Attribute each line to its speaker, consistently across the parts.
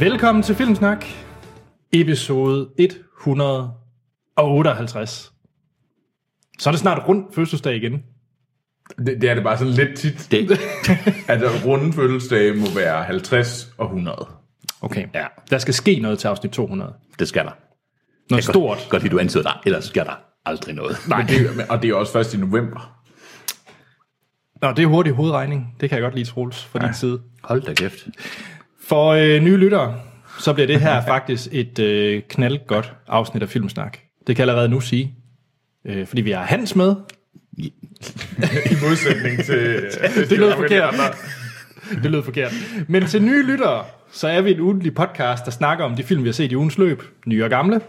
Speaker 1: Velkommen til Filmsnak, episode 158. Så er det snart rundt fødselsdag igen.
Speaker 2: Det, det er det bare sådan lidt tit. Det. altså, runde fødselsdage må være 50 og 100.
Speaker 1: Okay. Ja. Der skal ske noget til afsnit 200.
Speaker 3: Det skal der.
Speaker 1: Noget
Speaker 3: Jeg kan
Speaker 1: stort.
Speaker 3: Godt, godt lide, du antyder dig, ellers skal der aldrig noget.
Speaker 2: Men det, men- og det er også først i november.
Speaker 1: Nå, det er hurtig hovedregning. Det kan jeg godt lide, Troels, fra ja. din side.
Speaker 3: Hold da kæft.
Speaker 1: For øh, nye lyttere, så bliver det her faktisk et øh, knaldgodt afsnit af Filmsnak. Det kan jeg allerede nu sige. Øh, fordi vi har Hans med.
Speaker 2: I modsætning til...
Speaker 1: Det lød forkert. Det lød forkert. Men til nye lyttere, så er vi en ugentlig podcast, der snakker om de film, vi har set i ugens løb. Nye og gamle.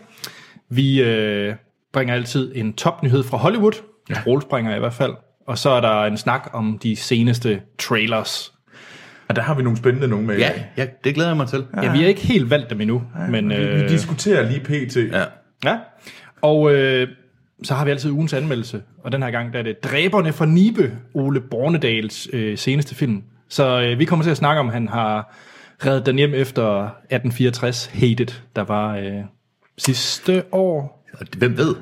Speaker 1: Vi øh, bringer altid en topnyhed fra Hollywood. Ja. Rolspringer i hvert fald. Og så er der en snak om de seneste trailers.
Speaker 2: Og der har vi nogle spændende nogle med. i dag.
Speaker 3: Ja, ja, det glæder jeg mig til.
Speaker 1: Ja, vi har ikke helt valgt dem endnu. men, øh,
Speaker 2: Vi diskuterer lige pt. Ja.
Speaker 3: Ja.
Speaker 1: Ja. Og øh, så har vi altid ugens anmeldelse, og den her gang der er det Dræberne fra Nibe, Ole Bornedals øh, seneste film. Så øh, vi kommer til at snakke om, at han har reddet den hjem efter 1864 Hated, der var øh, sidste år.
Speaker 3: Og det- hvem ved?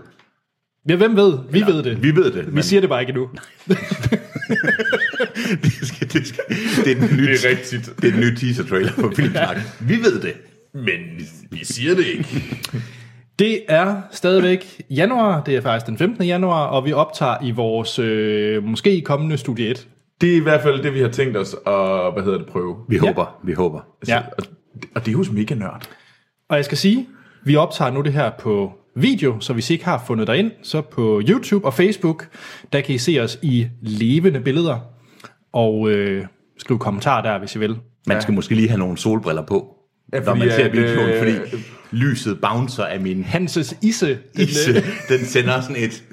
Speaker 1: Ja, hvem ved? Vi ved det.
Speaker 3: Vi ved det.
Speaker 1: Vi siger det bare ikke endnu.
Speaker 3: det, skal, det, skal, det er den nye,
Speaker 2: Det er rigtigt.
Speaker 3: Det er den nye teaser-trailer for Filmsnak. Vi ved det, men vi siger det ikke.
Speaker 1: Det er stadigvæk januar, det er faktisk den 15. januar, og vi optager i vores øh, måske kommende studie 1.
Speaker 2: Det er i hvert fald det, vi har tænkt os at hvad hedder det, prøve.
Speaker 3: Vi håber, vi håber.
Speaker 1: Ja.
Speaker 2: Og, og det er hos Mega Nørd.
Speaker 1: Og jeg skal sige, vi optager nu det her på video, så hvis I ikke har fundet dig ind, så på YouTube og Facebook, der kan I se os i levende billeder. Og øh, skriv kommentarer der, hvis I vil.
Speaker 3: Man skal måske lige have nogle solbriller på,
Speaker 2: Ja,
Speaker 3: ja,
Speaker 2: fordi
Speaker 3: når man ser
Speaker 2: at,
Speaker 3: videoen,
Speaker 2: øh,
Speaker 3: fordi lyset bouncer af min
Speaker 1: Hanses Isse. Den, øh,
Speaker 3: isse. Den sender sådan et,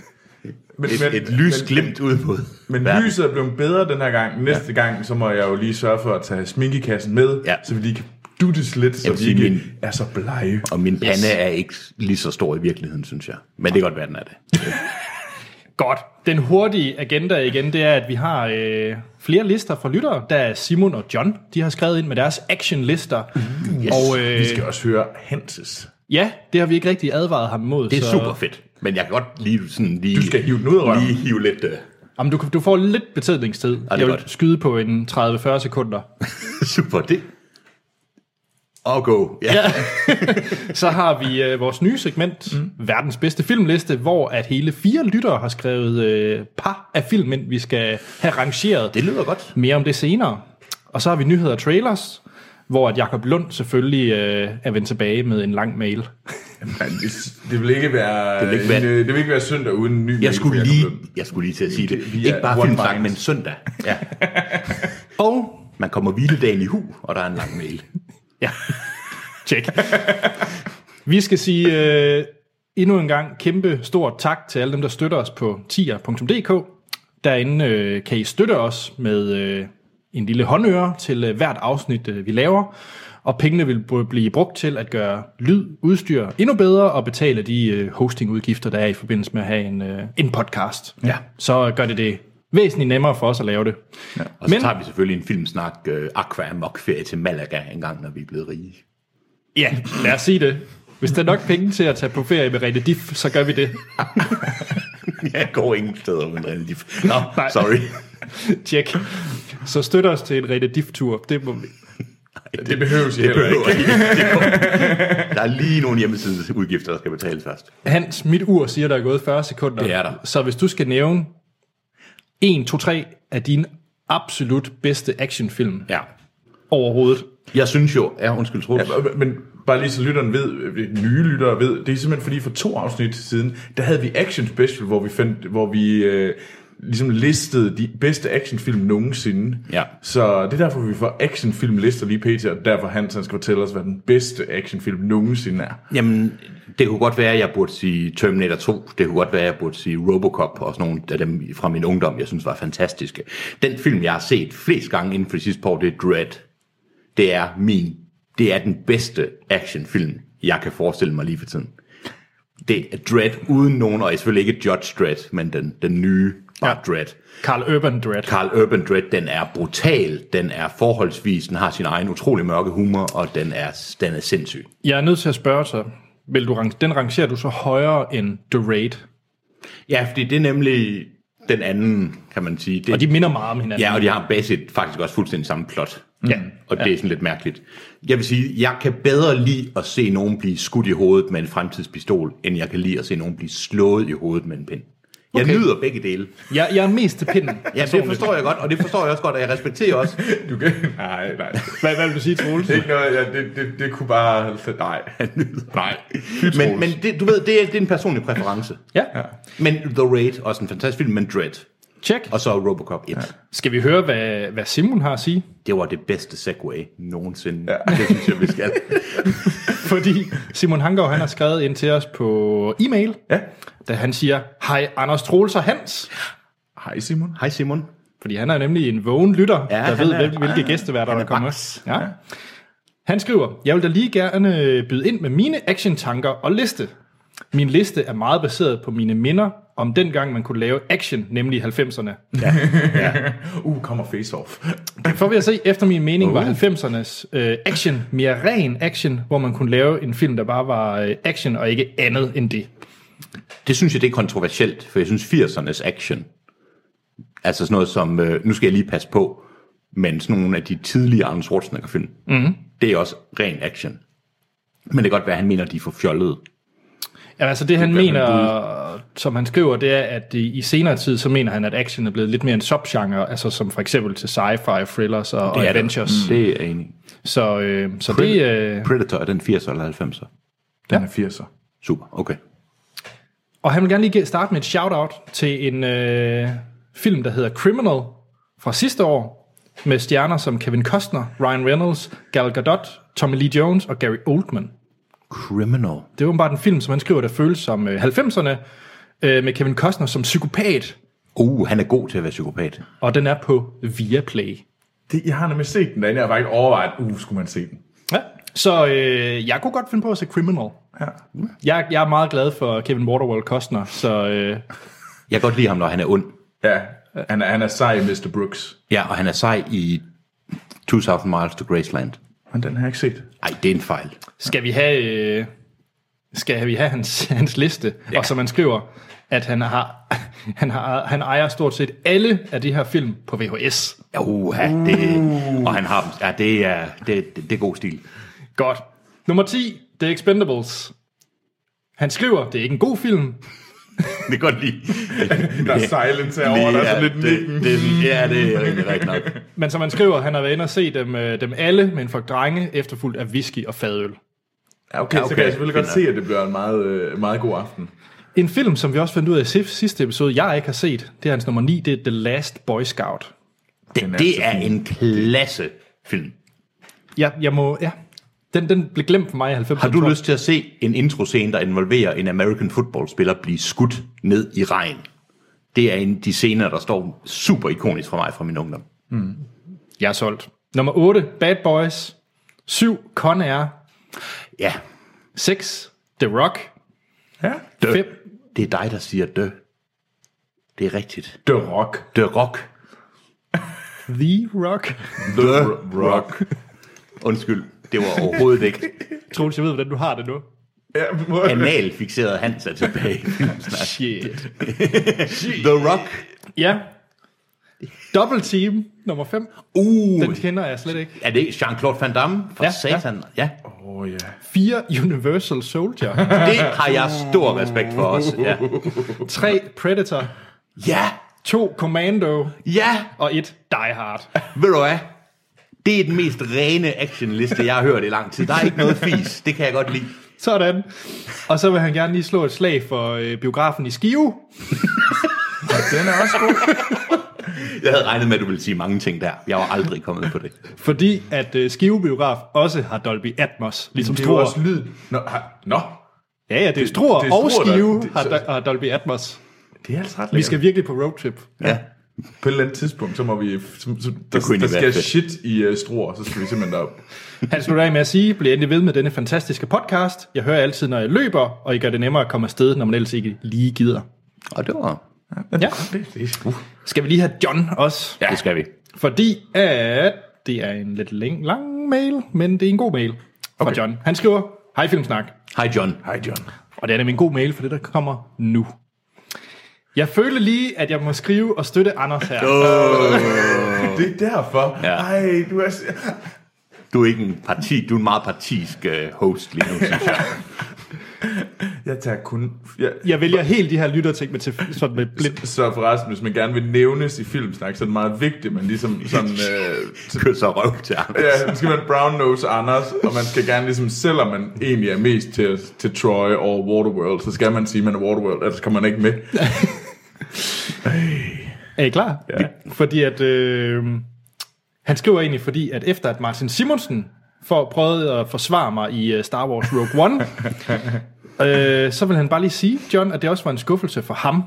Speaker 2: Men,
Speaker 3: et, et lys glimt ud mod
Speaker 2: Men
Speaker 3: verden.
Speaker 2: lyset er blevet bedre den her gang. Næste ja. gang, så må jeg jo lige sørge for at tage sminkekassen med,
Speaker 3: Ja.
Speaker 2: så vi lige kan duttes lidt, så
Speaker 3: Jeg vil
Speaker 2: vi
Speaker 3: sige,
Speaker 2: ikke
Speaker 3: min-
Speaker 2: er så blege.
Speaker 3: Og min pande yes. er ikke lige så stor i virkeligheden, synes jeg. Men det kan godt være, den er det.
Speaker 1: Godt. Den hurtige agenda igen, det er, at vi har øh, flere lister fra lyttere. Der er Simon og John, de har skrevet ind med deres actionlister.
Speaker 3: Mm-hmm.
Speaker 1: Yes. Og
Speaker 2: Vi
Speaker 1: øh,
Speaker 2: skal også høre Hanses.
Speaker 1: ja, det har vi ikke rigtig advaret ham mod.
Speaker 3: Det er
Speaker 1: så-
Speaker 3: så... super fedt. Men jeg kan godt lige sådan lige...
Speaker 2: Du skal hive den ud af røven.
Speaker 3: Lige hive lidt... Øh,
Speaker 1: Jamen, du, kan- du får lidt betædningstid. Ja,
Speaker 3: er
Speaker 1: jeg vil
Speaker 3: godt.
Speaker 1: skyde på en 30-40 sekunder.
Speaker 3: super, det... Og go. Ja. ja.
Speaker 1: Så har vi øh, vores nye segment, mm. verdens bedste filmliste, hvor at hele fire lyttere har skrevet øh, par af film, ind, vi skal have rangeret.
Speaker 3: Det lyder godt.
Speaker 1: Mere om det senere. Og så har vi nyheder og trailers, hvor at Jakob Lund selvfølgelig øh, er vendt tilbage med en lang mail.
Speaker 2: Nej, det, det vil ikke være, det
Speaker 3: vil ikke være-
Speaker 2: en, øh, det vil ikke være søndag uden en ny mail
Speaker 3: Jeg
Speaker 2: fra
Speaker 3: skulle,
Speaker 2: Jacob
Speaker 3: lige,
Speaker 2: Lund.
Speaker 3: jeg skulle lige til at sige det.
Speaker 2: Vi er
Speaker 3: Ikke bare
Speaker 2: one
Speaker 3: filmsnak,
Speaker 2: minds.
Speaker 3: men søndag. Ja.
Speaker 1: Og
Speaker 3: Man kommer hviledagen i hu, og der er en lang mail.
Speaker 1: Ja. Check. Vi skal sige øh, endnu en gang kæmpe stort tak til alle dem, der støtter os på tier.dk. Derinde øh, kan I støtte os med øh, en lille håndøre til øh, hvert afsnit, øh, vi laver. Og pengene vil br- blive brugt til at gøre lyd, udstyr endnu bedre og betale de øh, hostingudgifter, der er i forbindelse med at have en, øh, en podcast.
Speaker 3: Ja.
Speaker 1: Så gør det det væsentligt nemmere for os at lave det. Ja.
Speaker 3: Og så
Speaker 1: Men-
Speaker 3: men... tager vi selvfølgelig en filmsnak øh, Aqua Amok ferie til Malaga en gang, når vi er blevet rige.
Speaker 1: Ja, lad os sige det. Hvis der er nok penge til at tage på ferie med Rene Diff, så gør vi det.
Speaker 3: Jeg går ingen steder uden René Diff. Nå,
Speaker 1: Nej.
Speaker 3: sorry.
Speaker 1: Tjek. Så støt os til en Rene Diff-tur. Det må vi.
Speaker 2: Det behøves I heller ikke.
Speaker 3: behøver ikke. Det går- Der er lige nogle hjemmesideudgifter, der skal betales først.
Speaker 1: Hans, mit ur siger, der er gået 40 sekunder.
Speaker 3: Det er der.
Speaker 1: Så hvis du skal nævne 1, 2, 3 af dine absolut bedste actionfilm
Speaker 3: Ja.
Speaker 1: overhovedet.
Speaker 3: Jeg synes jo... Ja, undskyld, Troels. Ja,
Speaker 2: Men bare lige så lytteren ved, øh, nye lyttere ved, det er simpelthen fordi for to afsnit siden, der havde vi Action Special, hvor vi, fandt, hvor vi øh, ligesom listede de bedste actionfilm nogensinde.
Speaker 3: Ja.
Speaker 2: Så det er derfor, vi får actionfilmlister lige pt. Og derfor Hans, han skal fortælle os, hvad den bedste actionfilm nogensinde er.
Speaker 3: Jamen, det kunne godt være, at jeg burde sige Terminator 2. Det kunne godt være, at jeg burde sige Robocop og sådan nogle af dem fra min ungdom, jeg synes var fantastiske. Den film, jeg har set flest gange inden for de sidste par år, det er Dread. Det er min... Det er den bedste actionfilm, jeg kan forestille mig lige for tiden. Det er Dread uden nogen, og selvfølgelig ikke Judge Dread, men den, den nye Bare ja. Dread.
Speaker 1: Carl Urban Dread.
Speaker 3: Carl Urban Dread, den er brutal, den er forholdsvis, den har sin egen utrolig mørke humor, og den er, den er sindssyg.
Speaker 1: Jeg er nødt til at spørge dig, vil du, rang- den rangerer du så højere end The Raid?
Speaker 3: Ja, fordi det er nemlig den anden, kan man sige. Det,
Speaker 1: Og de minder meget om hinanden.
Speaker 3: Ja, og de har basic faktisk også fuldstændig samme plot.
Speaker 1: Ja.
Speaker 3: Og det er sådan lidt mærkeligt. Jeg vil sige, jeg kan bedre lide at se nogen blive skudt i hovedet med en fremtidspistol, end jeg kan lide at se nogen blive slået i hovedet med en pind. Jeg
Speaker 1: Okay.
Speaker 3: okay. nyder begge dele.
Speaker 1: Jeg, jeg er mest til pinden.
Speaker 3: Ja, det forstår jeg godt, og det forstår jeg også godt, og jeg respekterer også.
Speaker 2: Du kan, nej, nej.
Speaker 1: Hvad, hvad vil du sige, Troels?
Speaker 2: Det, er ikke noget, jeg, det, det, det kunne bare... Nej. Nej.
Speaker 3: Men, men det, du ved, det er, det er en personlig præference.
Speaker 1: Ja,
Speaker 3: Men The Raid, også en fantastisk film, men Dread.
Speaker 1: tjek.
Speaker 3: Og så Robocop 1. Ja.
Speaker 1: Skal vi høre, hvad, hvad Simon har at sige?
Speaker 3: Det var det bedste segway nogensinde. Ja. Det synes jeg, vi skal.
Speaker 1: Fordi Simon Hangov, han har skrevet ind til os på e-mail,
Speaker 2: Ja.
Speaker 1: da han siger, hej Anders Troels og Hans.
Speaker 2: Hej Simon.
Speaker 3: Hej Simon.
Speaker 1: Fordi han er nemlig en vågen lytter, ja, der
Speaker 3: han
Speaker 1: ved,
Speaker 3: er-
Speaker 1: hvil- hvilke
Speaker 3: ah,
Speaker 1: gæsteværter der
Speaker 3: er
Speaker 1: kommer.
Speaker 3: baks.
Speaker 1: Ja. Han skriver, jeg vil da lige gerne øh, byde ind med mine action-tanker og liste. Min liste er meget baseret på mine minder om dengang, man kunne lave action, nemlig 90'erne.
Speaker 2: Uh, kommer face off.
Speaker 1: For vil jeg se, efter min mening
Speaker 3: Uh.
Speaker 1: var 90'ernes øh, action mere ren action, hvor man kunne lave en film, der bare var øh, action og ikke andet end det.
Speaker 3: Det synes jeg, det er kontroversielt, for jeg synes 80'ernes action, altså sådan noget som, øh, nu skal jeg lige passe på, men sådan nogle af de tidlige Arnold Schwarzenegger-film, mm. det er også ren action. Men det kan godt være, at han mener, at de er for fjollede.
Speaker 1: Ja, altså det, han mener, som han skriver, det er, at i i senere tid, så mener han, at action er blevet lidt mere en subgenre, altså som for eksempel til sci-fi, thrillers og, og
Speaker 3: Det er
Speaker 1: adventures.
Speaker 3: Det, mm. det er jeg enig. i.
Speaker 1: Så, øh, så det... Øh,
Speaker 3: Predator er den 80'er eller 90'er.
Speaker 2: Den er 80'er.
Speaker 3: Super, okay.
Speaker 1: og han vil gerne lige ge- starte med et shout-out til en øh, film, der hedder Criminal fra sidste år, med stjerner som Kevin Costner, Ryan Reynolds, Gal Gadot, Tommy Lee Jones og Gary Oldman.
Speaker 3: Criminal.
Speaker 1: Det var bare en film, som han skriver, der føles som øh, 90'erne, øh, med Kevin Costner som psykopat,
Speaker 3: Uh, han er god til at være psykopat.
Speaker 1: og den er på Viaplay.
Speaker 2: Det, jeg har nemlig set den derinde, jeg har faktisk overvejet, uh, skulle man se den.
Speaker 1: Ja. Så øh, jeg kunne godt finde på at se Criminal.
Speaker 2: Ja.
Speaker 1: Jeg, jeg er meget glad for Kevin Waterworld Costner, så øh,
Speaker 3: Jeg kan godt lide ham, når han er ond.
Speaker 2: Ja, han er, han er sej, Mr. Brooks.
Speaker 3: Ja, og han er sej i 2000 Miles to Graceland.
Speaker 2: Men den har jeg ikke set.
Speaker 3: Ej, det er en fejl.
Speaker 1: skal vi have øh, skal vi have hans, hans liste, ja. og som han skriver, at han har han har han ejer stort set alle af de her film på VHS.
Speaker 3: Uha, det,
Speaker 2: Mm.
Speaker 3: og han har dem. Ja, det er, det, det, det er god stil.
Speaker 1: Godt. Nummer 10, The Expendables. Han skriver, det er ikke en god film,
Speaker 3: Det kan godt lide.
Speaker 2: Der er silence herovre, der er sådan lidt nikken.
Speaker 3: det, det, ja, det er rigtig rigtigt nok.
Speaker 2: altså
Speaker 1: men som han skriver, han har været inde og se dem, øh, dem alle med en flok drenge, efterfulgt af whisky og fadøl.
Speaker 2: Ja, okay,
Speaker 3: Ja,
Speaker 2: okay, så
Speaker 3: okay,
Speaker 2: kan jeg selvfølgelig godt
Speaker 3: fint nok.
Speaker 2: se, at det bliver en meget, øh, meget god aften.
Speaker 1: En film, som vi også fandt ud af i si- sidste episode, jeg ikke har set, det er hans nummer 9, det er The Last Boy Scout.
Speaker 3: Det, det er en klasse film.
Speaker 1: Ja, jeg må, ja. Den, den blev glemt for mig i 90'erne.
Speaker 3: Har
Speaker 1: tror
Speaker 3: du
Speaker 1: jeg.
Speaker 3: lyst til at se en introscene, der involverer en American football-spiller blive skudt ned i regn? Det er en af de scener, der står super ikonisk for mig fra min ungdom.
Speaker 1: Jeg er solgt. Nummer 8, Bad Boys. 7, Con Air.
Speaker 3: Ja,
Speaker 1: 6, The Rock.
Speaker 2: Ja.
Speaker 3: dø.
Speaker 1: 5,
Speaker 3: Det er dig, der siger dø. Det er rigtigt.
Speaker 2: The Rock.
Speaker 3: Dø rock.
Speaker 1: The Rock.
Speaker 2: The Rock.
Speaker 3: Undskyld, det var overhovedet ikke.
Speaker 1: Troels, jeg ved, hvordan du har det nu.
Speaker 2: Ja, må-
Speaker 3: Anal fixeret Hans er tilbage. i filmsnak.
Speaker 1: Shit.
Speaker 3: The Rock.
Speaker 1: Ja. Double Team, nummer 5.
Speaker 3: Uh,
Speaker 1: Den kender jeg slet ikke.
Speaker 3: er det ikke Jean-Claude Van Damme? For
Speaker 1: Ja,
Speaker 3: ja, satan. Ja.
Speaker 2: Åh, oh, ja.
Speaker 1: 4, Universal Soldier.
Speaker 3: Det har jeg stor respekt for også. Ja.
Speaker 1: 3, Predator.
Speaker 3: ja,
Speaker 1: 2, Commando.
Speaker 3: ja.
Speaker 1: Og 1, Die Hard.
Speaker 3: Ved du hvad? Det er den mest rene actionliste, jeg har hørt i lang tid. Der er ikke noget fis. Det kan jeg godt lide.
Speaker 1: Sådan. Og så vil han gerne lige slå et slag for øh, biografen i Skive.
Speaker 2: Den er også god.
Speaker 3: Jeg havde regnet med, at du ville sige mange ting der. Jeg var aldrig kommet på det.
Speaker 1: Fordi at øh, Skive Biograf også har Dolby Atmos, ligesom
Speaker 2: Det er jo
Speaker 1: Struer.
Speaker 2: også lyd. Nå, har, nå.
Speaker 1: Ja, ja, det er Struer
Speaker 2: det er
Speaker 1: og
Speaker 2: Struer, der-
Speaker 1: Skive
Speaker 2: det-
Speaker 1: har,
Speaker 2: så-
Speaker 1: har Dolby Atmos.
Speaker 2: det er altså ret
Speaker 1: Vi
Speaker 2: lækkert.
Speaker 1: skal virkelig på roadtrip.
Speaker 3: Ja.
Speaker 2: På et eller andet tidspunkt, så må vi... Så, så, der,
Speaker 3: kunne egentlig
Speaker 2: der skal
Speaker 3: være fedt.
Speaker 2: shit i uh, struer, så skal vi simpelthen derop.
Speaker 1: Han slutter af med at sige, bliv endelig ved med denne fantastiske podcast. Jeg hører altid, når jeg løber, og I gør det nemmere at komme afsted, når man ellers ikke lige gider.
Speaker 3: Og det var...
Speaker 1: Ja.
Speaker 2: Det, det, uh.
Speaker 1: Skal vi lige have John også?
Speaker 3: Ja. Det skal vi.
Speaker 1: Fordi at det er en lidt lang, lang mail, men det er en god mail fra okay. John. Han skriver, hej Filmsnak.
Speaker 3: Hej John.
Speaker 2: Hej John.
Speaker 1: Og det er nemlig en god mail for det, der kommer nu. Jeg følte lige, at jeg må skrive og støtte Anders her.
Speaker 2: Det er derfor.
Speaker 3: Ja.
Speaker 2: Ja. Ej, du er... s-
Speaker 3: Du er ikke en parti, du er en meget partisk øh, host lige nu, synes jeg.
Speaker 2: Jeg tager kun... Jeg,
Speaker 1: Jeg vælger helt de her lytterting med, til, sådan med blind.
Speaker 2: så forresten, hvis man gerne vil nævnes i filmsnak, så er det meget vigtigt, at man ligesom sådan... Øh,
Speaker 3: Kysser røv til ham.
Speaker 2: ja, man skal være en brown nose Anders, og man skal gerne ligesom, selvom man egentlig er mest til, til Troy og Waterworld, så skal man sige, at man er Waterworld, ellers kommer man ikke med.
Speaker 1: Er I klar? Ja. Fordi at... Øh, han skriver egentlig, fordi at efter at Martin Simonsen for, prøvede at forsvare mig i øh, Star Wars Rogue One, øh, så vil han bare lige sige, John, at det også var en skuffelse for ham.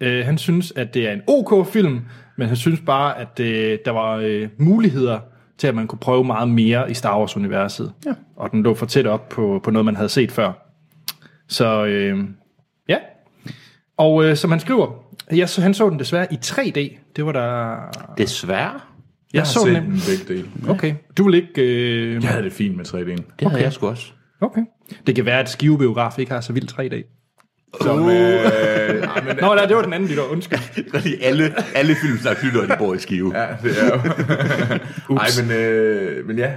Speaker 1: Øh, han synes, at det er en ok film, men han synes bare, at øh, der var øh, muligheder til, at man kunne prøve meget mere i Star Wars-universet. Ja. Og den lå for tæt op på, på noget, man havde set før. Så øh, ja. Og øh, som han skriver, jeg, så, han så den desværre i 3D. Det var der...
Speaker 3: Desværre.
Speaker 1: Jeg, jeg
Speaker 2: Så den begge dele.
Speaker 1: Okay, du vil ikke... Øh...
Speaker 2: Jeg havde det fint med 3D'en.
Speaker 3: Det okay. havde jeg sgu også.
Speaker 1: Okay. Det kan være, at skivebiograf ikke har så vildt 3D.
Speaker 2: Som, øh, ej, men,
Speaker 1: Nå, nej, det var den anden lytter, undskyld.
Speaker 3: Fordi alle, alle film, der flytter, de bor i Skive. Ja.
Speaker 2: Ja, det er jo. Ej, men, øh, men ja.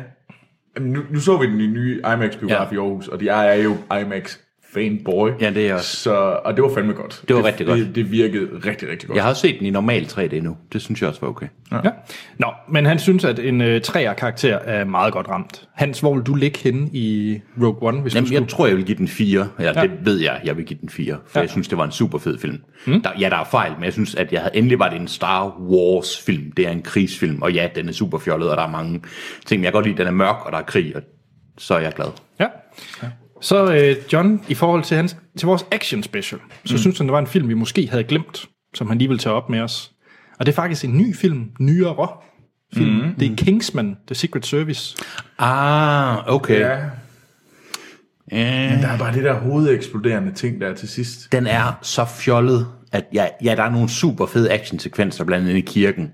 Speaker 2: Jamen, Nu, nu så vi den i nye IMAX-biograf
Speaker 3: Ja.
Speaker 2: ja. i Aarhus, og de- jeg er jo IMAX fanboy.
Speaker 3: Ja, det er jeg også.
Speaker 2: Så, og det var fandme godt.
Speaker 3: Det var rigtig godt.
Speaker 2: Det, det virkede rigtig, rigtig godt.
Speaker 3: Jeg har også set den i normal 3D nu. Det synes jeg også var okay.
Speaker 1: Ja. Nå, men han synes, at en øh, træer karakter er meget godt ramt. Hans, hvor vil du ligge henne i Rogue One, hvis Jamen,
Speaker 3: Jamen,
Speaker 1: du skulle?
Speaker 3: jeg tror, jeg vil give den 4. Eller
Speaker 1: Ja.
Speaker 3: ja. det ved jeg, jeg vil give den 4. For
Speaker 1: Ja.
Speaker 3: ja. jeg synes, det var en super fed film. Mm. Der, ja, der er fejl, men jeg synes, at jeg havde, endelig var det en Star Wars-film. Det er en krigsfilm, og ja, den er super fjollet, og der er mange ting. Men jeg kan godt lide, at den er mørk, og der er krig, og så er jeg glad.
Speaker 1: Ja. Så øh, John, i forhold til, hans, til vores action special, så mm. synes han, der var en film, vi måske havde glemt, som han lige ville tage op med os. Og det er faktisk en ny film, nyere film. Mm. Det er Kingsman, The Secret Service.
Speaker 3: Ah, okay.
Speaker 2: Ja,
Speaker 3: Yeah.
Speaker 2: der er bare det der hovedeksploderende ting, der er til sidst.
Speaker 3: Den er så fjollet, at ja, ja, der er nogle super fede actionsekvenser, blandt andet i kirken,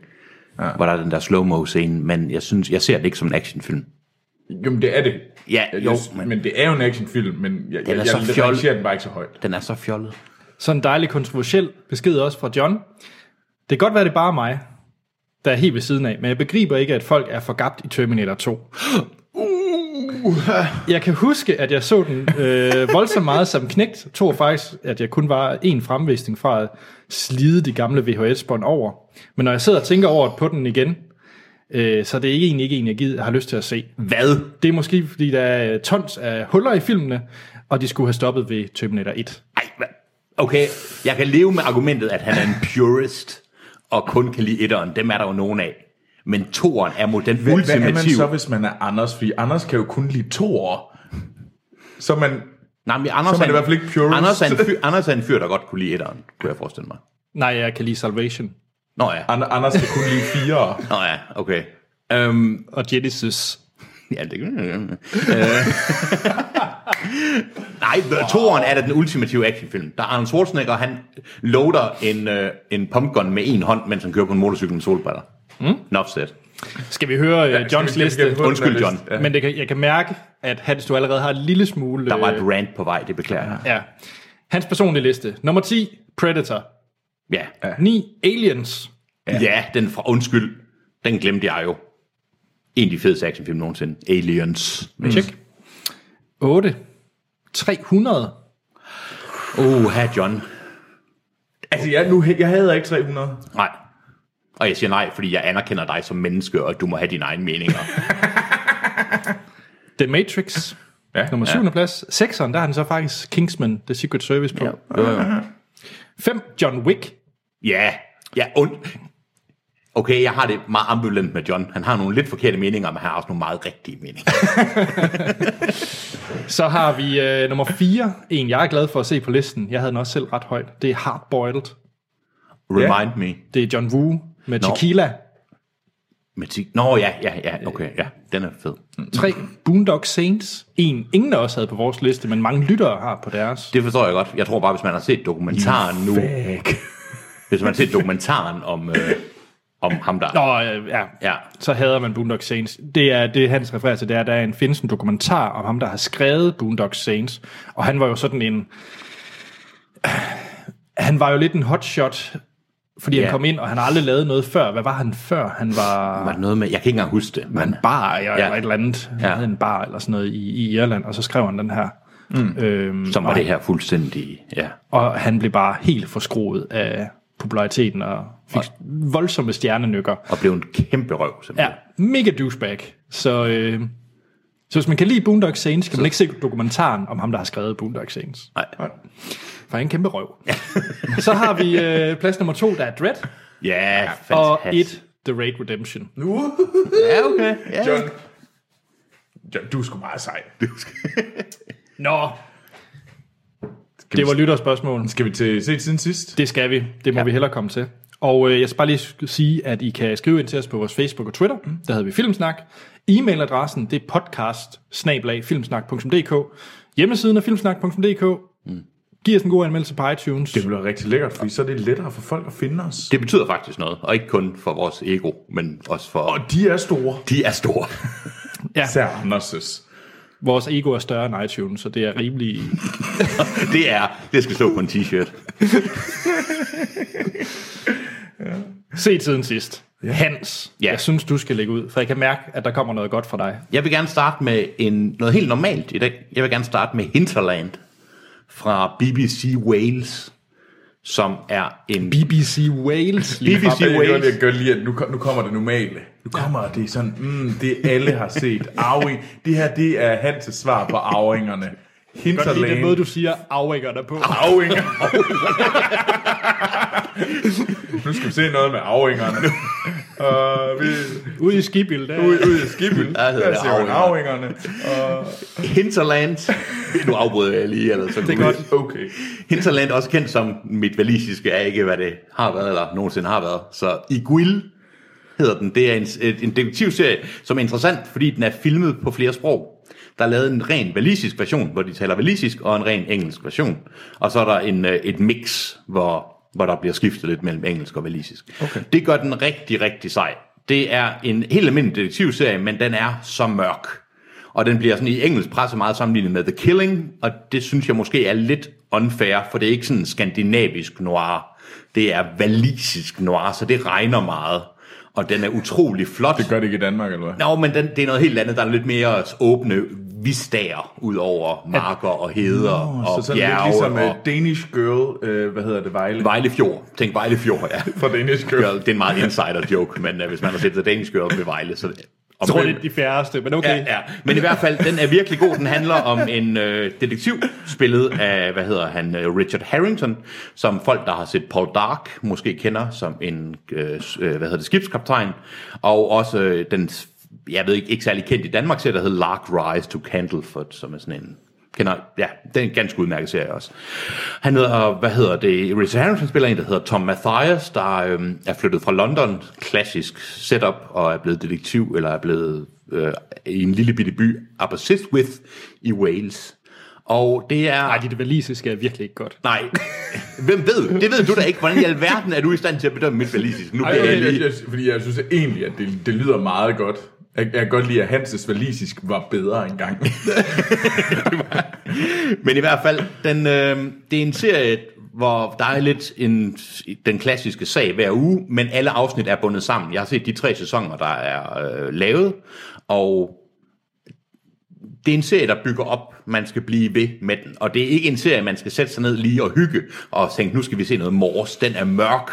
Speaker 3: ja. hvor der er den der slow-mo-scene, men jeg synes, jeg ser det ikke som en actionfilm.
Speaker 2: Jamen, det er det.
Speaker 3: Ja,
Speaker 2: Jeg-
Speaker 3: jo,
Speaker 2: jeg- men det er jo en actionfilm, men jeg,
Speaker 3: Den
Speaker 2: jeg,
Speaker 3: er
Speaker 2: jeg,
Speaker 3: så
Speaker 2: jeg
Speaker 3: fjol-
Speaker 2: rangerer den bare ikke så højt.
Speaker 3: Den er så fjollet.
Speaker 1: Så en dejlig kontroversiel besked også fra John. Det kan godt være, det er bare mig, der er helt ved siden af, men jeg begriber ikke, at folk er forgabt i Terminator 2. Jeg kan huske, at jeg så den øh, voldsomt meget som knægt. Jeg tror faktisk, at jeg kun var en fremvisning fra at slide de gamle VHS-bånd over. Men når jeg sidder og tænker over på den igen, øh, så er det ikke egentlig ikke en, jeg gider, har lyst til at se.
Speaker 3: Hvad?
Speaker 1: Det er måske, fordi der er tons af huller i filmene, og de skulle have stoppet ved Terminator 1.
Speaker 3: Ej, hvad? Okay, jeg kan leve med argumentet, at han er en purist, og kun kan lide etteren. Dem er der jo nogen af. Men toeren er mod den
Speaker 2: Hvad, hvad er man
Speaker 3: ultimative...
Speaker 2: så, hvis man er Anders? Fordi Anders kan jo kun lide to år. Så man...
Speaker 3: Nej, men Anders,
Speaker 2: Så er man
Speaker 3: en-
Speaker 2: i hvert fald ikke purist.
Speaker 3: Anders, er en fyr, Anders er en fyr, der godt kunne lide etteren, kunne jeg forestille mig.
Speaker 1: Nej, jeg kan lide Salvation.
Speaker 3: Nå ja,
Speaker 2: An- Anders kan kun lide fire år.
Speaker 3: Nå ja okay. Øhm,
Speaker 1: og Genesis.
Speaker 3: Ja, det kan øh. Nej, wow. toren er da den ultimative actionfilm. Der er Arnold Schwarzenegger, han loader en, øh, en pumpgun med en hånd, mens han kører på en motorcykel med solbriller. Mm? Enough said.
Speaker 1: Skal vi høre ja, Johns
Speaker 2: Skal vi- skal vi
Speaker 1: liste?
Speaker 2: få den
Speaker 3: Undskyld,
Speaker 2: her
Speaker 3: John.
Speaker 2: liste? Ja.
Speaker 1: Men det kan, jeg kan mærke, at Hans, du allerede har en lille smule...
Speaker 3: Der var
Speaker 1: øh,
Speaker 3: et rant på vej, det beklager jeg.
Speaker 1: Ja. Hans personlige liste. Nummer 10, Predator.
Speaker 3: Ja,
Speaker 1: 9, Aliens.
Speaker 3: ja. ja den fra Undskyld, den glemte jeg jo. En af de fedeste actionfilm nogensinde. Aliens. Mm.
Speaker 1: Check. 8, 300.
Speaker 3: Uh, John.
Speaker 2: Altså, jeg, nu, jeg hader ikke 300.
Speaker 3: Nej. Og jeg siger nej, fordi jeg anerkender dig som menneske, og du må have dine egne meninger.
Speaker 1: The Matrix. Ja, nummer 7. Ja. plads. 6'eren, der har han så faktisk Kingsman, The Secret Service på. Ja. 5, John Wick.
Speaker 3: Ja, ja, und. Okay, jeg har det meget ambivalent med John. Han har nogle lidt forkerte meninger, men han har også nogle meget rigtige meninger.
Speaker 1: Så har vi øh, nummer 4, en jeg er glad for at se på listen. Jeg havde den også selv ret højt. Det er Hardboiled.
Speaker 3: Remind me.
Speaker 1: Det er John Woo med
Speaker 3: Nå.
Speaker 1: Tequila.
Speaker 3: Med ti- Nå, ja, ja, ja, okay, ja, den er fed.
Speaker 1: 3.
Speaker 3: Mm.
Speaker 1: Boondock Saints. En, ingen af os havde på vores liste, men mange lyttere har på deres.
Speaker 3: Det forstår jeg godt. Jeg tror bare, hvis man har set dokumentaren nu,
Speaker 2: Fuck.
Speaker 3: Hvis man har set dokumentaren om, øh, om ham der.
Speaker 1: Nå, øh, ja.
Speaker 3: Ja.
Speaker 1: Så hader man Boondock Saints. Det er det, Hans refererer til, det er, der er en, findes en dokumentar om ham, der har skrevet Boondock Saints. Og han var jo sådan en... Han var jo lidt en hotshot, fordi
Speaker 3: Ja.
Speaker 1: han kom ind, og han har aldrig lavet noget før. Hvad var han før? Han var...
Speaker 3: Var det noget med, jeg kan ikke engang huske det, men
Speaker 1: bar eller,
Speaker 3: Ja.
Speaker 1: ja. eller et eller andet. Han
Speaker 3: Ja.
Speaker 1: ja. havde en bar eller sådan noget i, i Irland, og så skrev han den her. Mm. Øhm,
Speaker 3: som var
Speaker 1: og,
Speaker 3: det her fuldstændig, ja.
Speaker 1: og han blev bare helt forskroet af populariteten og fik voldsomme stjernenykker.
Speaker 3: Og blev en kæmpe røv,
Speaker 1: Ja,
Speaker 3: simpelthen.
Speaker 1: mega douchebag. Så, øh, så hvis man kan lide Boondock Saints, kan man ikke se dokumentaren om ham, der har skrevet Boondock Saints.
Speaker 3: Nej.
Speaker 1: For han er en kæmpe røv. så har vi øh, plads nummer to, der er Dread,
Speaker 3: Ja,
Speaker 1: og
Speaker 3: fantastisk.
Speaker 1: et The Raid Redemption.
Speaker 2: Uh,
Speaker 3: Ja, okay. Ja.
Speaker 2: John. John, du er sgu meget sej.
Speaker 1: Nå, det var lytterspørgsmål.
Speaker 2: Skal vi til set siden sidst?
Speaker 1: Det skal vi. Det må ja. vi hellere komme til. Og øh, jeg skal bare lige sk- sige, at I kan skrive ind til os på vores Facebook og Twitter. Mm. Der hedder vi Filmsnak. E-mailadressen, det er podcast Hjemmesiden er filmsnak.dk. Mm. Giv os en god anmeldelse på iTunes.
Speaker 2: Det bliver rigtig lækkert, fordi så er det lettere for folk at finde os.
Speaker 3: Det betyder faktisk noget, og ikke kun for vores ego, men også for...
Speaker 2: Og de er store.
Speaker 3: de er store.
Speaker 1: Ja,
Speaker 2: Især Anders'
Speaker 1: vores ego er større end iTunes, så det er rimelig...
Speaker 3: Det er, det skal stå på en t-shirt.
Speaker 1: Se tiden sidst. Hans,
Speaker 3: Ja.
Speaker 1: ja. jeg synes, du skal lægge ud, for jeg kan mærke, at der kommer noget godt fra dig.
Speaker 3: Jeg vil gerne starte med en, noget helt normalt i dag. Jeg vil gerne starte med Hinterland fra BBC Wales, som er en...
Speaker 1: BBC Wales. lige
Speaker 3: BBC
Speaker 1: frem.
Speaker 2: Jeg gør,
Speaker 3: Wales.
Speaker 2: lige- jeg gør lige, at nu, kom- nu kommer det normale. Nu kommer det sådan, mm, det alle har set. Arving. Det her, det er Hans' svar på arvingerne.
Speaker 1: Godt lide den
Speaker 2: Hinterland.
Speaker 1: måde, du siger afvækker dig på.
Speaker 2: Arvinger. nu skal vi se noget med arvingerne. Uh, vi,
Speaker 1: Ude i Skibild, der.
Speaker 2: ud, ud i skibet.
Speaker 3: Der hedder
Speaker 2: Der
Speaker 3: det
Speaker 2: ser man arvingerne. Uh,
Speaker 3: Hinterland. Nu afbryder jeg lige, eller så
Speaker 1: Det er godt.
Speaker 2: Uh, okay.
Speaker 3: Hinterland, også kendt som mit valisiske, er ikke, hvad det har været, eller nogensinde har været. Så Iguil hedder den. Det er en, et- en detektivserie, som er interessant, fordi den er filmet på flere sprog. Der er lavet en ren valisisk version, hvor de taler valisisk, og en ren engelsk version. Og så er der en, øh, et mix, hvor, hvor der bliver skiftet lidt mellem engelsk og valisisk. Okay. Det gør den rigtig, rigtig sej. Det er en helt almindelig detektivserie, men den er så mørk. Og den bliver sådan i engelsk presse meget sammenlignet med The Killing, og det synes jeg måske er lidt unfair, for det er ikke sådan skandinavisk noir. Det er valisisk noir, så det regner meget. Og den er utrolig flot.
Speaker 2: Det gør det ikke i Danmark, eller hvad?
Speaker 3: Nå, men den, det er noget helt andet. Der er lidt mere åbne vistager ud over marker og heder Nå, og
Speaker 2: Så sådan lidt
Speaker 3: bjerge
Speaker 2: ligesom
Speaker 3: og
Speaker 2: øh, Danish Girl, øh, hvad hedder det, Vejle?
Speaker 3: Vejlefjord. Tænk Vejlefjord, ja.
Speaker 2: Fra Danish Girl.
Speaker 3: Girl, det er en meget insider joke, men uh, hvis man har set The Danish Girl ved Vejle, så... Om
Speaker 1: Jeg tror, det er de færreste, men okay.
Speaker 3: Ja, ja. Men i hvert fald, den er virkelig god. Den handler om en øh, detektiv, spillet af, hvad hedder han, øh, Richard Harrington, som folk, der har set Paul Dark, måske kender som en, øh, s- øh, hvad hedder det, skibskaptajn, og også øh, den, jeg ved ikke, ikke særlig kendt i Danmark, serie, der hedder Lark Rise to Candleford, som er sådan en kender, ja, det er en ganske udmærket serie også. Han hedder, hvad hedder det, Richard Harrison spiller en, der hedder Tom Mathias, der øhm, er flyttet fra London, klassisk setup, og er blevet detektiv, eller er blevet øh, i en lille bitte by, Aberystwyth i Wales. Og det er...
Speaker 1: Nej, dit valisiske er virkelig ikke godt.
Speaker 3: Nej, hvem ved? Det ved du da ikke. Hvordan i alverden er du i stand til at bedømme mit valisisk? Nu
Speaker 2: Ej,
Speaker 3: bliver jeg
Speaker 2: jeg, jeg,
Speaker 3: lige...
Speaker 2: jeg, fordi jeg synes at egentlig, at det, det lyder meget godt. Jeg, jeg kan godt lide, at Hanses valisisk var bedre engang.
Speaker 3: Men i hvert fald, den, øh, det er en serie, hvor der er lidt en, den klassiske sag hver uge, men alle afsnit er bundet sammen. Jeg har set de tre sæsoner, der er øh, lavet, og det er en serie, der bygger op. Man skal blive ved med den. Og det er ikke en serie, man skal sætte sig ned lige og hygge og tænke, nu skal vi se noget mors. Den er mørk,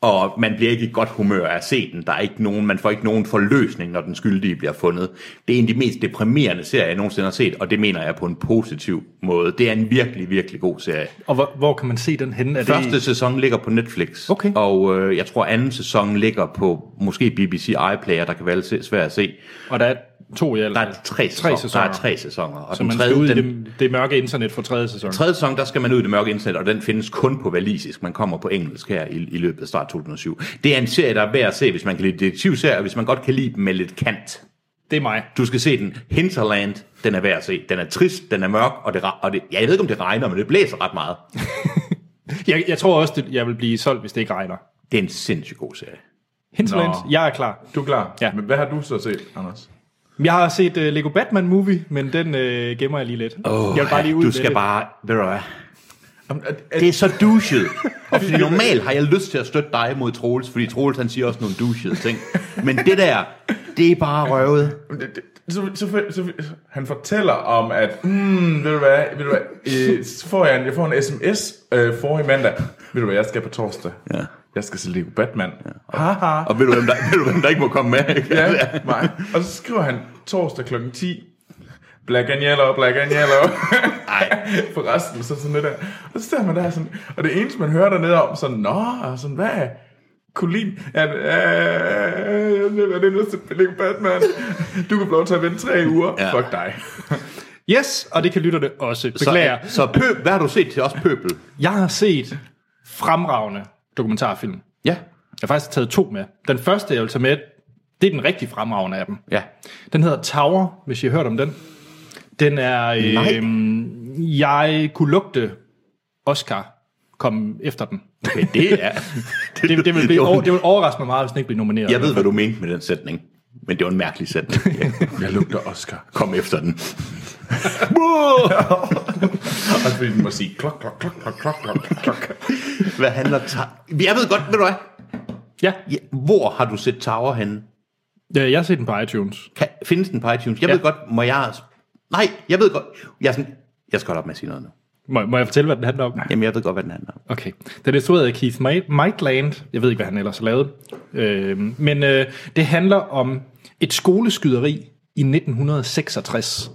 Speaker 3: og man bliver ikke i godt humør af at se den. Der er ikke nogen, man får ikke nogen forløsning, når den skyldige bliver fundet. Det er en af de mest deprimerende serier, jeg nogensinde har set, og det mener jeg på en positiv måde. Det er en virkelig, virkelig god serie.
Speaker 1: Og hvor, hvor kan man se den henne? Er
Speaker 3: Første
Speaker 1: det,
Speaker 3: sæson ligger på Netflix,
Speaker 1: Okay.
Speaker 3: og øh, jeg tror anden sæson ligger på måske BBC iPlayer, der kan være lidt se- svært at se.
Speaker 1: og der er to i alt.
Speaker 3: Der er tre sæsoner.
Speaker 1: Tre sæsoner.
Speaker 3: Der er tre sæsoner. Og
Speaker 1: så man skal ud i det, det mørke internet for tredje sæson.
Speaker 3: tredje sæson, der skal man ud i det mørke internet, og den findes kun på valisisk. Man kommer på engelsk her i, i løbet af start 2007. Det er en serie, der er værd at se, hvis man kan lide detektivserier, og hvis man godt kan lide dem med lidt kant.
Speaker 1: Det er mig.
Speaker 3: Du skal se den. Hinterland, den er værd at se. Den er trist, den er mørk, og det, re- og det jeg ved ikke, om det regner, men det blæser ret meget.
Speaker 1: Jeg, jeg tror også, at jeg vil blive solgt, hvis det ikke regner.
Speaker 3: Det er en sindssygt god serie.
Speaker 1: Hinterlands,
Speaker 2: Nå.
Speaker 1: jeg er klar.
Speaker 2: Du er klar.
Speaker 1: Ja.
Speaker 2: Men hvad har du så set, Anders?
Speaker 1: Jeg har set uh, Lego Batman Movie, men den uh, gemmer jeg lige lidt.
Speaker 3: Åh,
Speaker 1: jeg vil bare lige ud
Speaker 3: du
Speaker 1: med
Speaker 3: skal
Speaker 1: det.
Speaker 3: bare... Ved du hvad?
Speaker 2: Jamen, at, at,
Speaker 3: Det er så douchet. Og fordi normalt har jeg lyst til at støtte dig mod Troels, fordi Troels han siger også nogle douchede ting. Men det der, det er bare røvet.
Speaker 2: Jamen, det- det- Så, så, så, så, han fortæller om, at mm, ved du hvad, ved du hvad øh, så får jeg en, jeg får en sms øh, for i mandag. Ved du hvad, jeg skal på torsdag.
Speaker 3: Ja.
Speaker 2: Jeg skal se Lego Batman. Ja. Haha.
Speaker 3: Og ved du, hvem der, ved du, hvem der ikke må komme med? Ikke?
Speaker 2: Ja, mig. Og så skriver han torsdag kl. 10. Black and yellow, black and yellow.
Speaker 3: Ej.
Speaker 2: For resten, så sådan det der. Og så står man der sådan, og det eneste, man hører dernede om, sådan, nå, og sådan, hvad er Colin? Er det, øh, øh, er det noget til Lego Batman? Du kan få lov til at vente tre uger.
Speaker 3: Ja.
Speaker 2: Ja. Fuck dig.
Speaker 1: Yes, og det kan lytterne også. Beklager.
Speaker 3: Så, så pøb, hvad har du set til os pøbel?
Speaker 1: Jeg har set fremragende dokumentarfilm. Jeg
Speaker 3: Ja.
Speaker 1: har faktisk taget to med. Den første, jeg vil tage med, det er den rigtig fremragende af dem.
Speaker 3: Ja.
Speaker 1: Den hedder Tower, hvis I har hørt om den. Den er... Øh, jeg kunne lugte Oscar komme efter den.
Speaker 3: Men det er...
Speaker 1: Det, det, vil, blive, over, det vil overraske mig meget, hvis den ikke bliver nomineret.
Speaker 3: Jeg ved, hvad du mente med den sætning. Men det var en mærkelig sætning. Ja.
Speaker 2: Jeg lugter Oscar.
Speaker 3: Kom efter den.
Speaker 2: Og så fordi den må sige klok, klok, klok, klok, klok, klok, klok.
Speaker 3: Hvad handler ta- Jeg ved godt, ved du hvad?
Speaker 1: Ja,
Speaker 3: Ja, Hvor har du set Tower henne?
Speaker 1: øh, jeg har set den på iTunes.
Speaker 3: Kan, findes den på iTunes? Jeg ja. ved
Speaker 1: Ja.
Speaker 3: godt, må jeg... Nej, jeg ved godt... Jeg, er sådan, jeg skal holde op med at sige noget nu.
Speaker 1: Må, må jeg fortælle, hvad den handler om?
Speaker 3: Jamen, jeg ved godt, hvad den handler om.
Speaker 1: Okay. Den er instrueret af Keith Ma- Maitland. Jeg ved ikke, hvad han ellers har lavet. Øh, men øh, det handler om et skoleskyderi i 1966.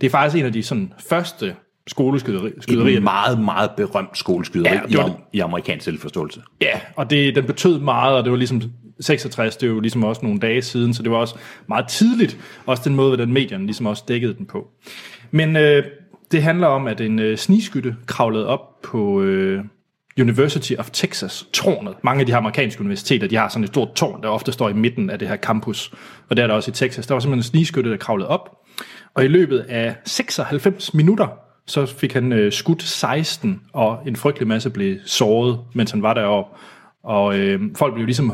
Speaker 1: Det er faktisk en af de sådan, første skoleskyderier.
Speaker 3: Et meget, meget berømt skoleskyderi
Speaker 1: Ja, det var
Speaker 3: i,
Speaker 1: det.
Speaker 3: am- i amerikansk selvforståelse.
Speaker 1: Ja, og det, den betød meget, og det var ligesom 66, det var jo ligesom også nogle dage siden, så det var også meget tidligt, også den måde, hvordan medierne ligesom også dækkede den på. Men øh, det handler om, at en øh, snigskytte kravlede op på øh, University of Texas, tårnet. Mange af de her amerikanske universiteter, de har sådan et stort tårn, der ofte står i midten af det her campus, og der er der også i Texas. Der var simpelthen en snigskytte, der kravlede op, og i løbet af 96 minutter, så fik han øh, skudt 16, og en frygtelig masse blev såret, mens han var deroppe. Og øh, folk blev ligesom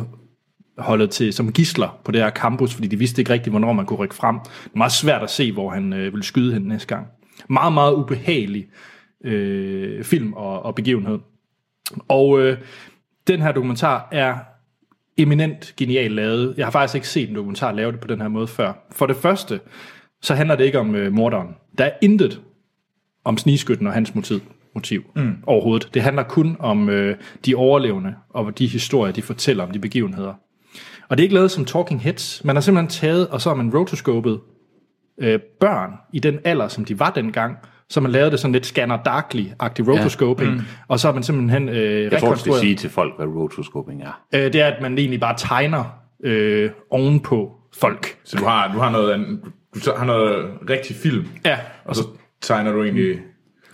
Speaker 1: holdet til som gisler på det her campus, fordi de vidste ikke rigtigt, hvornår man kunne rykke frem. Det var meget svært at se, hvor han øh, ville skyde hen næste gang. Meget, meget ubehagelig øh, film og, og begivenhed. Og øh, den her dokumentar er eminent genial lavet. Jeg har faktisk ikke set en dokumentar lave det på den her måde før. For det første, så handler det ikke om øh, morderen. Der er intet om snigskytten og hans motiv, motiv mm. overhovedet. Det handler kun om øh, de overlevende og de historier, de fortæller om de begivenheder. Og det er ikke lavet som talking heads. Man har simpelthen taget, og så har man rotoscopet øh, børn i den alder, som de var dengang, så man lavede det sådan lidt Scanner Darkly-agtig rotoscoping, ja. mm. og så har man simpelthen øh,
Speaker 3: Jeg tror, du skal
Speaker 1: rekonstrueret...
Speaker 3: sige til folk, hvad rotoscoping er.
Speaker 1: Øh, det er, at man egentlig bare tegner øh, ovenpå folk.
Speaker 2: Så du har, du har noget, andet- du så- har noget rigtig film,
Speaker 1: Ja,
Speaker 2: og så tegner du egentlig...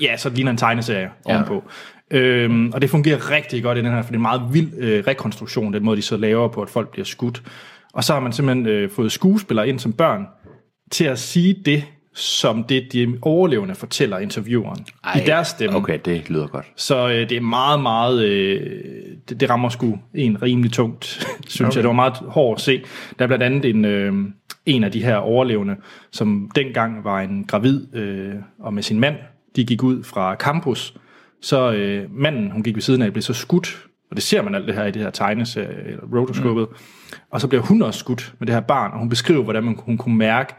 Speaker 1: ja så det ligner en tegneserie ovenpå. Øhm, og det fungerer rigtig godt i den her, for det er en meget vild øh, rekonstruktion, den måde, de så laver på, at folk bliver skudt. Og så har man simpelthen øh, fået skuespillere ind som børn til at sige det, som det de overlevende fortæller intervieweren Ej, i deres stemme.
Speaker 3: Okay, det lyder godt.
Speaker 1: Så øh, det er meget, meget... Øh, det, det rammer sgu en rimelig tungt, synes okay. jeg. Det var meget hårdt at se. Der er blandt andet en, øh, en af de her overlevende, som dengang var en gravid øh, og med sin mand. De gik ud fra campus. Så øh, manden, hun gik ved siden af, blev så skudt. Og det ser man alt det her i det her tegneserie, eller rotoscopet. Mm. Og så bliver hun også skudt med det her barn, og hun beskriver, hvordan man, hun kunne mærke,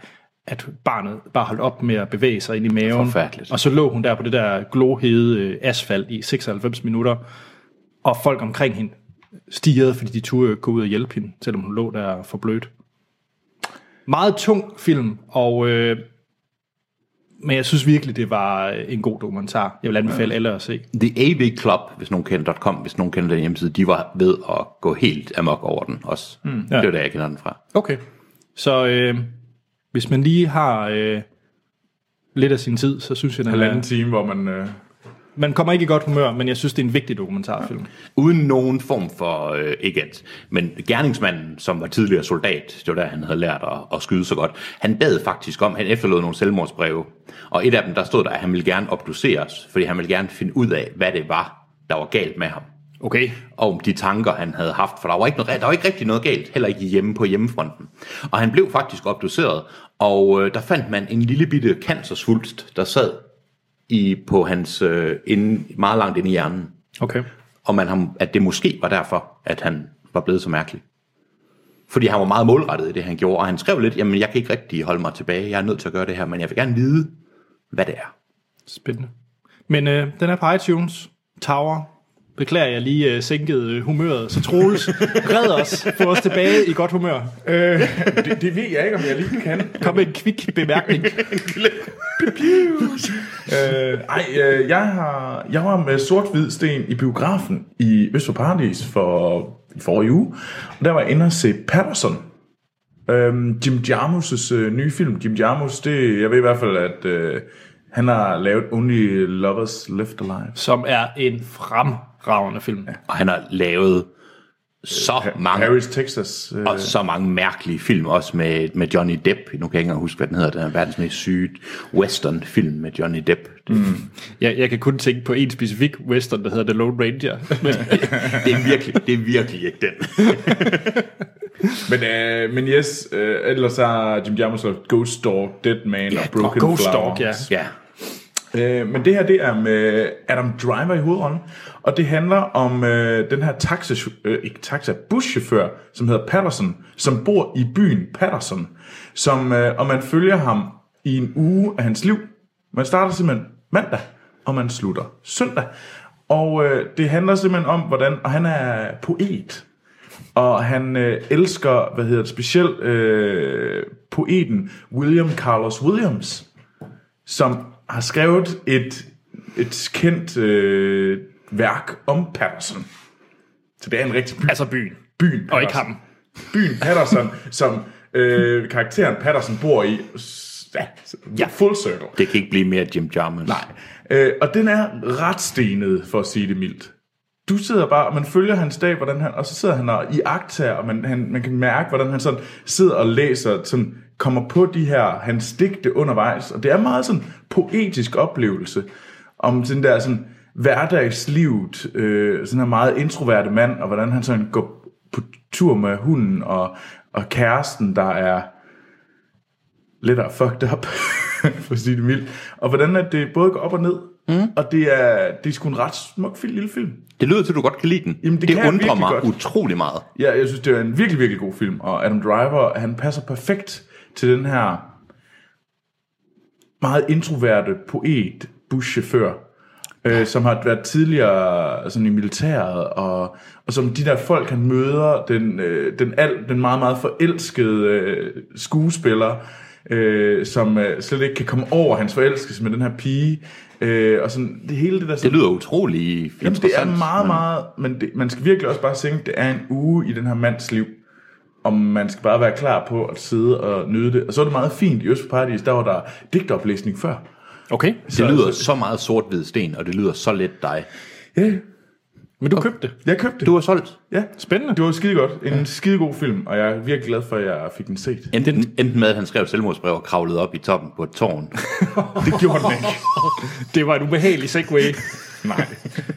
Speaker 1: at barnet bare holdt op med at bevæge sig ind i maven.
Speaker 3: Forfærdeligt.
Speaker 1: Og så lå hun der på det der glohede øh, asfalt i 96 minutter, og folk omkring hende stirrede, fordi de turde jo ikke gå ud og hjælpe hende, selvom hun lå der for blødt. Meget tung film, og, øh, men jeg synes virkelig, det var øh, en god dokumentar. Jeg vil anbefale alle at se.
Speaker 3: The AV Club, hvis nogen kender .com, hvis nogen kender den hjemmeside, de var ved at gå helt amok over den også. Mm, ja.
Speaker 1: ja.
Speaker 3: Det var der, jeg kender den fra.
Speaker 1: Okay. Så øh, hvis man lige har øh, lidt af sin tid, så synes jeg, den
Speaker 2: Halvanden
Speaker 1: er,
Speaker 2: time, hvor man... Øh,
Speaker 1: man kommer ikke i godt humør, men jeg synes, det er en vigtig dokumentarfilm.
Speaker 3: Uden nogen form for, øh, ikke at, men gerningsmanden, som var tidligere soldat, det var der, han havde lært at, at skyde så godt, han bad faktisk om, han efterlod nogle selvmordsbreve, og et af dem, der stod der, at han ville gerne obduceres, fordi han ville gerne finde ud af, hvad det var, der var galt med ham.
Speaker 1: Okay.
Speaker 3: Og om de tanker, han havde haft, for der var ikke, noget, der var ikke rigtig noget galt, heller ikke hjemme på hjemmefronten. Og han blev faktisk obduceret, og øh, der fandt man en lille bitte cancersvulst, der sad i, på hans, øh, inde, meget langt inde i hjernen.
Speaker 1: Okay.
Speaker 3: Og man har, at det måske var derfor, at han var blevet så mærkelig. Fordi han var meget målrettet i det, han gjorde, og han skrev lidt, jamen jeg kan ikke rigtig holde mig tilbage, jeg er nødt til at gøre det her, men jeg vil gerne vide, hvad det er.
Speaker 1: Spændende. Men øh, den er på iTunes. Tower. Beklager, jeg lige øh, sænkede øh, humøret. Så Troels, red os. Få os tilbage i godt humør.
Speaker 2: Det, det ved jeg ikke, om jeg lige kan.
Speaker 1: Kom med en kvik bemærkning.
Speaker 2: Øh, ej, øh, jeg, har, jeg var med Sort-Hvid Sten i biografen i Øst for Paradis for, for i uge, og der var jeg inde og se Patterson. Øhm, Jim Jarmus' øh, nye film. Jim Jarmus, det, jeg ved i hvert fald, at øh, han har lavet Only Lovers Left Alive.
Speaker 1: Som er en fremragende film.
Speaker 3: Og han har lavet så
Speaker 1: Ah.
Speaker 3: mange
Speaker 2: Paris, Texas. Øh,
Speaker 3: Og så mange mærkelige film, også med, med Johnny Depp. Nu kan jeg ikke engang huske, hvad den hedder. Den er verdens mest syge western-film med Johnny Depp. Det,
Speaker 1: Jeg, jeg kan kun tænke på en specifik western, der hedder The Lone Ranger. Men,
Speaker 3: det, er, virkelig, det er virkelig ikke den.
Speaker 2: men, øh, men yes, øh, ellers har Jim Jarmus lavet Ghost Dog, Dead Man og Broken
Speaker 1: og Ghost
Speaker 2: Flower.
Speaker 1: Dog, ja.
Speaker 3: Ja.
Speaker 2: Øh, men det her, det er med Adam Driver i hovedrollen, og det handler om øh, den her taxa, øh, ikke taxa, buschauffør, som hedder Patterson, som bor i byen Patterson, som, øh, og man følger ham i en uge af hans liv. Man starter simpelthen mandag, og man slutter søndag. Og øh, det handler simpelthen om, hvordan, og han er poet, og han øh, elsker, hvad hedder det, specielt øh, poeten William Carlos Williams som har skrevet et, et kendt øh, værk om Patterson. Så det er en rigtig by.
Speaker 1: altså byen.
Speaker 2: byen
Speaker 1: Og ikke
Speaker 2: Patterson.
Speaker 1: ham.
Speaker 2: Byen Patterson, som øh, karakteren Patterson bor i. S- Ja, ja. full circle.
Speaker 3: Det kan ikke blive mere Jim Jarmusch.
Speaker 2: Nej. Øh, og den er ret stenet, for at sige det mildt. Du sidder bare, og man følger hans dag, hvordan han, og så sidder han og i akta, og man, han, man kan mærke, hvordan han sådan sidder og læser, sådan kommer på de her, hans digte undervejs, og det er meget sådan poetisk oplevelse, om sådan der sådan hverdagslivet, øh, sådan her meget introverte mand, og hvordan han sådan går på tur med hunden, og, og kæresten, der er, lettere fucked up, for at sige det mildt. Og hvordan at det både går op og ned, mm. og det er, det er sgu en ret smuk film, lille film.
Speaker 3: Det lyder til, at du godt kan lide den.
Speaker 2: Jamen, det kan
Speaker 3: det
Speaker 2: jeg
Speaker 3: undrer
Speaker 2: virkelig
Speaker 3: mig
Speaker 2: godt.
Speaker 3: utrolig meget.
Speaker 2: Ja, jeg synes, det er en virkelig, virkelig god film, og Adam Driver, han passer perfekt til den her meget introverte poet, buschauffør, øh, som har været tidligere altså, sådan i militæret, og, og som de der folk, han møder, den, øh, den, al, den meget, meget forelskede øh, skuespiller, øh, som øh, slet ikke kan komme over hans forelskelse med den her pige, øh, og sådan, det hele det der...
Speaker 3: Det
Speaker 2: Sådan,
Speaker 3: lyder utrolig
Speaker 2: Jamen, det er
Speaker 3: interessant.
Speaker 2: meget, meget... Men det, man skal virkelig også bare tænke, det er en uge i den her mands liv. Og man skal bare være klar på at sidde og nyde det. Og så er det meget fint i Øst for Paradis, der var der digtoplæsning før.
Speaker 1: Okay.
Speaker 3: Det lyder så meget sort-hvid sten, og det lyder så let dig.
Speaker 2: Ja,
Speaker 1: Men du købte det.
Speaker 2: jeg købte det.
Speaker 3: Du har solgt.
Speaker 2: Ja,
Speaker 1: Spændende.
Speaker 2: det var skide godt. En ja. skide god film, og jeg er virkelig glad for, at jeg fik den set.
Speaker 3: Enten, enten med, at han skrev et selvmordsbrev og kravlede op i toppen på et tårn.
Speaker 2: Det gjorde den ikke.
Speaker 1: Det var en ubehagelig segway.
Speaker 2: Nej.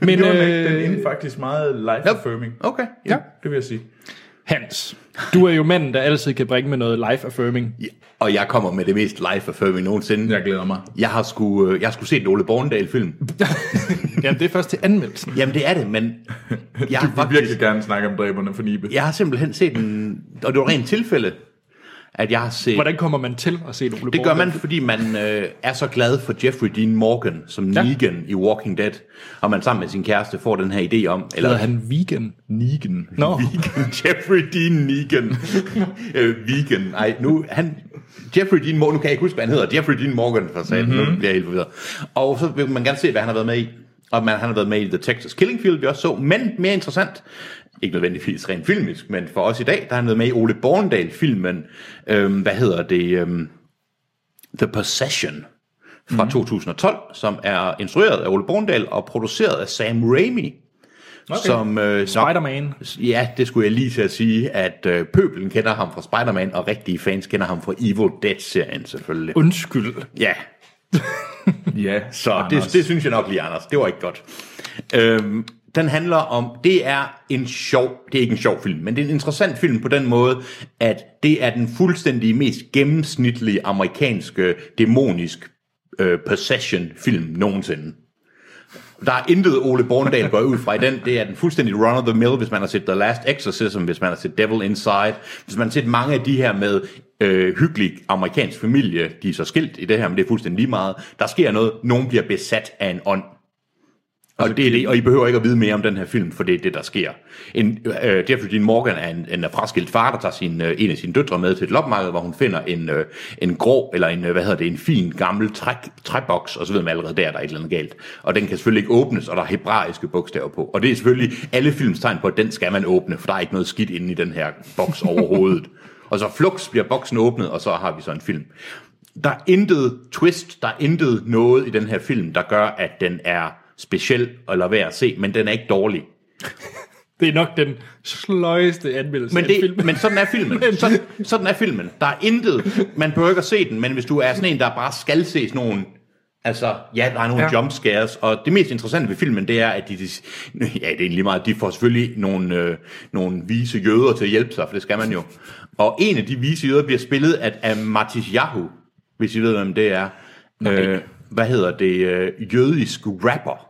Speaker 1: Men
Speaker 2: Det gjorde den, ikke. den
Speaker 1: øh,
Speaker 2: er faktisk meget life-affirming.
Speaker 3: Okay.
Speaker 2: Ja, det vil jeg sige.
Speaker 1: Hans, du er jo manden, der altid kan bringe med noget life-affirming.
Speaker 3: Ja, Og jeg kommer med det mest live-affirming nogensinde.
Speaker 2: Jeg glæder mig.
Speaker 3: Jeg har sgu, øh, jeg har sgu set en Ole Borndal-film.
Speaker 1: Jamen, det er først til anmeldelsen.
Speaker 3: Jamen, det er det, men jeg har,
Speaker 2: Jeg vil
Speaker 3: faktisk,
Speaker 2: virkelig gerne snakke om dræberne for Nibe.
Speaker 3: jeg har simpelthen set en... Og det var rent tilfælde, at jeg har set...
Speaker 1: Hvordan kommer man til at se Ole
Speaker 3: Det gør man, fordi man øh, er så glad for Jeffrey Dean Morgan som
Speaker 1: Ja.
Speaker 3: ja. Negan i Walking Dead, og man sammen med sin kæreste får den her idé om... Eller
Speaker 1: Hedder han vegan?
Speaker 2: Nigen.
Speaker 1: Nå,
Speaker 3: Negan. Jeffrey Dean Negan. øh, vegan. Nej, nu han... Jeffrey Dean Morgan, nu kan jeg ikke huske, hvad han hedder. Jeffrey Dean Morgan, for satan. Mm-hmm. Nu bliver jeg helt forvirret. Og så vil man gerne se, hvad han har været med i. Og man, han har været med i The Texas Killing Field, vi også så. Men mere interessant, ikke nødvendigvis rent filmisk, men for os i dag, der har han været med i Ole Borndal-filmen. Øhm, hvad hedder det? Øhm, The Possession fra mm-hmm. 2012, som er instrueret af Ole Borndal og produceret af Sam Raimi. Okay. Som øh, nok-
Speaker 1: Spider-Man.
Speaker 3: Ja, det skulle jeg lige til at sige, at øh, pøbelen kender ham fra Spider-Man, og rigtige fans kender ham fra Evil Dead-serien selvfølgelig.
Speaker 1: Undskyld.
Speaker 3: Ja,
Speaker 2: Ja,
Speaker 3: så det, det synes jeg nok lige, Anders. Det var ikke godt. Øhm, Den handler om, det er en sjov, det er ikke en sjov film, men det er en interessant film på den måde, at det er den fuldstændig mest gennemsnitlige amerikanske dæmonisk øh, possession-film nogensinde. Der er intet Ole Borndal går jeg ud fra i den. Det er den fuldstændig run of the mill, hvis man har set The Last Exorcism, hvis man har set Devil Inside, hvis man har set mange af de her med øh, hyggelig amerikansk familie. De er så skilt i det her, men det er fuldstændig lige meget. Der sker noget. Nogen bliver besat af en ånd. Og, det er det, og I behøver ikke at vide mere om den her film, for det er det, der sker. En, øh, Jeffrey Dean Morgan er en, en fraskilt far, der tager sin, øh, en af sine døtre med til et lopmarked, hvor hun finder en, øh, en grå, eller en, øh, hvad hedder det, en fin gammel træk, træboks, og så ved man allerede der, der er et eller andet galt. Og den kan selvfølgelig ikke åbnes, og der er hebraiske bogstaver på. Og det er selvfølgelig alle filmstegn på, at den skal man åbne, for der er ikke noget skidt inde i den her boks overhovedet. og så flux bliver boksen åbnet, og så har vi så en film. Der er intet twist, der er intet noget i den her film, der gør, at den er speciel eller værd at se, men den er ikke dårlig.
Speaker 1: Det er nok den sløjeste anmeldelse
Speaker 3: Men,
Speaker 1: af en film.
Speaker 3: det, men sådan er filmen. Sådan, sådan er filmen. Der er intet, man behøver ikke at se den, men hvis du er sådan en, der bare skal se sådan nogle, altså, ja, der er nogle ja. jump scares, og det mest interessante ved filmen, det er, at de, de ja, det er egentlig meget, de får selvfølgelig nogle, øh, nogle vise jøder til at hjælpe sig, for det skal man jo. Og en af de vise jøder bliver spillet af, af Matis Yahoo, hvis I ved, hvem det er. Øh, hvad hedder det? Øh, jødisk rapper.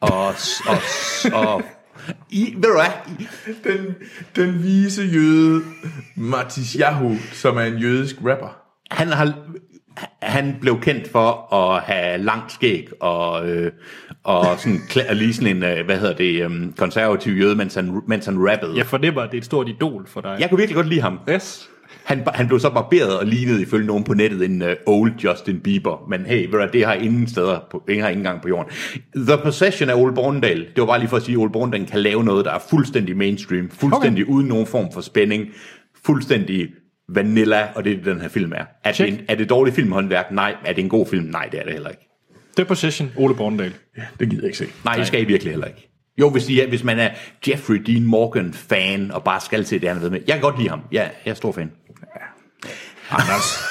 Speaker 3: Og, og, og I, ved du hvad?
Speaker 2: Den, den vise jøde Matis Yahoo, som er en jødisk rapper.
Speaker 3: han har han blev kendt for at have langt skæg og, øh, og sådan, kla- og lige sådan en, øh, hvad hedder det, øh, konservativ jøde, mens han, mens han rappede.
Speaker 1: Jeg fornemmer, at det er et stort idol for dig.
Speaker 3: Jeg kunne virkelig godt lide ham.
Speaker 1: Yes.
Speaker 3: Han, han blev så barberet og lignede ifølge nogen på nettet en uh, old Justin Bieber. Men hey, ved du, hvad, det har ingen steder, på, ingen har ingen gang på jorden. The Possession af Ole Borndal, det var bare lige for at sige, at Ole Borndal kan lave noget, der er fuldstændig mainstream, fuldstændig okay. uden nogen form for spænding, fuldstændig vanilla, og det er det, den her film er. Er det,
Speaker 1: Check.
Speaker 3: en, er det dårlig filmhåndværk? Nej. Er det en god film? Nej, det er det heller ikke.
Speaker 1: The Possession, Ole Borndal.
Speaker 2: Ja, det gider jeg ikke se.
Speaker 3: Nej, det skal I virkelig heller ikke. Jo, hvis, I er, hvis man er Jeffrey Dean Morgan-fan og bare skal se det, han er ved med. Jeg kan godt lide ham. Jeg, jeg er stor fan.
Speaker 2: Anders.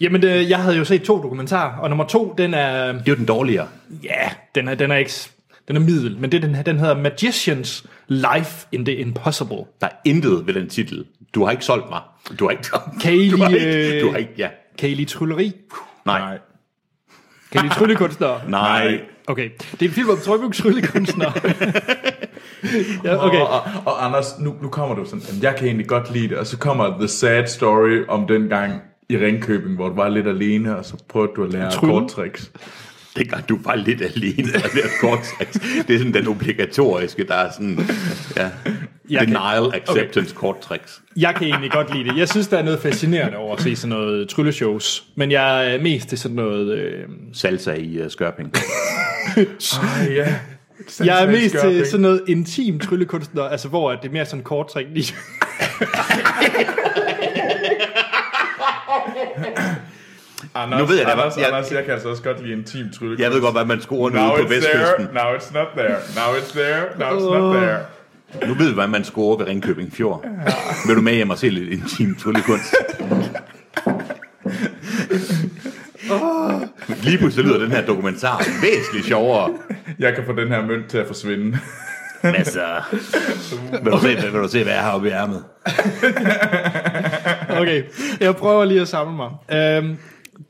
Speaker 1: Jamen, øh, jeg havde jo set to dokumentarer, og nummer to, den er...
Speaker 3: Det er jo den dårligere.
Speaker 1: Ja, den er, den er ikke... s- Den er middel, men det, er den, her- den hedder Magicians Life in the Impossible.
Speaker 3: Der er intet ved den titel. Du har ikke solgt mig. Du har ikke...
Speaker 1: Kan I
Speaker 3: du har
Speaker 1: lige,
Speaker 3: ikke,
Speaker 1: øh,
Speaker 3: du har ikke ja.
Speaker 1: Kan I lide trylleri?
Speaker 3: Nej.
Speaker 2: Nej.
Speaker 1: Kan I lide tryllekunstnere?
Speaker 3: Nej.
Speaker 1: Okay, det er en film om tryllekunst- tryllekunstnere. ja, okay.
Speaker 2: Og, og, og Anders, nu, nu kommer du sådan, "Jamen, jeg kan egentlig godt lide det, og så kommer the sad story om den gang i Ringkøbing, hvor du var lidt alene, og så prøvede du at lære
Speaker 1: Trylle.
Speaker 2: korttricks.
Speaker 3: Det gør du bare lidt alene. og Det er, kort sagt. det er sådan den obligatoriske, der er sådan... Ja.
Speaker 1: Jeg kan-
Speaker 3: Denial acceptance okay. tricks.
Speaker 1: Jeg kan egentlig godt lide det. Jeg synes, der er noget fascinerende over at se sådan noget trylleshows. Men jeg er mest til sådan noget... Øh,
Speaker 3: Salsa i uh, Skørping.
Speaker 2: Ej, ja.
Speaker 1: jeg er
Speaker 2: Sindssygt
Speaker 1: mest
Speaker 2: skørt,
Speaker 1: til
Speaker 2: ikke?
Speaker 1: sådan noget intim tryllekunstner, altså hvor at det er mere sådan korttræk. lige-
Speaker 2: Anders,
Speaker 3: Nu ved jeg det,
Speaker 2: Anders,
Speaker 3: jeg-
Speaker 2: jeg, Anders, jeg kan altså også godt lide intim trylle.
Speaker 3: Jeg ved godt, hvad man scorer nu
Speaker 2: Now
Speaker 3: ude på
Speaker 2: it's
Speaker 3: Vestkysten.
Speaker 2: there, now it's not there, now it's there, now it's not there.
Speaker 3: Nu ved du, hvad man scorer ved Ringkøbing Fjord. Vil du med hjem og se lidt intim tryllekunst? Lige pludselig lyder den her dokumentar væsentligt sjovere.
Speaker 2: Jeg kan få den her mønt til at forsvinde.
Speaker 3: Men altså, vil du se, vil du se hvad jeg har oppe i ærmet?
Speaker 1: Okay, jeg prøver lige at samle mig. Øhm,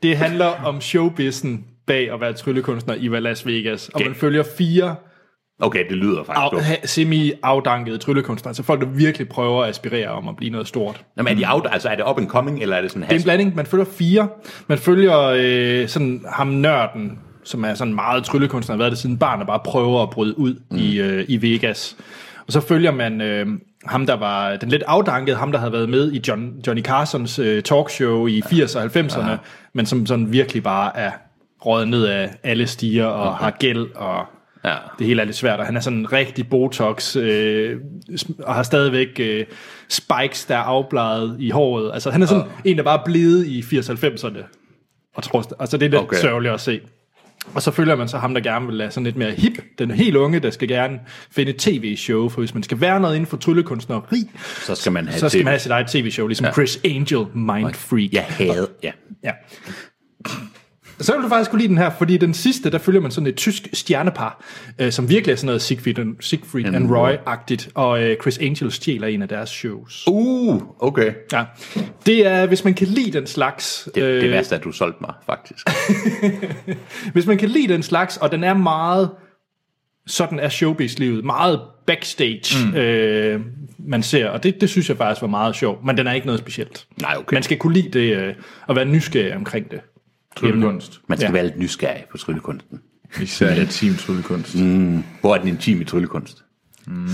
Speaker 1: det handler om showbizen bag at være tryllekunstner i Las Vegas. Og man
Speaker 3: Okay.
Speaker 1: følger fire
Speaker 3: Okay, det lyder faktisk
Speaker 1: af,
Speaker 3: dumt.
Speaker 1: ha- semi-afdankede tryllekunstnere. Altså folk, der virkelig prøver at aspirere om at blive noget stort.
Speaker 3: Nå, men er, de out, altså, er det up and coming, eller er det sådan
Speaker 1: Det er en
Speaker 3: has?
Speaker 1: blanding. Man følger fire. Man følger øh, sådan ham nørden, som er sådan meget tryllekunstner, har været det siden barn, og bare prøver at bryde ud mm. i, øh, i Vegas. Og så følger man øh, ham, der var den lidt afdankede, ham der havde været med i John, Johnny Carsons øh, talkshow i 80'erne og 90'erne, men som sådan virkelig bare er røget ned af alle stiger og okay. har gæld og
Speaker 3: Ja.
Speaker 1: det hele er lidt svært, og han er sådan rigtig botox, øh, sm- og har stadigvæk øh, spikes, der er afbladet i håret. Altså han er sådan uh. en, der bare er blevet i 80-90'erne. Og tror, st- altså det er lidt
Speaker 3: Okay.
Speaker 1: okay. sørgeligt at se. Og så følger man så ham, der gerne vil være sådan lidt mere hip, den helt unge, der skal gerne finde et tv-show, for hvis man skal være noget inden for tryllekunstneri,
Speaker 3: Så skal man
Speaker 1: så
Speaker 3: have
Speaker 1: skal
Speaker 3: til-
Speaker 1: man have sit eget tv-show, ligesom ja. Chris Angel, Mind Freak.
Speaker 3: Jeg hader, ja.
Speaker 1: Ja. Så vil du faktisk kunne lide den her, fordi den sidste, der følger man sådan et tysk stjernepar, øh, som virkelig er sådan noget Siegfried, and, Siegfried and Roy-agtigt, og øh, Chris Angel stjæler en af deres shows.
Speaker 3: Uh, okay.
Speaker 1: Ja. Det er, hvis man kan lide den slags...
Speaker 3: Det, øh... det værste er, at du solgte mig, faktisk.
Speaker 1: Hvis man kan lide den slags, og den er meget, sådan er showbiz-livet, meget backstage, mm. øh, man ser, og det, det synes jeg faktisk var meget sjovt, men den er ikke noget specielt.
Speaker 3: Nej, okay.
Speaker 1: Man skal kunne lide det, øh, og være nysgerrig omkring det.
Speaker 2: Tryllekunst.
Speaker 3: Man skal
Speaker 1: Ja.
Speaker 3: ja. være lidt nysgerrig på tryllekunsten.
Speaker 2: Især intim tryllekunst. Mm.
Speaker 3: Hvor er den intime tryllekunst?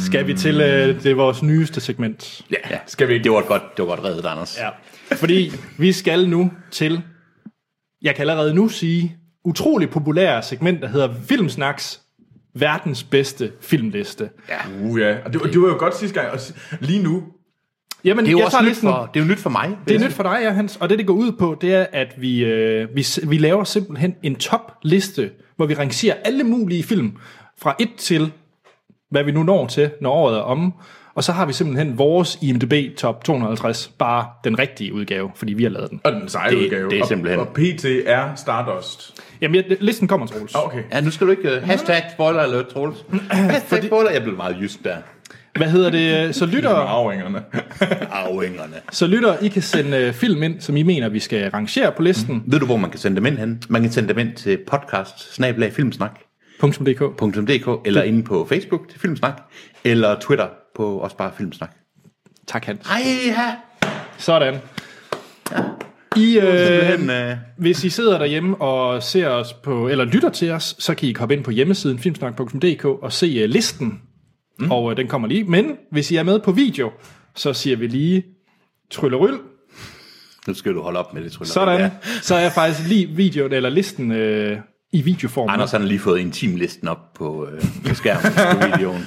Speaker 1: Skal vi til, øh, det er vores nyeste segment.
Speaker 3: Ja, ja.
Speaker 2: skal vi ikke-
Speaker 3: Det var et godt, det var godt reddet, Anders.
Speaker 1: Ja. Fordi vi skal nu til, jeg kan allerede nu sige, utrolig populære segment, der hedder Filmsnaks verdens bedste filmliste.
Speaker 2: Uh, ja. Og det, var- det var jo godt sidste gang. Og si- lige nu,
Speaker 1: Jamen,
Speaker 3: Det er jo
Speaker 1: jeg
Speaker 3: også
Speaker 1: tager
Speaker 3: nyt
Speaker 1: listen.
Speaker 3: for, det er jo nyt for mig.
Speaker 1: Det er nyt for dig, ja, Hans. Og det, det går ud på, det er, at vi, øh, vi, s- vi laver simpelthen en topliste, hvor vi rangerer alle mulige film fra 1 til, hvad vi nu når til, når året er omme. Og så har vi simpelthen vores IMDb Top 250, bare den rigtige udgave, fordi vi har lavet den.
Speaker 2: og den seje
Speaker 3: Det-
Speaker 2: udgave.
Speaker 3: det er
Speaker 2: Og-
Speaker 3: simpelthen-
Speaker 2: Og, PT er Stardust. Ah,
Speaker 1: Jamen, jeg, listen kommer, Troels.
Speaker 2: Okay.
Speaker 3: Ja, nu skal du ikke... Uh, hashtag spoiler alert, Troels. Hashtag spoiler. Jeg blev meget jysk der.
Speaker 1: Hvad hedder det? Så lytter,
Speaker 2: Arvingerne.
Speaker 3: Arvingerne.
Speaker 1: så lytter I kan sende øh, film ind, som I mener, vi skal rangere på listen.
Speaker 3: Ved du, hvor man kan sende dem ind hen? Man kan sende dem ind til podcast filmsnak.dk
Speaker 1: .dk.
Speaker 3: eller inde på Facebook til Filmsnak, eller Twitter på også bare Filmsnak.
Speaker 1: Tak, Hans.
Speaker 3: Ej, ja.
Speaker 1: Sådan. I, øh,
Speaker 3: Simpelthen, øh,
Speaker 1: Hvis I sidder derhjemme og ser os på, eller lytter til os, så kan I hoppe ind på hjemmesiden filmsnak.dk og se uh, listen, mm. og uh, den kommer lige. Men hvis I er med på video, så siger vi lige trylleryl,
Speaker 3: nu skal du holde op med det, tror jeg.
Speaker 1: sådan,
Speaker 3: Ja.
Speaker 1: ja. så er jeg faktisk lige videoen, eller listen uh, i videoform.
Speaker 3: Anders han har lige fået intimlisten op på, øh, på skærmen på videoen.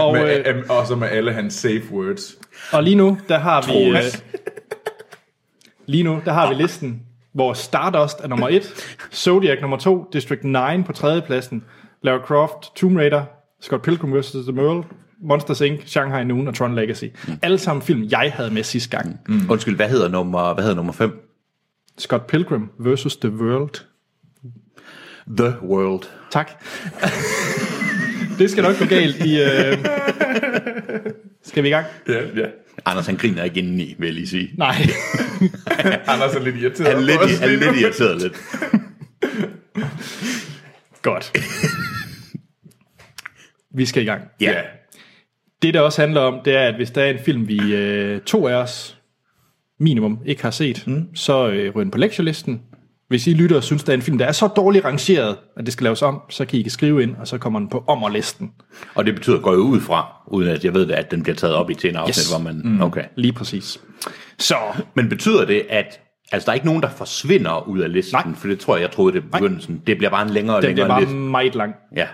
Speaker 1: Og,
Speaker 2: Med,
Speaker 1: uh,
Speaker 2: øh, og så med alle hans safe words.
Speaker 1: og lige nu, der har vi... Uh,
Speaker 3: Troels.
Speaker 1: lige nu, der har vi listen, hvor Stardust er nummer 1, Zodiac nummer 2, District 9 på tredjepladsen, Lara Croft, Tomb Raider, Scott Pilgrim vs. The World, Monsters Inc., Shanghai Noon og Tron Legacy. Alle sammen film, jeg havde med sidste gang. Mm.
Speaker 3: Undskyld, hvad hedder nummer, hvad hedder nummer 5?
Speaker 1: Scott Pilgrim vs. The World.
Speaker 3: The World.
Speaker 1: Tak. det skal nok gå galt i... Øh... Skal vi i gang?
Speaker 2: Ja, ja.
Speaker 3: Anders han griner ikke indeni, vil jeg lige sige.
Speaker 1: Nej.
Speaker 2: Anders er lidt irriteret.
Speaker 3: Han er
Speaker 2: på os
Speaker 3: lidt, han er
Speaker 2: lige nu.
Speaker 3: lidt irriteret lidt.
Speaker 1: Godt. Vi skal i gang.
Speaker 3: Ja.
Speaker 2: Ja.
Speaker 1: Det, der også handler om, det er, at hvis der er en film, vi øh, to af os minimum ikke har set, mm. så øh, ryger den på lektielisten. Hvis I lytter og synes, der er en film, der er så dårligt rangeret, at det skal laves om, så kan I skrive ind, og så kommer den på ommerlisten.
Speaker 3: Og det betyder, går jeg ud fra, uden at jeg ved det, at den bliver taget op i til en afsnit,
Speaker 1: Yes.
Speaker 3: yes. hvor man... Mm. Okay.
Speaker 1: Lige præcis. Så,
Speaker 3: Men betyder det, at altså, der er ikke nogen, der forsvinder ud af listen?
Speaker 1: Nej.
Speaker 3: For det tror jeg, jeg troede det i begyndelsen. Det bliver bare en længere og
Speaker 1: den bliver
Speaker 3: længere
Speaker 1: bare
Speaker 3: liste.
Speaker 1: meget lang.
Speaker 3: Ja.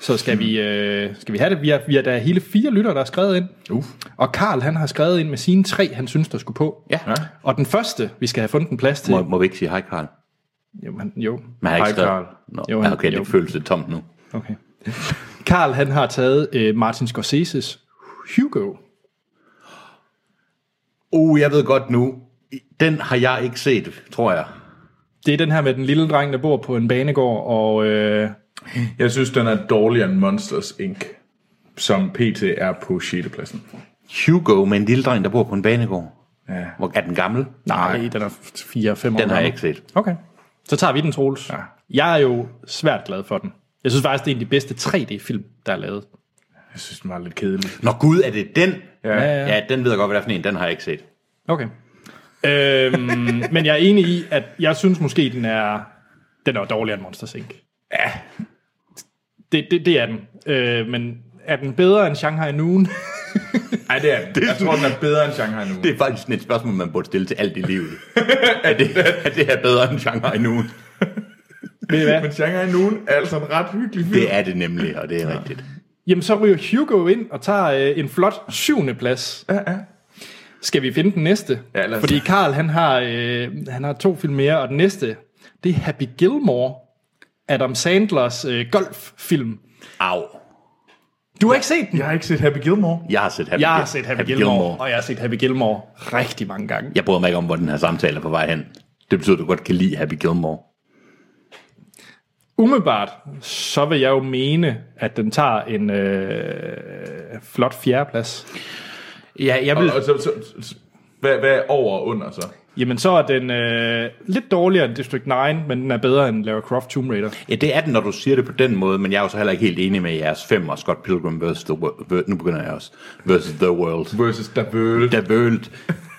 Speaker 1: Så skal vi, øh, skal vi have det. Vi har, vi har der er hele fire lytter, der har skrevet ind.
Speaker 2: Uh.
Speaker 1: Og Karl han har skrevet ind med sine tre, han synes, der skulle på.
Speaker 3: ja. ja.
Speaker 1: Og den første, vi skal have fundet en plads til...
Speaker 3: Må, må vi ikke sige hej, Karl?
Speaker 1: Jo, han, jo.
Speaker 3: Man har
Speaker 2: Hej,
Speaker 3: ikke
Speaker 2: Karl.
Speaker 3: skrevet... Nå,
Speaker 1: Jo, han-
Speaker 3: jo, okay,
Speaker 1: jo.
Speaker 3: det føles lidt tomt nu.
Speaker 1: Okay. Karl han har taget øh, Martin Scorseses Hugo.
Speaker 3: Uh, jeg ved godt nu. Den har jeg ikke set, tror jeg.
Speaker 1: Det er den her med den lille dreng, der bor på en banegård, og øh,
Speaker 2: Jeg synes, den er dårligere end Monsters Inc., som PT er på 6. pladsen.
Speaker 3: Hugo med en lille dreng, der bor på en banegård.
Speaker 2: Ja.
Speaker 3: Hvor er den gammel?
Speaker 1: nej, den er 4-5 år
Speaker 3: Den har
Speaker 1: gammel.
Speaker 3: jeg ikke set.
Speaker 1: Okay. Så tager vi den, Troels. Ja. Jeg er jo svært glad for den. Jeg synes faktisk, det er en af de bedste 3D-film, der er lavet.
Speaker 2: Jeg synes, den var lidt kedelig.
Speaker 3: Nå gud, er det den?
Speaker 2: Ja.
Speaker 1: Ja, ja.
Speaker 2: ja.
Speaker 3: Ja, den ved jeg godt, hvad det er for en. Den har jeg ikke set.
Speaker 1: Okay. øhm, men jeg er enig i, at jeg synes måske, den er, den er dårligere end Monsters Inc. Ja. Det, det, det er den. Øh, men er den bedre end Shanghai Noon?
Speaker 2: Ej, det er den. Jeg tror, den er bedre end Shanghai nu.
Speaker 3: Det er faktisk sådan et spørgsmål, man burde stille til alt i livet. er, det, er det her bedre end Shanghai nu?
Speaker 1: Ved I hvad?
Speaker 2: Men Shanghai Noon er altså en ret hyggelig film.
Speaker 3: Det er det nemlig, og det er rigtigt.
Speaker 1: Jamen, så ryger Hugo ind og tager øh, en flot syvende plads.
Speaker 2: Ja, ja.
Speaker 1: Skal vi finde den næste?
Speaker 2: Ja, lad os.
Speaker 1: Fordi Karl han har, øh, han har to film mere, og den næste, det er Happy Gilmore, Adam Sandlers øh, golffilm.
Speaker 3: Au.
Speaker 1: Du har ikke set den?
Speaker 2: Jeg har ikke set Happy Gilmore.
Speaker 3: Jeg har set Happy,
Speaker 1: Jeg har
Speaker 3: Gil-
Speaker 1: set Happy, Happy Gilmore, Gilmore, og jeg har set Happy Gilmore rigtig mange gange.
Speaker 3: Jeg bryder mig ikke om, hvor den her samtale er på vej hen. Det betyder, at du godt kan lide Happy Gilmore.
Speaker 1: Umiddelbart, så vil jeg jo mene, at den tager en øh, flot fjerdeplads.
Speaker 3: Ja, jeg vil...
Speaker 2: Og, og så, så, så, hvad, hvad er over og under så?
Speaker 1: Jamen, så er den øh, lidt dårligere end District 9, men den er bedre end Lara Croft Tomb Raider.
Speaker 3: Ja, det er den, når du siger det på den måde, men jeg er jo så heller ikke helt enig med jeres fem og Scott Pilgrim versus the world. Nu begynder jeg også. Versus the world.
Speaker 2: Versus der bøl.
Speaker 3: Der World.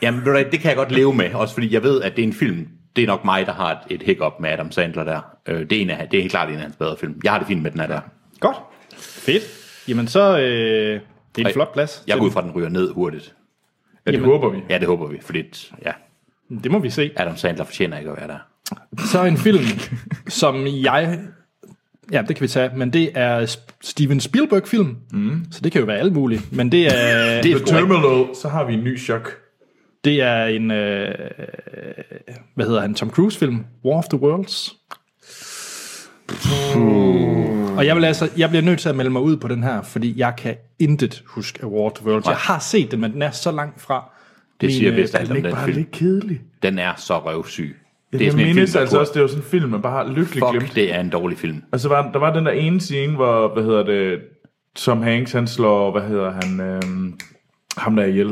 Speaker 3: Jamen, ved du hvad, det kan jeg godt leve med, også fordi jeg ved, at det er en film, det er nok mig, der har et, et hiccup med Adam Sandler der. Øh, det, er en af, det er helt klart en af hans bedre film. Jeg har det fint med den her der.
Speaker 1: Godt. Fedt. Jamen, så øh, det er en
Speaker 3: Ej,
Speaker 1: flot plads.
Speaker 3: Jeg
Speaker 1: Så
Speaker 3: går ud fra, at den ryger ned hurtigt.
Speaker 2: Ja, det
Speaker 1: Jamen.
Speaker 2: håber vi.
Speaker 3: Ja, det håber vi, fordi ja,
Speaker 1: Det må vi se.
Speaker 3: Adam Sandler fortjener ikke at være der.
Speaker 1: Så en film, som jeg... Ja, det kan vi tage, men det er Sp- Steven Spielberg-film, mm. så det kan jo være alt muligt, men det er,
Speaker 3: Det
Speaker 1: det,
Speaker 3: er
Speaker 2: The
Speaker 3: sgu rigtigt.
Speaker 2: Terminal, så har vi en ny chok.
Speaker 1: det er en, øh, hvad hedder han, Tom Cruise-film, War of the Worlds. Og jeg, vil altså, jeg bliver nødt til at melde mig ud på den her, fordi jeg kan intet huske af War of the Worlds. Jeg har set den, men den er så langt fra
Speaker 3: Det
Speaker 1: min,
Speaker 3: siger
Speaker 1: øh,
Speaker 3: vist alt
Speaker 2: Den er
Speaker 3: om
Speaker 2: ikke
Speaker 3: den
Speaker 2: bare
Speaker 3: film.
Speaker 2: lidt kedelig.
Speaker 3: Den er så røvsyg.
Speaker 2: Det er jeg
Speaker 3: en
Speaker 2: mindes
Speaker 3: der
Speaker 2: altså
Speaker 3: burde-
Speaker 2: også, det er jo sådan en film, man bare lykkeligt Fuck. glemt.
Speaker 3: Fuck, det er en dårlig film.
Speaker 2: Og så var, der var den der ene scene, hvor, hvad hedder det, Tom Hanks, han slår, hvad hedder han, øhm, ham der er ihjel.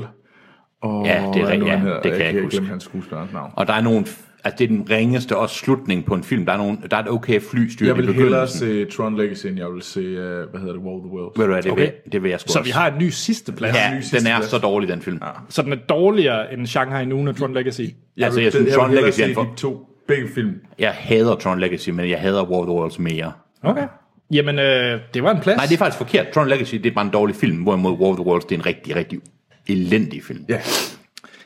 Speaker 2: Og
Speaker 3: Ja, det er
Speaker 2: hvad nu
Speaker 3: rigtigt,
Speaker 2: han
Speaker 3: ja.
Speaker 2: hedder.
Speaker 3: Det kan jeg ikke
Speaker 2: Jeg
Speaker 3: huske.
Speaker 2: glemmer hans skuespillers navn.
Speaker 3: Og der er nogle, altså det er den ringeste også slutning på en film. Der er, nogle, der er et okay flystyr i
Speaker 2: Jeg vil hellere
Speaker 3: begyndelsen.
Speaker 2: se Tron Legacy, end jeg vil se, øh, hvad hedder det, War of the Worlds.
Speaker 3: Ved du hvad, det, okay.
Speaker 1: Okay.
Speaker 3: vil, det vil jeg sgu
Speaker 1: Så
Speaker 3: også.
Speaker 1: vi har en ny sidste plads.
Speaker 3: Ja,
Speaker 1: Ja.
Speaker 2: ny sidste
Speaker 3: den er
Speaker 2: plads.
Speaker 3: så dårlig, den film. Ja.
Speaker 1: Så den er dårligere end Shanghai Noon og Tron Legacy.
Speaker 3: Altså,
Speaker 2: vil-
Speaker 3: jeg synes,
Speaker 2: vil
Speaker 3: Tron
Speaker 2: hellere
Speaker 3: Legacy er
Speaker 2: se
Speaker 3: en for...
Speaker 2: de to, begge film.
Speaker 3: Jeg hader Tron Legacy, men jeg hader War of the Worlds mere.
Speaker 1: Okay. Jamen, øh, det var en plads.
Speaker 3: Nej, det er faktisk forkert. Tron Legacy, det er bare en dårlig film, hvorimod War of the Worlds, det er en rigtig, rigtig elendig film.
Speaker 2: Ja,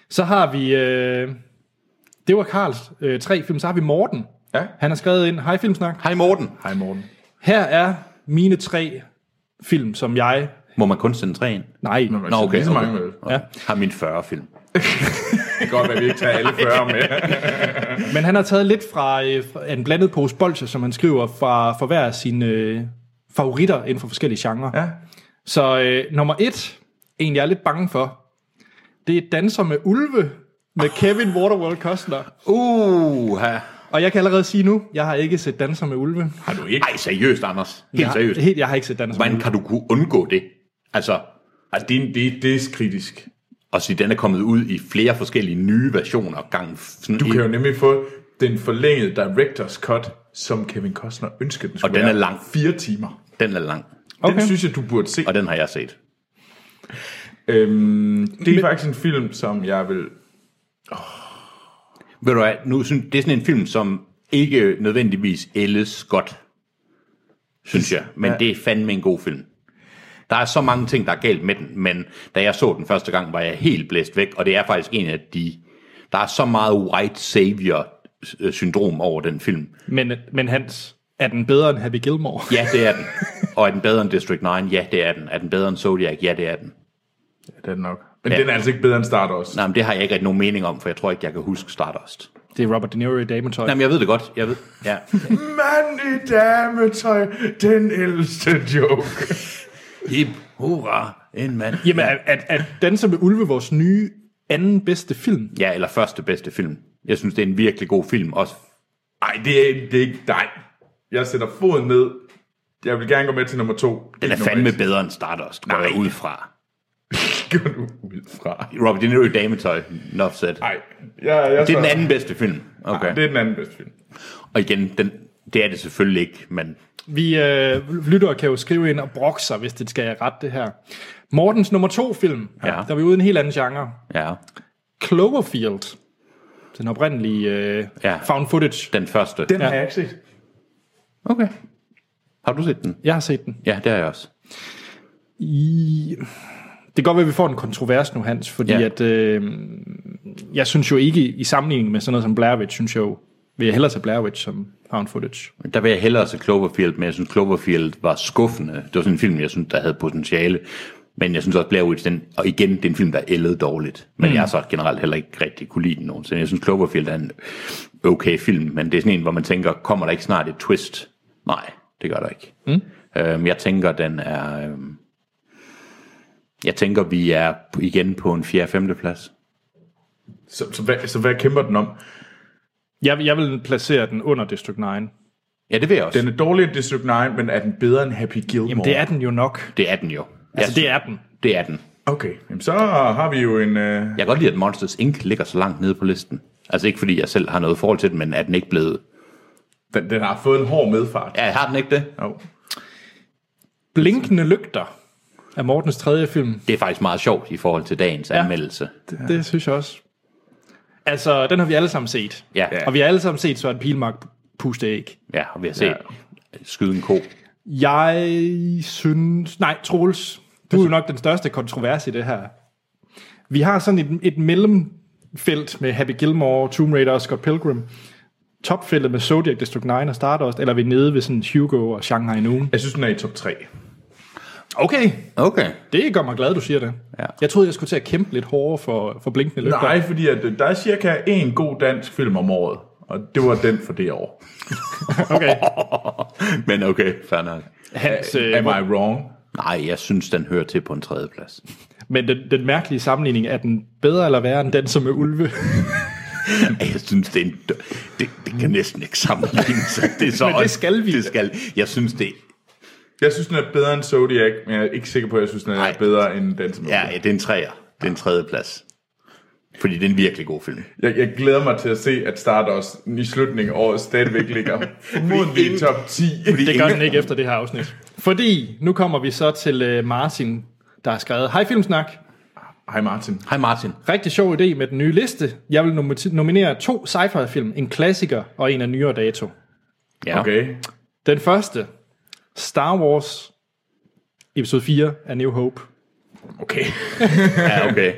Speaker 1: Så har vi... Øh, det var Karls øh, tre film. Så har vi Morten.
Speaker 2: Ja.
Speaker 1: Han har skrevet ind. Hej Filmsnak.
Speaker 3: Hej Morten.
Speaker 2: hej Morten.
Speaker 1: Her er mine tre film, som jeg...
Speaker 3: Må man kun sende tre ind?
Speaker 1: Nej,
Speaker 2: Nå, okay, lige så mange med.
Speaker 3: okay. Har min 40 film.
Speaker 2: Det kan godt være, at vi ikke tager alle 40 med.
Speaker 1: men han har taget lidt fra, øh, fra en blandet pose bolcher, som han skriver, fra, fra hver af sine øh, favoritter inden for forskellige genrer.
Speaker 2: Ja.
Speaker 1: Så øh, nummer et, en jeg er lidt bange for, det er Danser med Ulve med Kevin Waterworld Costner.
Speaker 3: Uh,
Speaker 1: Og jeg kan allerede sige nu, jeg har ikke set Danser med Ulve.
Speaker 3: har du ikke? Ej, seriøst, Anders. Helt
Speaker 1: jeg,
Speaker 3: seriøst.
Speaker 1: Helt, jeg har ikke set Danser med
Speaker 3: Hvordan kan du kunne undgå det? Altså,
Speaker 2: Altså, det, er- det, er- det er kritisk.
Speaker 3: og sige, den er kommet ud i flere forskellige nye versioner. Gang, sådan
Speaker 2: Du
Speaker 3: en-
Speaker 2: kan jo nemlig få den forlængede director's cut, som Kevin Costner ønskede den skulle
Speaker 3: Og den er
Speaker 2: være.
Speaker 3: lang.
Speaker 2: Fire timer.
Speaker 3: Den er lang,
Speaker 2: Okay.
Speaker 1: Okay.
Speaker 2: Den synes jeg, du burde se.
Speaker 3: og den har jeg set.
Speaker 2: Øhm, det er faktisk en film, som jeg vil...
Speaker 3: Ved du hvad, nu synes, det er sådan en film, som ikke nødvendigvis ældes godt, synes jeg. Men ja. det er fandme en god film. Der er så mange ting, der er galt med den, men da jeg så den første gang, var jeg helt blæst væk, og det er faktisk en af de... Der er så meget white savior-syndrom over den film.
Speaker 1: Ulve. Men, men Hans, er den bedre end Happy Gilmore?
Speaker 3: Ja, det er den. Og er den bedre end District 9? Ja, det er den. Er den bedre end Zodiac? Ja, det er den.
Speaker 2: Ja, det er den nok. Men
Speaker 3: Ja.
Speaker 2: ja. den er altså ikke bedre end Stardust.
Speaker 3: Nej, men det har jeg ikke rigtig nogen mening om, for jeg tror ikke, jeg kan huske Stardust.
Speaker 1: Det er Robert De Niro i Dametøj.
Speaker 3: Jamen, jeg ved det godt. Jeg ved. Ja.
Speaker 2: Mand i dametøj, den ældste joke.
Speaker 3: Hip, hurra, en mand.
Speaker 1: Jamen, er, er, er Danser med Ulve vores nye anden bedste film?
Speaker 3: Ja, eller første bedste film. Jeg synes, det er en virkelig god film. Også,
Speaker 2: Nej, det er, det er ikke dig. Jeg sætter foden ned. Jeg vil gerne gå med til nummer to.
Speaker 3: den er
Speaker 2: Ikke
Speaker 3: fandme
Speaker 2: nummer
Speaker 3: bedre end Stardust, går jeg ud fra.
Speaker 2: et. Gå nu ud fra.
Speaker 3: Robert De Niro i dametøj, enough said. Det
Speaker 2: Nej, jeg, jeg
Speaker 3: er den anden bedste film. Okay.
Speaker 2: Det er den anden bedste film.
Speaker 3: Og igen, den, det er det selvfølgelig ikke, men
Speaker 1: Vi øh, lyttere kan jo skrive ind og brokke sig, hvis det skal jeg rette det her. Mortens nummer to film, ja. der er vi ude i en helt anden genre.
Speaker 3: ja.
Speaker 1: Cloverfield. Den oprindelige øh,
Speaker 3: Ja.
Speaker 1: ja. found footage.
Speaker 3: Den første.
Speaker 2: Den
Speaker 1: Ja.
Speaker 2: ja. har jeg ikke set.
Speaker 3: Okay. Har du set den?
Speaker 1: Jeg har set den.
Speaker 3: Ja, det har jeg også.
Speaker 1: I... Det kan godt være, at vi får en kontrovers nu, Hans, fordi
Speaker 3: Ja.
Speaker 1: ja. at, øh, jeg synes jo ikke, i sammenligning med sådan noget som Blair Witch, synes jeg jo, vil jeg hellere tage Blair Witch som found footage.
Speaker 3: Der vil jeg hellere se Cloverfield, men jeg synes, Cloverfield var skuffende. Det var sådan en film, jeg synes, der havde potentiale. Men jeg synes også, Blair Witch, den, og igen, det er en film, der ældede dårligt. Men mm. jeg har så generelt heller ikke rigtig kunne lide den nogensinde. Jeg synes, Cloverfield er en okay film, men det er sådan en, hvor man tænker, kommer der ikke snart et twist? Nej, det gør der ikke. Mm. Øhm, jeg tænker, den er... Øhm, jeg tænker, vi er igen på en 4. 5. plads.
Speaker 2: Så, så, hvad, så hvad kæmper den om?
Speaker 1: Jeg, jeg vil placere den under District 9.
Speaker 3: Ja, det vil jeg også.
Speaker 2: Den er dårligere end District 9, men er den bedre end Happy Gilmore?
Speaker 1: Jamen, det er den jo nok.
Speaker 3: Det er den jo.
Speaker 1: Altså, det er den.
Speaker 3: det er den.
Speaker 2: Okay, Jamen, så har vi jo en... Øh...
Speaker 3: Jeg kan godt lide, at Monsters Inc. ligger så langt nede på listen. Altså ikke fordi jeg selv har noget forhold til den, men er den ikke blevet...
Speaker 2: Den, den har fået en hård medfart.
Speaker 3: Ja, har den ikke det?
Speaker 2: Jo.
Speaker 1: Blinkende lygter er Mortens tredje film.
Speaker 3: Det er faktisk meget sjovt i forhold til dagens ja. anmeldelse.
Speaker 1: Det synes jeg også. Altså, den har vi alle sammen set.
Speaker 3: Ja.
Speaker 2: Ja.
Speaker 1: Og vi har alle sammen set Søren Pilmark puste æg.
Speaker 3: Ja, og vi har set ja. skyde en ko.
Speaker 1: Jeg synes... Nej, Troels, du er jo nok den største kontrovers i det her. Vi har sådan et, et mellemfelt med Happy Gilmore, Tomb Raider og Scott Pilgrim. Topfeltet med Zodiac, District 9 og Stardust, eller er vi nede ved sådan Hugo og Shanghai Noon?
Speaker 2: Jeg synes, den er i top 3.
Speaker 1: Okay,
Speaker 3: Okay.
Speaker 1: det gør mig glad, du siger det.
Speaker 3: Ja.
Speaker 1: Jeg troede, jeg skulle til at kæmpe lidt hårdere for, for blinkende lygter.
Speaker 2: Nej, fordi at, øh, der er cirka en god dansk film om året. Og det var den for det år.
Speaker 1: Okay.
Speaker 3: Men okay, fair nok.
Speaker 1: Hans, øh,
Speaker 2: Am I wrong?
Speaker 3: Nej, jeg synes, den hører til på en tredje plads.
Speaker 1: Men den, den mærkelige sammenligning, er den bedre eller værre end den, som er ulve?
Speaker 3: Jeg synes, det, er en dø- det, det kan næsten ikke sammenlignes. Det er så
Speaker 1: Men det
Speaker 3: også-
Speaker 1: skal vi.
Speaker 3: Det skal. Jeg synes, det,
Speaker 2: Jeg synes, den er bedre end Zodiac, men jeg er ikke sikker på, at jeg synes, den er
Speaker 3: Nej.
Speaker 2: Nej. bedre end den, som
Speaker 3: ja, det er en træer. Det er en tredje plads. Fordi det er en virkelig god film.
Speaker 2: jeg, jeg glæder mig til at se, at Stardust i slutningen af året stadigvæk ligger formodentlig i top 10.
Speaker 1: Det gør den ikke efter det her afsnit. Fordi nu kommer vi så til øh, Martin, der har skrevet, Hej Filmsnak,
Speaker 2: Hej Martin.
Speaker 3: Hej Martin.
Speaker 1: rigtig sjov idé med den nye liste. Jeg vil nom- nominere to sci-fi film, en klassiker og en af nyere dato.
Speaker 3: Ja.
Speaker 2: Okay.
Speaker 1: Den første, Star Wars episode 4 af New Hope.
Speaker 2: Okay.
Speaker 3: Ja, okay.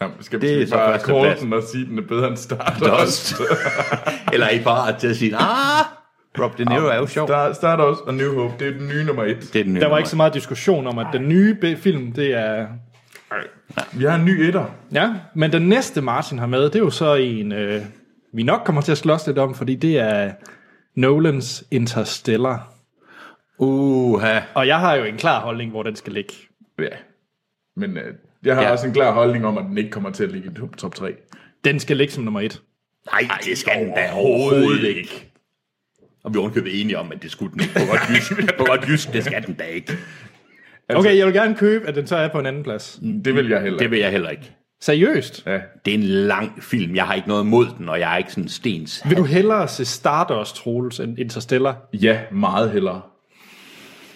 Speaker 2: Nå, men skal,
Speaker 3: Det
Speaker 2: skal
Speaker 3: er
Speaker 2: vi
Speaker 3: så
Speaker 2: bare
Speaker 3: første
Speaker 2: kåre
Speaker 3: plads.
Speaker 2: den og sige, at den er bedre end Stardust?
Speaker 3: Dust. Eller er I bare til at sige, ah, Rob De Niro er jo sjov.
Speaker 2: Star, Stardust og New Hope, det er den nye nummer et.
Speaker 3: Det er den nye
Speaker 1: Der var ikke så
Speaker 3: nummer.
Speaker 1: meget diskussion om, at den nye be- film, det er...
Speaker 2: Vi har en ny etter.
Speaker 1: Ja, men den næste Martin har med, det er jo så en, øh, vi nok kommer til at slås lidt om, fordi det er Nolans Interstellar.
Speaker 3: Uha.
Speaker 1: Og jeg har jo en klar holdning, hvor den skal ligge.
Speaker 2: Ja. Men øh, jeg har
Speaker 3: Ja.
Speaker 2: ja. også en klar holdning om, at den ikke kommer til at ligge i top, top 3.
Speaker 1: Den skal ligge som nummer et.
Speaker 3: Nej, det skal den da overhovedet ikke. Og vi er ovenkøbet enige om, at det skulle den ikke. På godt jysk, på godt jysk det skal den da ikke.
Speaker 1: Okay, jeg vil gerne købe, at den så er på en anden plads.
Speaker 2: Det vil jeg heller
Speaker 3: Det
Speaker 2: ikke.
Speaker 3: vil jeg heller ikke.
Speaker 1: Seriøst?
Speaker 2: Ja.
Speaker 3: Det er en lang film. Jeg har ikke noget imod den, og jeg er ikke sådan stens.
Speaker 1: Vil du hellere se Stardust, Troels, end Interstellar?
Speaker 2: ja, meget hellere.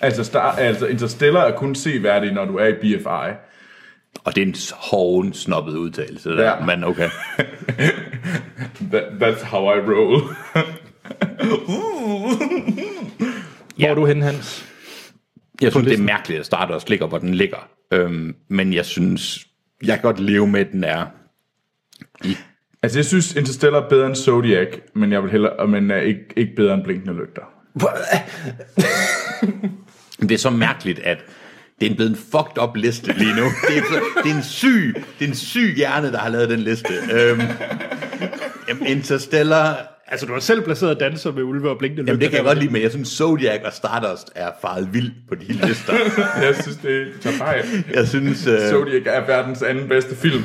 Speaker 2: Altså, star, altså Interstellar er kun seværdig, når du er i BFI.
Speaker 3: Og det er en hoven snobbet udtalelse der, ja.
Speaker 2: Ja.
Speaker 3: men okay.
Speaker 2: That, that's how I roll.
Speaker 1: Ja. Hvor er du henne, Hans?
Speaker 3: Jeg synes, det er mærkeligt, at Stardust ligger, hvor den ligger. Øhm, men jeg synes, jeg kan godt leve med, at den er. I,
Speaker 2: altså, jeg synes Interstellar er bedre end Zodiac, men jeg vil hellere, men er ikke, ikke bedre end Blinkende Lygter.
Speaker 3: det er så mærkeligt, at det er en blevet en fucked up liste lige nu. Det er, så- det er en syg, det er en syg hjerne, der har lavet den liste. Øhm, jamen, Interstellar,
Speaker 1: Altså, du har selv placeret danser med ulve og blinkende
Speaker 3: jamen, det kan jeg
Speaker 1: lygter.
Speaker 3: godt lide, men jeg synes, Zodiac og Stardust er faret vildt på de lister.
Speaker 2: Jeg synes, det er tager fejl.
Speaker 3: Jeg synes... Øh,
Speaker 2: Zodiac er verdens anden bedste film.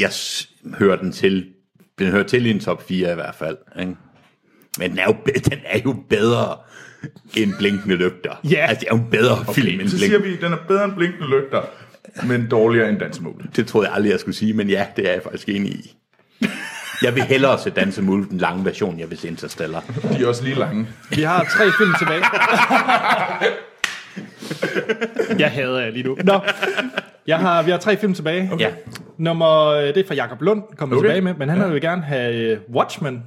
Speaker 3: jeg s- hører den til. Den hører til i en top 4 i hvert fald. Ikke? Men den er, jo, be- den er jo bedre end Blinkende Lygter.
Speaker 1: Ja.
Speaker 3: Altså, det er jo en bedre okay, film end
Speaker 2: Så siger
Speaker 3: Blinkende
Speaker 2: vi, at den er bedre end Blinkende Lygter, men dårligere end Dansemål.
Speaker 3: Det troede jeg aldrig, jeg skulle sige, men ja, det er jeg faktisk enig i. Jeg vil hellere se Danse med Ulve, den lange version, jeg vil se Interstellar.
Speaker 2: De er også lige lange.
Speaker 1: Vi har tre film tilbage. jeg hader jer lige nu. Nå, jeg har, vi har tre film tilbage.
Speaker 3: Ja.
Speaker 1: Nummer, øh, det er fra Jakob Lund, kommer okay.
Speaker 2: Okay.
Speaker 1: tilbage med, men han ja. vil gerne have øh, Watchmen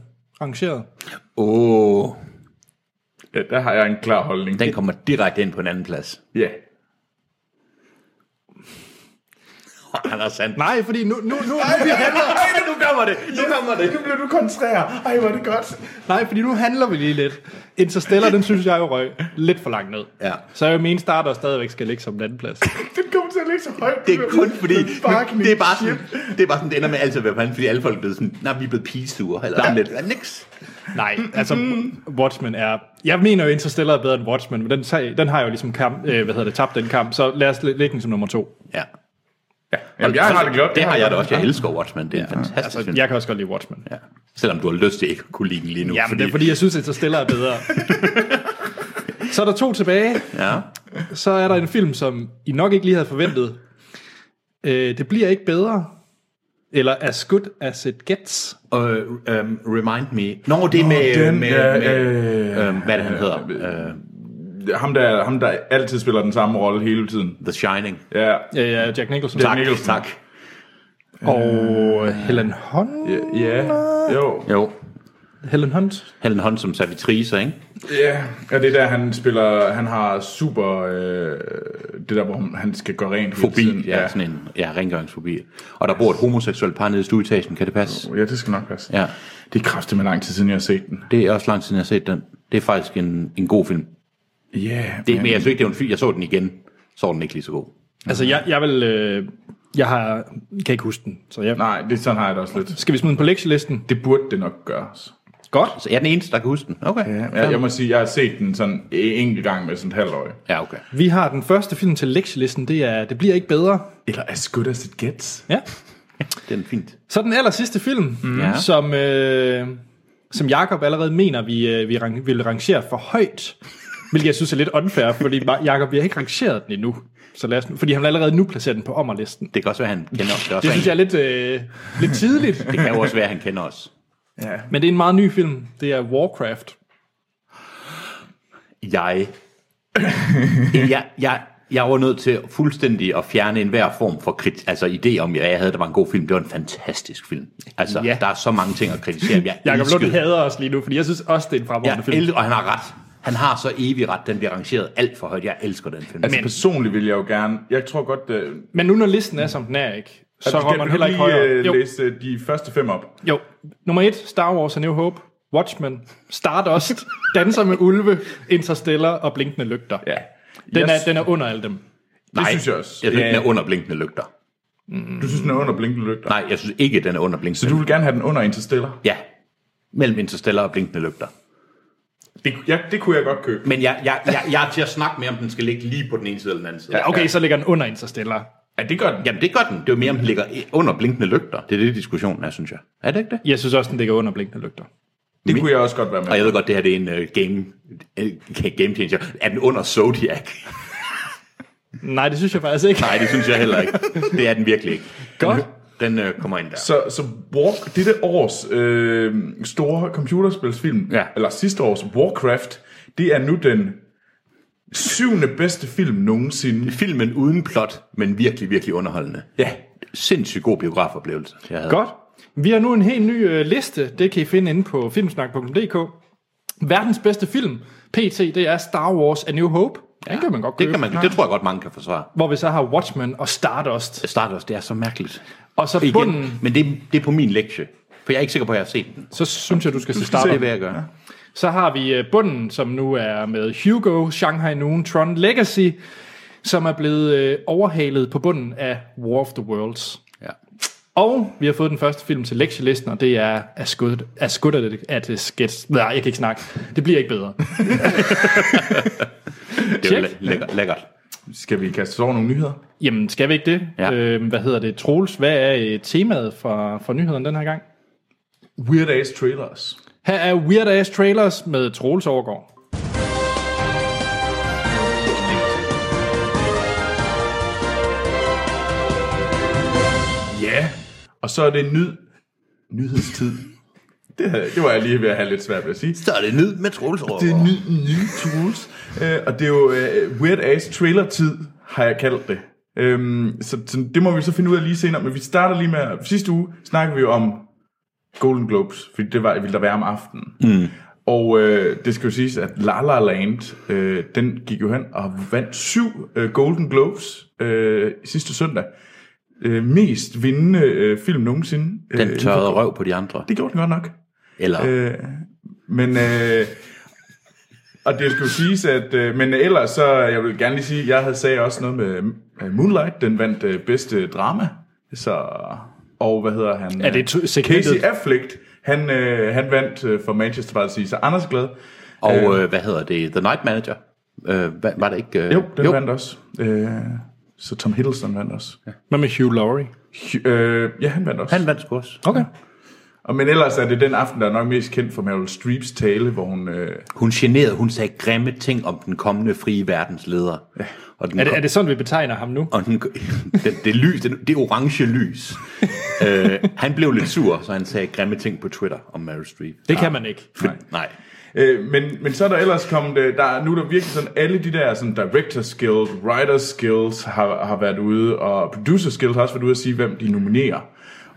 Speaker 1: rangeret.
Speaker 3: Åh, oh,
Speaker 2: Ja, der har jeg en klar holdning.
Speaker 3: den kommer direkte ind på en anden plads.
Speaker 2: Ja.
Speaker 3: Han er sandt.
Speaker 1: Nej, fordi nu, nu, nu,
Speaker 3: nu kommer det! Nu kommer det!
Speaker 2: Nu bliver du kontrær. Ej, hvor er det godt.
Speaker 1: nej, fordi nu handler vi lige lidt. Interstellar, den synes jeg jo røg lidt for langt ned.
Speaker 3: Ja.
Speaker 1: Så jeg mener, starter stadigvæk skal ligge som en anden plads.
Speaker 2: Den kommer til at ligge så højt.
Speaker 3: Det er kun fordi,
Speaker 2: Fucking
Speaker 3: det er bare sådan, det er bare sådan, det ender med altid at være pande, fordi alle folk er blevet sådan, nej, vi er blevet pigesure, eller sådan lidt. Ja, niks.
Speaker 1: Nej, altså Watchmen er... Jeg mener jo, Interstellar er bedre end Watchmen, men den, sag- den har jo ligesom kamp, øh, hvad hedder det, tabt den kamp, så lad os lægge den som nummer to.
Speaker 3: Ja.
Speaker 2: Jamen, jeg har det godt.
Speaker 3: Det har jeg da også. Jeg elsker Watchmen. Det er en fantastisk
Speaker 1: Altså,
Speaker 3: film.
Speaker 1: jeg kan også godt lide Watchmen.
Speaker 3: Ja. Selvom du har lyst til ikke at kunne lide den lige nu.
Speaker 1: Ja, men det er fordi, jeg synes, at så stiller er bedre. så er der to tilbage.
Speaker 3: Ja.
Speaker 1: Så er der en film, som I nok ikke lige havde forventet. Øh, det bliver ikke bedre. Eller as good as it gets.
Speaker 3: Og, um, remind me. Nå, det er med,
Speaker 2: den,
Speaker 3: med,
Speaker 2: ja,
Speaker 3: med
Speaker 2: øh,
Speaker 3: øhm, hvad er det, han hedder? Øh,
Speaker 2: Ham der, ham der altid spiller den samme rolle hele tiden.
Speaker 3: The Shining.
Speaker 2: Ja,
Speaker 1: Øh, ja, Jack Nicholson.
Speaker 3: Tak,
Speaker 2: Nicholson.
Speaker 3: tak.
Speaker 1: Og Helen Hunt.
Speaker 2: ja, ja. jo.
Speaker 3: Jo.
Speaker 1: Helen Hunt.
Speaker 3: Helen Hunt som servitrice, ikke?
Speaker 2: Ja, og det er der, han spiller, han har super, øh, det der, hvor han skal gøre rent hele tiden.
Speaker 3: Fobi, ja, sådan en ja, rengøringsfobi. Og der bor et homoseksuelt par nede i stueetagen, kan det passe?
Speaker 2: ja, det skal nok passe.
Speaker 3: Ja,
Speaker 2: Det er kraftigt med lang tid siden, jeg har set den.
Speaker 3: det er også lang tid, siden, jeg har set den. Det er faktisk en, en god film.
Speaker 2: Ja, yeah,
Speaker 3: Det, men jeg synes ikke, det var en film. Jeg så den igen. Så var den ikke lige så god.
Speaker 1: Altså, jeg, jeg vil... Øh, jeg har, kan ikke huske den. Så jeg,
Speaker 2: nej, det, sådan har jeg det også lidt.
Speaker 1: skal vi smide den på lektielisten?
Speaker 2: Det burde det nok gøres.
Speaker 1: Godt.
Speaker 3: Så jeg er den eneste, der kan huske den. Okay.
Speaker 2: Ja, jeg, jeg må sige, jeg har set den sådan en enkelt gang med sådan et halvt øje.
Speaker 3: Ja, okay.
Speaker 1: Vi har den første film til lektielisten. Det er Det bliver ikke bedre.
Speaker 2: Eller as good as it gets.
Speaker 1: Ja.
Speaker 3: Den er fint.
Speaker 1: Så den aller sidste film, mm.
Speaker 3: Ja.
Speaker 1: som, øh, som Jakob allerede mener, vi, øh, vi rang, vil rangere for højt. Hvilket jeg synes er lidt unfair, fordi Ma- Jakob, vi har ikke rangeret den endnu. Så lad os, nu- fordi han vil allerede nu placere den på ommerlisten.
Speaker 3: Det kan også være, han kender os. Det, er også
Speaker 1: Det synes jeg er lidt, øh, lidt tidligt.
Speaker 3: det kan jo også være, han kender os.
Speaker 2: Ja.
Speaker 1: Men det er en meget ny film. Det er Warcraft.
Speaker 3: Jeg, jeg, jeg, jeg var nødt til fuldstændig at fjerne enhver form for krit, altså idé om, at jeg havde, at det var en god film. Det var en fantastisk film. Altså,
Speaker 1: Ja.
Speaker 3: ja. der er så mange ting at kritisere. men Jeg
Speaker 1: Jakob
Speaker 3: elskede
Speaker 1: Lund hader os lige nu, fordi jeg synes også, det er en fremragende
Speaker 3: Jeg
Speaker 1: film.
Speaker 3: el- og han har ret. Han har så evig ret. Den bliver rangeret alt for højt. Jeg elsker den film.
Speaker 2: Altså
Speaker 1: Men-
Speaker 2: Men. personligt vil jeg jo gerne, jeg tror godt, øh,
Speaker 1: Men nu når listen er, som den er, ikke, så
Speaker 2: skal
Speaker 1: rører man
Speaker 2: du
Speaker 1: heller ikke
Speaker 2: lige,
Speaker 1: højere.
Speaker 2: øh,
Speaker 1: Jo,
Speaker 2: læse de første fem op.
Speaker 1: jo. Nummer et, Star Wars A New Hope, Watchmen, Stardust, Danser med Ulve, Interstellar og Blinkende Lygter.
Speaker 2: Ja.
Speaker 1: Den,
Speaker 2: Jeg
Speaker 1: er, den er under alle dem.
Speaker 3: Nej,
Speaker 2: synes jeg også.
Speaker 3: Jeg synes,
Speaker 2: Ja.
Speaker 3: den er under blinkende lygter.
Speaker 2: Du synes, den er under blinkende lygter?
Speaker 3: Nej, jeg synes ikke, den er under blinkende
Speaker 2: Så du vil gerne have den under Interstellar?
Speaker 3: Ja, mellem Interstellar og blinkende lygter.
Speaker 2: Det, ja, det kunne jeg godt købe.
Speaker 3: Men jeg, jeg, jeg, jeg er til at snakke med, om den skal ligge lige på den ene side eller den anden side.
Speaker 1: Ja, okay, så ligger den under Interstellar.
Speaker 2: Ja, det gør den.
Speaker 3: Jamen, det gør den. Det er jo mere, om den ligger i- under blinkende lygter. Det er det, diskussionen er, synes jeg. Er det ikke det?
Speaker 1: Jeg synes også, den ligger under Blinkende Lygter.
Speaker 2: Det kunne jeg også godt være med.
Speaker 3: Og jeg ved godt, det her det er en uh, game, uh, game changer. Er den under Zodiac?
Speaker 1: Nej, det synes jeg faktisk ikke.
Speaker 3: Nej, det synes jeg heller ikke. Det er den virkelig ikke.
Speaker 1: Godt.
Speaker 3: Den uh, kommer ind der.
Speaker 2: Så, så War, dette års øh, store computerspilsfilm,
Speaker 3: Ja.
Speaker 2: eller sidste års Warcraft, det er nu den syvende bedste film nogensinde.
Speaker 3: Filmen uden plot, men virkelig, virkelig underholdende.
Speaker 2: Ja.
Speaker 3: Sindssygt god biografoplevelse, jeg havde.
Speaker 1: Godt. Vi har nu en helt ny øh, liste. Det kan I finde inde på filmsnak.dk. Verdens bedste film, PT, det er Star Wars A New Hope. Den kan man godt købe.
Speaker 3: Det, kan man, det tror jeg godt, mange kan forsvare.
Speaker 1: Hvor vi så har Watchmen og Stardust.
Speaker 3: Stardust, det er så mærkeligt.
Speaker 1: Og så
Speaker 3: Igen,
Speaker 1: bunden,
Speaker 3: men det, det er på min lektie. For jeg er ikke sikker på, at jeg har set den.
Speaker 1: så synes jeg, du skal se
Speaker 3: Så det
Speaker 1: Stardust.
Speaker 3: vil jeg gøre.
Speaker 1: Så har vi øh, bunden, som nu er med Hugo, Shanghai Noon, Tron Legacy, som er blevet øh, overhalet på bunden af War of the Worlds.
Speaker 3: Ja.
Speaker 1: Og vi har fået den første film til lektielisten, og det er As Good, as good at, it, at it gets. Nej, jeg kan ikke snakke. Det bliver ikke bedre.
Speaker 3: Det er
Speaker 1: Check.
Speaker 3: jo læ- lækkert. lækkert.
Speaker 2: Skal vi kaste os over nogle nyheder?
Speaker 1: Jamen, skal vi ikke det?
Speaker 3: Ja.
Speaker 1: Øhm, hvad hedder det? Troels, hvad er øh, temaet for, for nyhederne den her gang?
Speaker 2: Weird Ass Trailers.
Speaker 1: Her er Weird Ass Trailers med Troels Overgaard.
Speaker 2: Ja. Og så er det nyd... Nyhedstid. det, havde, det var jeg lige ved at have lidt svært ved at sige.
Speaker 3: Så er det nyd med Troels
Speaker 2: Det er
Speaker 3: over.
Speaker 2: ny, nye tools. Øh, og det er jo øh, Weird Ass Trailer-tid, har jeg kaldt det. Øhm, så, så det må vi så finde ud af lige senere. Men vi starter lige med... Sidste uge snakkede vi jo om Golden Globes, fordi det var, ville der være om aftenen. Mm. Og øh, det skal jo siges, at La La Land, øh, den gik jo hen og vandt syv øh, Golden Globes øh, sidste søndag. Øh, mest vindende øh, film nogensinde.
Speaker 3: Den
Speaker 2: Øh,
Speaker 3: tørrede røv på de andre.
Speaker 2: Det gjorde den godt nok.
Speaker 3: Eller,
Speaker 2: Øh, men, øh, og det skulle siges, at, øh, men ellers så, jeg vil gerne lige sige, jeg havde sagde også noget med øh, Moonlight, den vandt øh, bedste drama, så, og hvad hedder han?
Speaker 1: Er det to-
Speaker 2: øh,
Speaker 1: segmentet?
Speaker 2: Casey Affleck, han, øh, han vandt øh, for Manchester by the Sea, så Anders er glad.
Speaker 3: og øh, hvad hedder det? The Night Manager. Øh, hva- var det ikke? Øh,
Speaker 2: Jo, den jo. vandt også. Øh, Så Tom Hiddleston vandt også. Ja,
Speaker 1: Hvad med Hugh Laurie?
Speaker 2: øh, ja han vandt også.
Speaker 3: Han vandt sgu også.
Speaker 1: Okay.
Speaker 2: Og, men ellers er det den aften, der er nok mest kendt for Meryl Streeps tale, hvor hun... Øh,
Speaker 3: Hun generede, hun sagde grimme ting om den kommende frie verdens leder. Ja. Og den
Speaker 1: Er det, er det sådan, vi betegner ham nu?
Speaker 3: og den, det, det lys, det, det orange lys. øh, han blev lidt sur, så han sagde grimme ting på Twitter om Meryl Streep.
Speaker 1: Det kan man ikke.
Speaker 3: For, nej. nej.
Speaker 2: Øh, men, men så er der ellers kommet, øh, der, er- nu er der virkelig sådan, alle de der sådan, Directors Guild, Writers Guild har, har været ude, og Producers Guild har også været ude at sige, hvem de nominerer.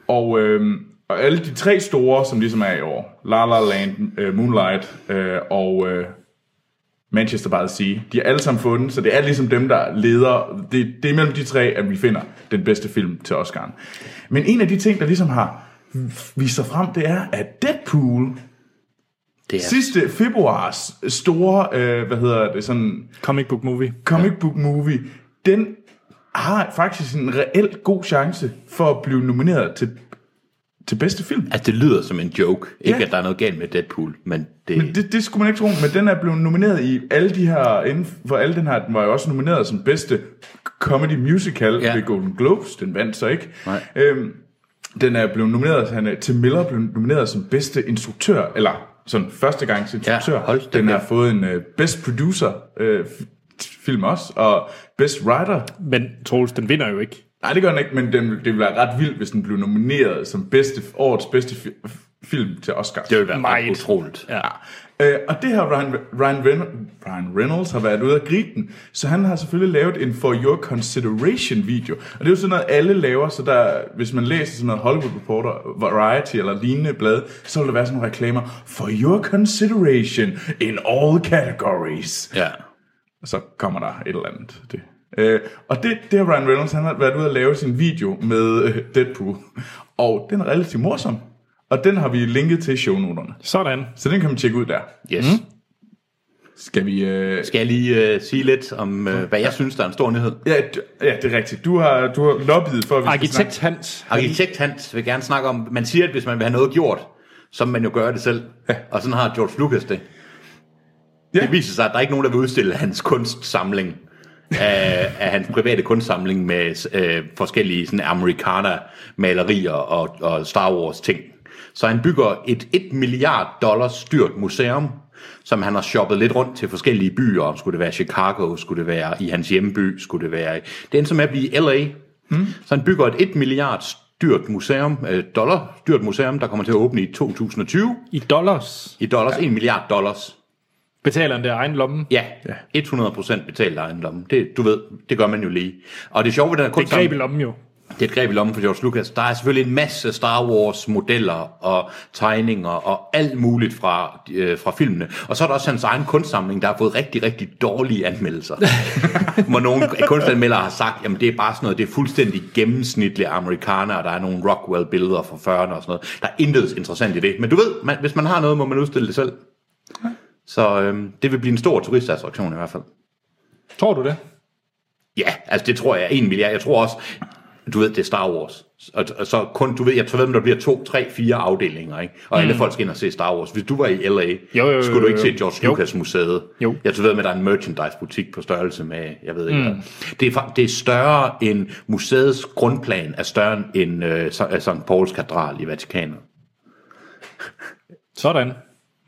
Speaker 2: Og, øh, og alle de tre store, som ligesom er i år, La La Land, øh, Moonlight øh, og øh, Manchester by the Sea, de er alle sammen fundet, så det er ligesom dem, der leder, det, det er mellem de tre, at vi finder den bedste film til Oscar'en. Men en af de ting, der ligesom har vist sig frem, det er, at Deadpool
Speaker 3: Det er,
Speaker 2: sidste februars store, øh, hvad hedder det, sådan
Speaker 1: Comic book movie.
Speaker 2: comic book movie, den har faktisk en reelt god chance for at blive nomineret til, til bedste film.
Speaker 3: altså, det lyder som en joke. Ikke,
Speaker 2: Ja.
Speaker 3: at der er noget galt med Deadpool, men det...
Speaker 2: Men det, det skulle man ikke tro, men den er blevet nomineret i alle de her, inden for alle den her, den var jo også nomineret som bedste comedy musical ja.
Speaker 3: Ja.
Speaker 2: ved Golden Globes, den vandt så ikke.
Speaker 3: Nej.
Speaker 2: Øhm, den er blevet nomineret, han er, Tim Miller blev nomineret som bedste instruktør, eller sådan første gangs instruktør.
Speaker 3: Ja, hold da
Speaker 2: den har
Speaker 3: kæft.
Speaker 2: fået en uh, best producer uh, film også, og best writer.
Speaker 1: Men Troels, den vinder jo ikke.
Speaker 2: Nej, det gør den ikke, men den, det ville være ret vildt, hvis den blev nomineret som bedste, årets bedste fi- film til Oscar.
Speaker 3: det vil være
Speaker 1: meget.
Speaker 3: ret utroligt.
Speaker 1: Ja.
Speaker 2: Øh, og det har Ryan, Ryan, Ren- Ryan Reynolds har været ude at gribe den, så han har selvfølgelig lavet en For Your Consideration video. Og det er jo sådan noget, alle laver, så der, hvis man læser sådan noget Hollywood Reporter, Variety eller lignende blad, så vil der være sådan nogle reklamer, For Your Consideration in all categories.
Speaker 3: Ja.
Speaker 2: Og så kommer der et eller andet. Det. Øh, og det, det har Ryan Reynolds, han har været ude at lave sin video med øh, Deadpool. Og den er relativt morsom. Og den har vi linket til i shownoterne.
Speaker 1: Sådan.
Speaker 2: Så den kan man tjekke ud der.
Speaker 3: Yes. Mm.
Speaker 2: Skal vi... Øh...
Speaker 3: Skal jeg lige uh, sige lidt om, uh, hvad jeg synes, der er en stor nyhed?
Speaker 2: Ja, d- ja, det er rigtigt. Du har, du har lobbyet for, at vi
Speaker 1: Arkitekt Hans.
Speaker 3: Arkitekt Hans vil gerne snakke om, man siger, at hvis man vil have noget gjort, så må man jo gøre det selv. Ja. Og sådan har George Lucas det.
Speaker 2: Ja.
Speaker 3: Ja. Det viser sig, at der er ikke nogen, der vil udstille hans kunstsamling, af, af hans private kunstsamling med øh, forskellige sådan americana-malerier og, og Star Wars-ting. Så han bygger et 1 milliard dollars styrt museum, som han har shoppet lidt rundt til forskellige byer. Skulle det være Chicago, skulle det være i hans hjemby, skulle det være... i- Det endte som at blive LA. Mm. Så han bygger et 1 milliard styrt museum, øh, dollar styrt museum, der kommer til at åbne i 2020.
Speaker 1: I dollars
Speaker 3: I dollars, ja. 1 milliard dollars.
Speaker 1: betaler han der egen lomme.
Speaker 3: Ja, 100% betalt ejendommen. Det, du ved, det gør man jo lige. Og det sjove ved den her
Speaker 1: Det er greb i
Speaker 3: kunstsamling,
Speaker 1: lommen jo.
Speaker 3: det er et greb i lommen for George Lucas. Der er selvfølgelig en masse Star Wars modeller og tegninger og alt muligt fra, øh, fra filmene. Og så er der også hans egen kunstsamling, der har fået rigtig, rigtig dårlige anmeldelser. Hvor nogle kunstanmeldere har sagt, jamen det er bare sådan noget, det er fuldstændig gennemsnitlige amerikanere, og der er nogle Rockwell-billeder fra 40'erne og sådan noget. Der er intet interessant i det. Men du ved, man, hvis man har noget, må man udstille det selv. Så øhm, det vil blive en stor turistattraktion i hvert fald.
Speaker 1: Tror du det?
Speaker 3: Ja, altså det tror jeg er en milliard. Jeg tror også, du ved, det er Star Wars. Og, og så kun, du ved, jeg tror ved, om der bliver to, tre, fire afdelinger, ikke? Og mm. alle folk skal ind og se Star Wars. Hvis du var i L.A., jo,
Speaker 1: jo, jo,
Speaker 3: skulle du ikke
Speaker 1: jo.
Speaker 3: se George
Speaker 1: Jo.
Speaker 3: Lucas Museet.
Speaker 1: Jo.
Speaker 3: Jeg tror ved, med, at der er en merchandise-butik på størrelse med, jeg ved ikke mm. hvad. Det er, fa- det er større end, museets grundplan er større end øh, Sa- øh, St. Pauls katedral i Vatikanet.
Speaker 1: Sådan.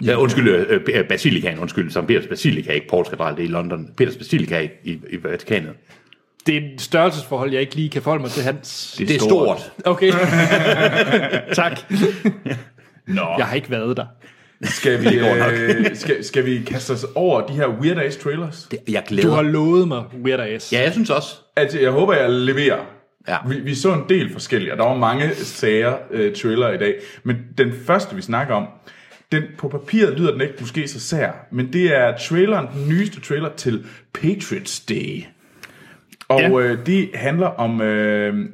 Speaker 3: Ja, undskyld, øh, øh, Basilikan, undskyld, St. Peters Basilika, ikke Pauls katedral, det er i London. Peters Basilika i, i, i Vatikanet.
Speaker 1: Det er et størrelsesforhold, jeg ikke lige kan forholde mig til Hans.
Speaker 3: Det er stort.
Speaker 1: Okay. tak.
Speaker 2: Nå,
Speaker 1: Jeg har ikke været der.
Speaker 2: skal vi, øh, skal, skal vi kaste os over de her Weird Ass trailers?
Speaker 3: Det, jeg
Speaker 1: Du
Speaker 3: glæder
Speaker 1: har lovet mig Weird Ass.
Speaker 3: Ja, jeg synes også.
Speaker 2: Altså, jeg håber, jeg leverer.
Speaker 3: Ja.
Speaker 2: Vi, vi så en del forskellige, og der var mange sager øh, trailer i dag. Men den første, vi snakker om, den på papiret lyder den ikke måske så sær, men det er traileren, den nyeste trailer til Patriots Day. Og
Speaker 1: Ja.
Speaker 2: øh, det handler om, øh,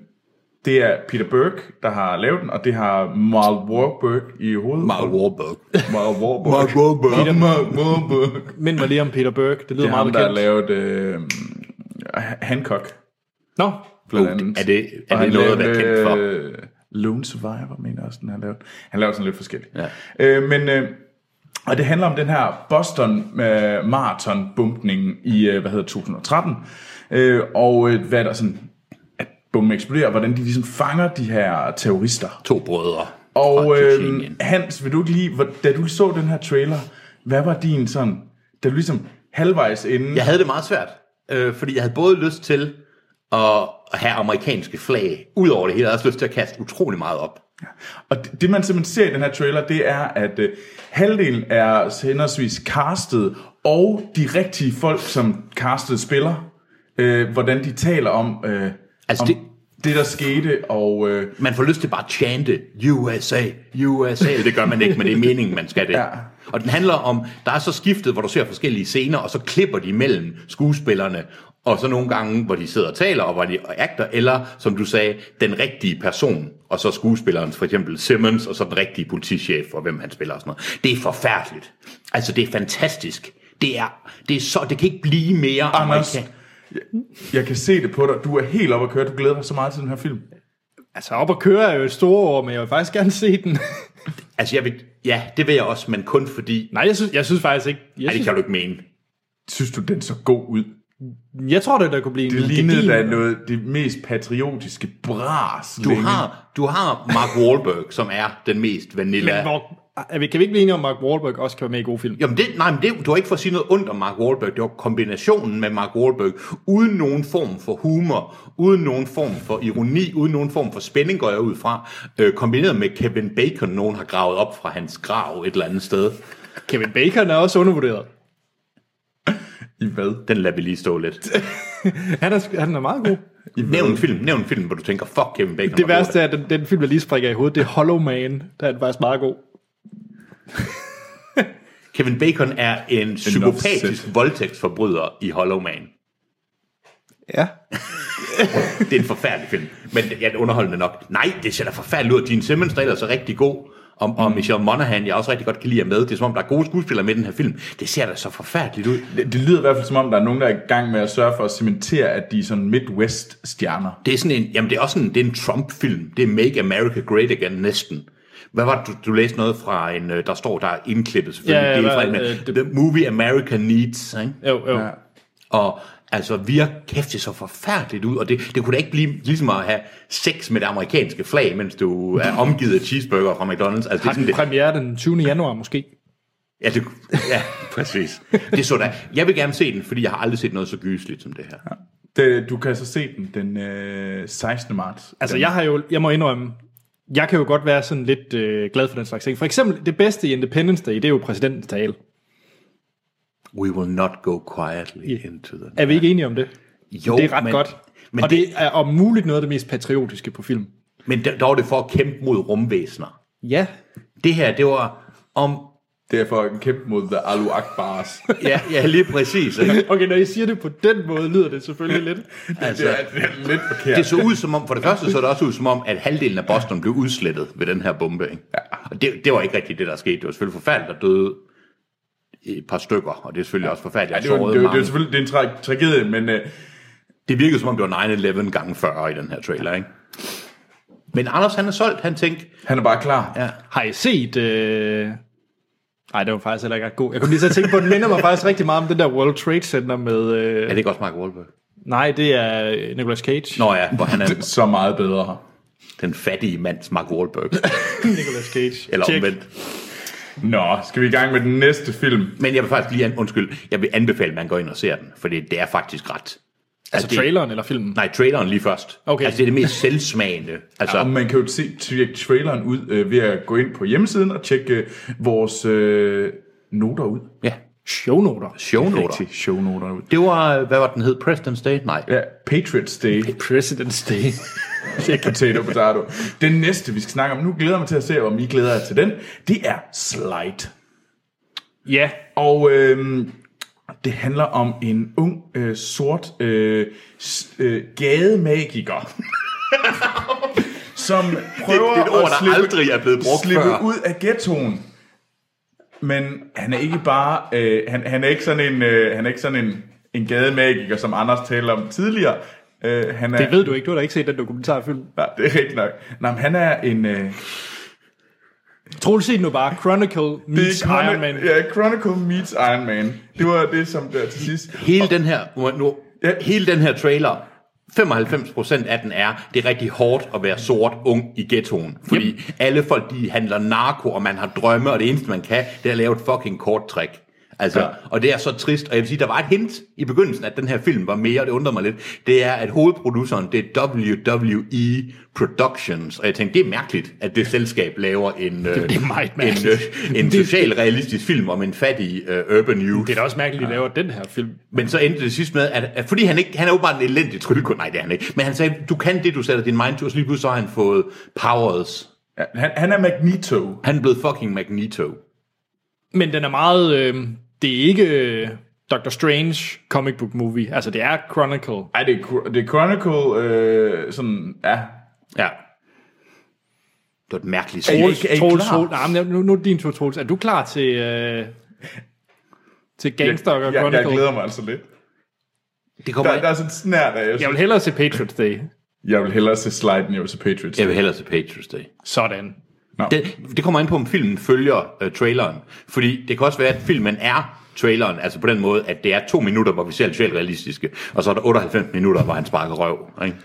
Speaker 2: det er Peter Berg, der har lavet den, og det har Marl Warburg i hovedet.
Speaker 3: Mark Wahlberg.
Speaker 2: Marl Warburg. Mark
Speaker 3: Wahlberg.
Speaker 2: Mark Warburg.
Speaker 1: Mind mig lige om Peter Burke. Det lyder
Speaker 2: Det
Speaker 1: meget
Speaker 2: er ham, der har
Speaker 1: bekendt.
Speaker 2: lavet øh, Hancock.
Speaker 1: Nå,
Speaker 2: Blandt
Speaker 3: Uh,
Speaker 2: andet.
Speaker 3: er det-
Speaker 2: Og
Speaker 3: er det
Speaker 2: han
Speaker 3: noget at være
Speaker 2: lavede,
Speaker 3: kendt for?
Speaker 2: øh, Lone Survivor, mener jeg også, den har lavet. Han laver sådan lidt forskelligt.
Speaker 3: Ja.
Speaker 2: Øh, men øh, Og det handler om den her Boston øh, marathon bumpning i, øh, hvad hedder 2013. Øh, og øh, hvad der sådan, at bomben eksploderer, hvordan de ligesom fanger de her terrorister.
Speaker 3: To brødre
Speaker 2: Og
Speaker 3: fra
Speaker 2: øh,
Speaker 3: Tjetjenien.
Speaker 2: Hans, vil du ikke lige, hvor, da du så den her trailer, hvad var din sådan, da du ligesom halvvejs inden,
Speaker 3: Jeg havde det meget svært, øh, fordi jeg havde både lyst til at have amerikanske flag ud over det hele, og også lyst til at kaste utrolig meget op.
Speaker 2: Og det, det man simpelthen ser i den her trailer, det er, at øh, halvdelen er henholdsvis castet, og de rigtige folk, som castet spiller, øh, hvordan de taler om, øh,
Speaker 3: Altså,
Speaker 2: om det,
Speaker 3: det-
Speaker 2: det, der skete, og... Øh,
Speaker 3: Man får lyst til bare at chante USA, USA. Det gør man ikke, men det er meningen, man skal det.
Speaker 2: Ja.
Speaker 3: Og den handler om, der er så skiftet, hvor du ser forskellige scener, og så klipper de mellem skuespillerne, og så nogle gange, hvor de sidder og taler, og hvor de akter, eller som du sagde, den rigtige person, og så skuespilleren, for eksempel Simmons, og så den rigtige politichef, og hvem han spiller og sådan noget. Det er forfærdeligt. Altså, det er fantastisk. Det er, det er så, det kan ikke blive mere
Speaker 2: Anders,
Speaker 3: amerika-
Speaker 2: jeg, jeg kan se det på dig. Du er helt oppe at køre. Du glæder dig så meget til den her film.
Speaker 1: Altså, op at køre er jo et store ord, men jeg vil faktisk gerne se den.
Speaker 3: Altså, jeg vil, ja, det vil jeg også, men kun fordi,
Speaker 1: Nej, jeg synes, jeg synes faktisk ikke... Jeg,
Speaker 3: ja, det
Speaker 1: synes,
Speaker 3: kan du ikke mene.
Speaker 2: Synes du, den så god ud?
Speaker 1: jeg tror, det der kunne blive
Speaker 2: Det
Speaker 1: en
Speaker 2: lignede
Speaker 1: gedigen-
Speaker 2: da noget det mest patriotiske bras
Speaker 3: Du
Speaker 2: længe.
Speaker 3: har, du har Mark Wahlberg, som er den mest vanilla.
Speaker 1: Men hvor, er vi- kan vi ikke blive enige om, at Mark Wahlberg også kan være med i gode film?
Speaker 3: Jamen det, nej, men det, du har ikke fået sige noget ondt om Mark Wahlberg. Det var kombinationen med Mark Wahlberg. Uden nogen form for humor, uden nogen form for ironi, uden nogen form for spænding, går jeg ud fra. Øh, kombineret med Kevin Bacon, nogen har gravet op fra hans grav et eller andet sted.
Speaker 1: Kevin Bacon er også undervurderet.
Speaker 2: I hvad?
Speaker 3: Den lader vi lige stå lidt.
Speaker 1: Han er, han er meget god.
Speaker 3: Nævn en film, nævn en film, hvor du tænker, fuck Kevin Bacon.
Speaker 1: Det
Speaker 3: var god.
Speaker 1: værste er, at den, den film, jeg lige springer i hovedet, det er Hollow Man. Der er den faktisk meget god.
Speaker 3: Kevin Bacon er en psykopatisk
Speaker 2: said.
Speaker 3: voldtægtsforbryder i Hollow Man.
Speaker 1: Ja.
Speaker 3: Det er en forfærdelig film, men jeg er underholdende nok. Nej, det ser da forfærdeligt ud. Gene Simmons, der ellers er rigtig god, og,
Speaker 1: Mm.
Speaker 3: og Michelle Monaghan, jeg også rigtig godt kan lide er med. Det er som om, der er gode skuespillere med i den her film. Det ser da så forfærdeligt ud.
Speaker 2: Det, det lyder i hvert fald som om, der er nogen, der er i gang med at sørge for at cementere, at de er sådan Midwest-stjerner.
Speaker 3: Det er sådan en, jamen det er også en, det er en Trump-film. Det er Make America Great Again næsten. Hvad var det, du, du læste noget fra en, øh, der står, der er indklippet selvfølgelig.
Speaker 1: Ja, ja,
Speaker 3: det er fra
Speaker 1: hvad,
Speaker 3: en,
Speaker 1: øh, det-
Speaker 3: The Movie America Needs, ikke?
Speaker 1: Jo, jo.
Speaker 2: Ja.
Speaker 1: Ja.
Speaker 3: Og altså, vi har kæft det så forfærdeligt ud, og det, det kunne da ikke blive ligesom at have sex med det amerikanske flag, mens du er omgivet af cheeseburger fra McDonald's. Altså, det er
Speaker 1: Har
Speaker 3: sådan,
Speaker 1: den
Speaker 3: det,
Speaker 1: premiere den 20. januar måske?
Speaker 3: ja, det, ja, præcis. Det så da. Jeg vil gerne se den, fordi jeg har aldrig set noget så gysligt som det her.
Speaker 2: Det, du kan så se den den øh, 16. marts.
Speaker 1: Altså, jeg har jo, jeg må indrømme, jeg kan jo godt være sådan lidt øh, glad for den slags ting. For eksempel, det bedste i Independence Day, det er jo præsidentens tale.
Speaker 3: We will not go quietly into the
Speaker 1: Er vi ikke enige om det?
Speaker 3: Jo,
Speaker 1: det er ret godt.
Speaker 3: Men,
Speaker 1: og
Speaker 3: det,
Speaker 1: det, det er om muligt noget af det mest patriotiske på film.
Speaker 3: men der, der var det for at kæmpe mod rumvæsener.
Speaker 1: Ja.
Speaker 3: Det her, det var om...
Speaker 2: Det er for at kæmpe mod The Alu Akbars.
Speaker 3: Ja, ja lige præcis. Ikke?
Speaker 1: Okay, når I siger det på den måde, lyder det selvfølgelig lidt.
Speaker 3: Altså,
Speaker 2: det, er, det er lidt forkert.
Speaker 3: Det så ud som om, for det første så det også ud som om, at halvdelen af Boston blev udslettet ved den her bombe. Ikke? Ja. Og det, det var ikke rigtigt det, der skete. Det var selvfølgelig forfærdeligt, der døde et par stykker, og det er selvfølgelig også forfærdeligt,
Speaker 2: Ja,
Speaker 3: at
Speaker 2: det, er jo,
Speaker 3: sårede
Speaker 2: det, er jo, det er
Speaker 3: mange.
Speaker 2: jo selvfølgelig det er en tra- tragedie, men øh,
Speaker 3: Det virkede som om, det var 9-11 gange 40 i den her trailer, ikke? Men Anders, han er solgt. Han tænkte,
Speaker 2: han er bare klar. Ja.
Speaker 3: ja,
Speaker 1: Har I set... Øh... Ej, det var faktisk heller ikke ret god. Jeg kom lige til at tænke på, den minder mig faktisk rigtig meget om den der World Trade Center med... Øh...
Speaker 3: er det ikke også Mark Wahlberg?
Speaker 1: Nej, det er Nicolas Cage.
Speaker 3: Nå ja, hvor han er
Speaker 2: Så meget bedre.
Speaker 3: den fattige mands Mark Wahlberg.
Speaker 1: Nicolas Cage.
Speaker 3: Eller
Speaker 1: Tjek.
Speaker 3: omvendt.
Speaker 2: Nå, skal vi i gang med den næste film?
Speaker 3: Men jeg vil faktisk lige, an- undskyld, jeg vil anbefale, at man går ind og ser den, for det, det er faktisk ret.
Speaker 1: Altså
Speaker 3: det-
Speaker 1: traileren eller filmen?
Speaker 3: Nej, traileren lige først.
Speaker 1: Okay.
Speaker 3: Altså, det er det mest selvsmagende. Altså,
Speaker 2: Og man kan jo se tjekke traileren ud øh, ved at gå ind på hjemmesiden og tjekke øh, vores øh, noter ud.
Speaker 3: ja,
Speaker 1: Shownoter.
Speaker 3: shownoter.
Speaker 2: Rigtig shownoterne ud.
Speaker 3: Det var, hvad var den hed? President's Day? Nej.
Speaker 2: Ja, Patriots Day.
Speaker 1: President's Day.
Speaker 2: potato, potato. Den næste, vi skal snakke om, nu glæder jeg mig til at se, om I glæder jer til den, det er Slide.
Speaker 1: ja.
Speaker 2: Og øh, det handler om en ung, øh, sort øh, s- øh, gademagiker, som prøver
Speaker 3: det er et ord,
Speaker 2: at
Speaker 3: der
Speaker 2: slippe,
Speaker 3: aldrig er blevet brugt
Speaker 2: slippe
Speaker 3: før.
Speaker 2: ud af ghettoen. Men han er ikke bare, øh, han, han er ikke sådan en, øh, han er ikke sådan en, en gademagiker, som Anders talte om tidligere. Øh, han er,
Speaker 1: Det ved du ikke. Du har da ikke set den dokumentarfilm.
Speaker 2: Nej, det er rigtigt nok. Nej, men han er en... Øh,
Speaker 1: Troels sig nu bare, Chronicle meets
Speaker 2: Chroni-
Speaker 1: Iron Man.
Speaker 2: Ja, Chronicle meets Iron Man. Det var det, som der til sidst.
Speaker 3: Hele den her, nu- nu,
Speaker 2: Ja.
Speaker 3: hele den her trailer, 95% af den er, det er rigtig hårdt at være sort ung i ghettoen. Fordi yep. alle folk, de handler narko, og man har drømme, og det eneste, man kan, det er at lave et fucking kort trick. Altså, ja. Og det er så trist, og jeg vil sige, der var et hint i begyndelsen, at den her film var mere, og det undrer mig lidt, det er, at hovedproduceren, det er WWE Productions, og jeg tænkte, det er mærkeligt, at det selskab laver en, det,
Speaker 1: det er meget
Speaker 3: en,
Speaker 1: mærkeligt.
Speaker 3: øh, en
Speaker 1: Det-
Speaker 3: social-realistisk film om en fattig uh, urban youth.
Speaker 1: Det er da også mærkeligt, at de laver den her film.
Speaker 3: Men så endte det sidst med, at, at fordi han ikke, han er åbenbart en elendig tryllekunst, nej det er han ikke, men han sagde, du kan det, du sætter din mind to, og så lige pludselig så har han fået powers.
Speaker 2: Ja, han, han er Magneto.
Speaker 3: Han er blevet fucking Magneto.
Speaker 1: Men den er meget... Øh, det er ikke øh, Doctor Strange comic book movie. Altså, det er Chronicle.
Speaker 2: Ej, det er, Chro- det er Chronicle, øh, sådan, ja.
Speaker 3: Ja. Det var et mærkeligt
Speaker 2: Er I-
Speaker 3: spørgsmål.
Speaker 1: Troels,
Speaker 2: er I
Speaker 1: Troels,
Speaker 2: klar?
Speaker 1: Troels, nej, men nu, nu er det din tur, Troels. Er du klar til, øh, til Gangster og
Speaker 2: jeg, jeg, jeg
Speaker 1: Chronicle?
Speaker 2: glæder mig altså lidt.
Speaker 3: Det kommer
Speaker 2: Der,
Speaker 3: jeg,
Speaker 2: der er sådan en snært af, jeg,
Speaker 1: jeg vil
Speaker 2: synes,
Speaker 1: hellere se Patriots Day.
Speaker 2: jeg vil hellere se sliden, jeg vil se Patriots.
Speaker 3: jeg vil hellere se Patriots Day.
Speaker 1: Sådan.
Speaker 3: Det, det kommer an på, om filmen følger øh, traileren. Fordi det kan også være, at filmen er traileren, altså på den måde, at det er to minutter, hvor vi ser socialt realistiske, og så er der 98 minutter, hvor han sparker røv. Ikke?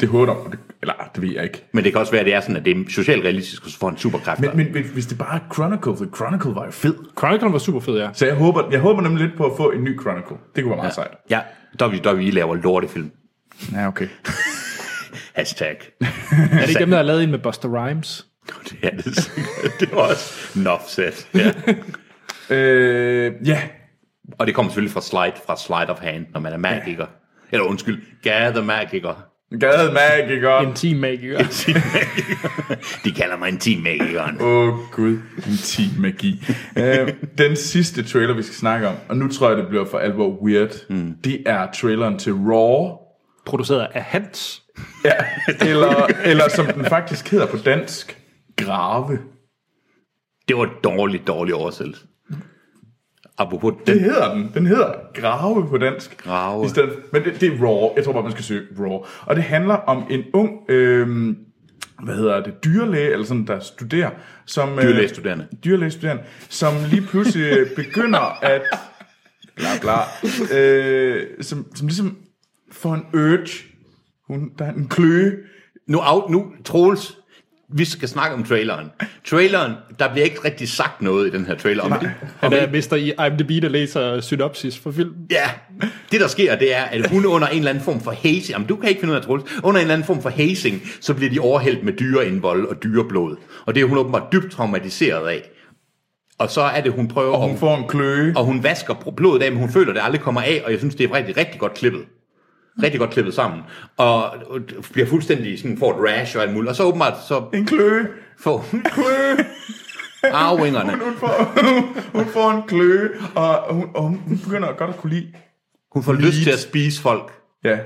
Speaker 2: Det håber om, det- eller det ved jeg ikke.
Speaker 3: Men det kan også være, at det er sådan, at det er socialt realistisk, og så får han superkræfter.
Speaker 2: Men, men hvis- hvis det bare er Chronicle, for Chronicle var jo fed.
Speaker 1: Chronicle var super fed, ja.
Speaker 2: Så jeg håber, jeg håber nemlig lidt på at få en ny Chronicle. Det kunne være meget ja. sejt.
Speaker 3: Ja, WWE laver lortefilm.
Speaker 2: Ja, okay.
Speaker 3: Hashtag.
Speaker 1: Er det ikke dem, der har lavet en med Buster Rhymes?
Speaker 3: det er det sikkert. Det var også en offset. Ja.
Speaker 2: øh, ja,
Speaker 3: Og det kommer selvfølgelig fra slide, fra slide of hand, når man er magiker. Eller undskyld, gather magiker.
Speaker 2: Gade Magiker.
Speaker 1: En team magiker.
Speaker 3: De kalder mig en team magiker.
Speaker 2: Åh oh, gud, intim magi. øh, den sidste trailer, vi skal snakke om, og nu tror jeg, det bliver for alvor weird, mm. det er traileren til Raw,
Speaker 1: Produceret af Hans.
Speaker 2: eller, eller som den faktisk hedder på dansk, Grave.
Speaker 3: Det var et dårligt, dårligt oversættelse. Apropos
Speaker 2: Det
Speaker 3: den,
Speaker 2: hedder den. Den hedder Grave på dansk.
Speaker 3: Grave.
Speaker 2: I stedet, men det, det er Raw. Jeg tror bare, man skal søge Raw. Og det handler om en ung... Øh, hvad hedder det, dyrlæge, eller sådan, der studerer, som... øh,
Speaker 3: Dyrlægestuderende.
Speaker 2: Dyrlægestuderende, som lige pludselig øh, begynder at... Bla, bla. Øh, som, som ligesom får en urge. Hun, der er en kløe.
Speaker 3: nu, af, nu, Troels, vi skal snakke om traileren. Traileren, der bliver ikke rigtig sagt noget i den her trailer. Om det,
Speaker 1: Han er mister i IMDb, der læser synopsis for filmen.
Speaker 3: Ja, det der sker, det er, at hun under en eller anden form for hazing, jamen du kan ikke finde ud af Troels, under en eller anden form for hazing, så bliver de overhældt med dyreindvold og dyreblod. Og det er hun åbenbart dybt traumatiseret af. Og så er det, hun prøver, og
Speaker 2: Hun
Speaker 3: hun,
Speaker 2: får en kløe.
Speaker 3: og hun vasker bro- blodet af, men hun føler, det aldrig kommer af, og jeg synes, det er rigtig, rigtig godt klippet. Rigtig godt klippet sammen. Og og bliver fuldstændig sådan, får et rash og alt muligt. Og så åbenbart, så
Speaker 2: En kløe.
Speaker 3: får hun arvingerne.
Speaker 2: Hun får, hun får en kløe, og hun, og hun, hun begynder godt at kunne lide.
Speaker 3: Hun får lyst til at spise folk.
Speaker 2: Ja,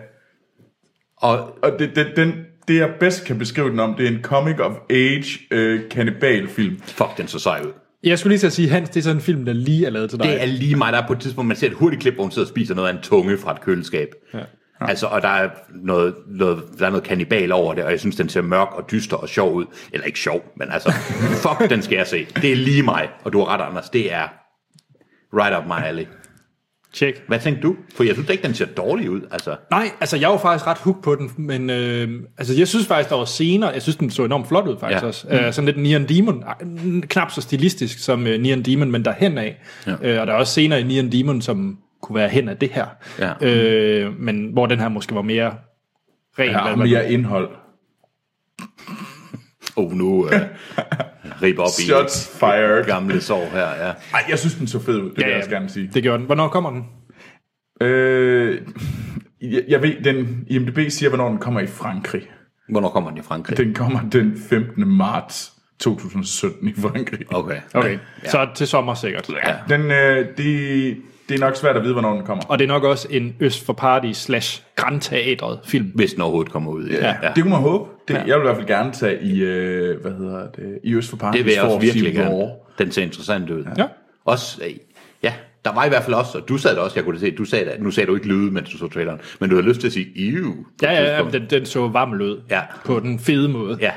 Speaker 3: Og
Speaker 2: Og det, det, den, det, jeg bedst kan beskrive den om, det er en comic of age øh, kannibalfilm.
Speaker 3: fuck, den så sej ud.
Speaker 1: Jeg skulle lige til at sige, Hans, det er sådan en film, der lige er lavet til dig.
Speaker 3: Det er lige mig, der er på et tidspunkt, man ser et hurtigt klip, hvor hun sidder og spiser noget af en tunge fra et køleskab. Ja. Altså, og der er noget, noget, der er noget kannibal over det, og jeg synes, den ser mørk og dyster og sjov ud. Eller ikke sjov, men altså, fuck, den skal jeg se. Det er lige mig, og du har ret, Anders. Det er right up my alley.
Speaker 1: Check.
Speaker 3: Hvad tænkte du? For jeg synes da ikke, den ser dårlig ud. Altså,
Speaker 1: Nej, altså jeg var faktisk ret hooked på den, men øh, altså, jeg synes faktisk, der var scener, jeg synes, den så enormt flot ud faktisk ja.
Speaker 3: Ja.
Speaker 1: også. Mm. Øh, sådan lidt Neon Demon, ah, n- knap så stilistisk som øh, Neon Demon, men derhen af. Ja. Øh, og der er også scener i Neon Demon, som kunne være hen af det her.
Speaker 3: Ja.
Speaker 1: Øh, men hvor den her måske var mere ren.
Speaker 2: Der er
Speaker 1: hvad-
Speaker 2: mere indhold.
Speaker 3: oh, nu øh, rib op i
Speaker 2: Shots fired.
Speaker 3: gamle sår her, ja.
Speaker 2: Ej, jeg synes, den så fed ud. Det ja, vil
Speaker 1: ja.
Speaker 2: jeg også gerne sige.
Speaker 1: Det gjorde den. Hvornår kommer den?
Speaker 2: Øh, jeg, jeg ved, den IMDB siger, hvornår den kommer i Frankrig.
Speaker 3: Hvornår kommer den i Frankrig?
Speaker 2: Den kommer den 15. marts 2017 i Frankrig.
Speaker 3: Okay.
Speaker 1: Okay, ja. så til sommer sikkert.
Speaker 3: Ja.
Speaker 2: Den, øh, det, det er nok svært at vide, hvornår den kommer.
Speaker 1: Og det er nok også en Øst for Paradis slash Grand Teatret film.
Speaker 3: Hvis den overhovedet kommer ud. Ja.
Speaker 2: Ja. Det kunne man håbe. Det, Jeg vil i hvert fald gerne tage i, øh, hvad hedder det, i Øst for Paris.
Speaker 3: Det vil jeg
Speaker 2: for
Speaker 3: også
Speaker 2: at se
Speaker 3: virkelig
Speaker 2: Raw.
Speaker 3: gerne. Den ser interessant ud.
Speaker 1: Ja.
Speaker 3: Også, øh, ja, der var i hvert fald også, og du sagde det også, jeg kunne se, du sagde det, nu sagde du ikke lyde, mens du så traileren, men du havde lyst til at sige, ew. på et
Speaker 1: Ja, ja, ja
Speaker 3: tidspunkt.
Speaker 1: men den, den så varm ud
Speaker 3: Ja.
Speaker 1: på den fede måde.
Speaker 3: ja.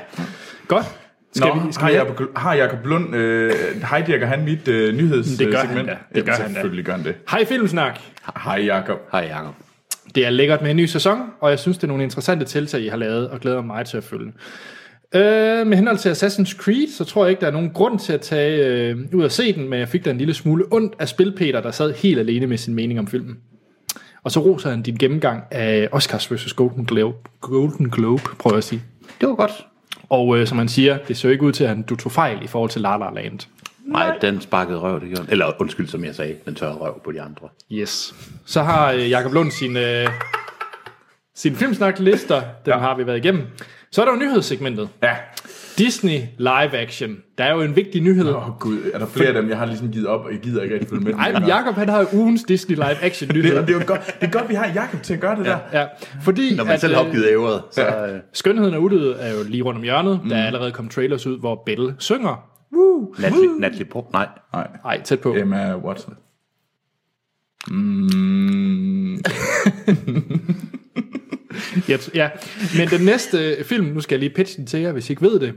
Speaker 1: Godt. Skal
Speaker 2: Nå,
Speaker 1: vi- skal
Speaker 2: har,
Speaker 1: vi-
Speaker 2: Jacob, har Jacob Lund, øh, hijacker han mit øh, nyhedssegment?
Speaker 1: Det gør han da. Det
Speaker 2: Jamen,
Speaker 1: gør han da.
Speaker 2: Selvfølgelig gør han det.
Speaker 1: Hej Filmsnak!
Speaker 2: Hej Jacob.
Speaker 3: Hej Jacob.
Speaker 1: Det er lækkert med en ny sæson, og jeg synes, det er nogle interessante tiltag, I har lavet, og glæder mig til at følge. Øh, med henhold til Assassin's Creed, så tror jeg ikke, der er nogen grund til at tage øh, ud og se den, men jeg fik da en lille smule ondt af spilpeter, der sad helt alene med sin mening om filmen. Og så roser han din gennemgang af Oscars vs. Golden Globe, Golden Globe prøver jeg at sige.
Speaker 3: Det var godt.
Speaker 1: Og øh, som han siger, det ser ikke ud til, at han, du tog fejl i forhold til La La Land.
Speaker 3: Nej, den sparkede røv, det gjorde den. Eller undskyld, som jeg sagde, den tørrede røv på de andre.
Speaker 1: Yes. Så har øh, Jakob Lund sin, øh, sin filmsnak-lister. Dem ja. har vi været igennem. Så er der jo nyhedssegmentet.
Speaker 2: Ja.
Speaker 1: Disney live action. Der er jo en vigtig nyhed.
Speaker 2: Åh oh, gud, er der flere af dem, jeg har ligesom givet op, og jeg gider ikke rigtig følge med.
Speaker 1: Ej, men Jakob han har jo ugens Disney live action
Speaker 2: det, og
Speaker 1: nyhed.
Speaker 2: det, er jo godt, det er godt, vi har Jacob til at gøre det ja. der.
Speaker 1: Ja, fordi
Speaker 3: Når man selv har
Speaker 1: øh,
Speaker 3: opgivet ævret, så... Øh,
Speaker 1: Skønheden og Udød er jo lige rundt om hjørnet. Mm. Der er allerede kommet trailers ud, hvor Belle synger.
Speaker 3: Natalie, Natalie Port, nej.
Speaker 2: Nej,
Speaker 1: Ej, tæt på.
Speaker 2: Emma Watson. Mm,
Speaker 1: Yep. Ja. Men den næste øh, film, nu skal jeg lige pitche den til jer, hvis I ikke ved det.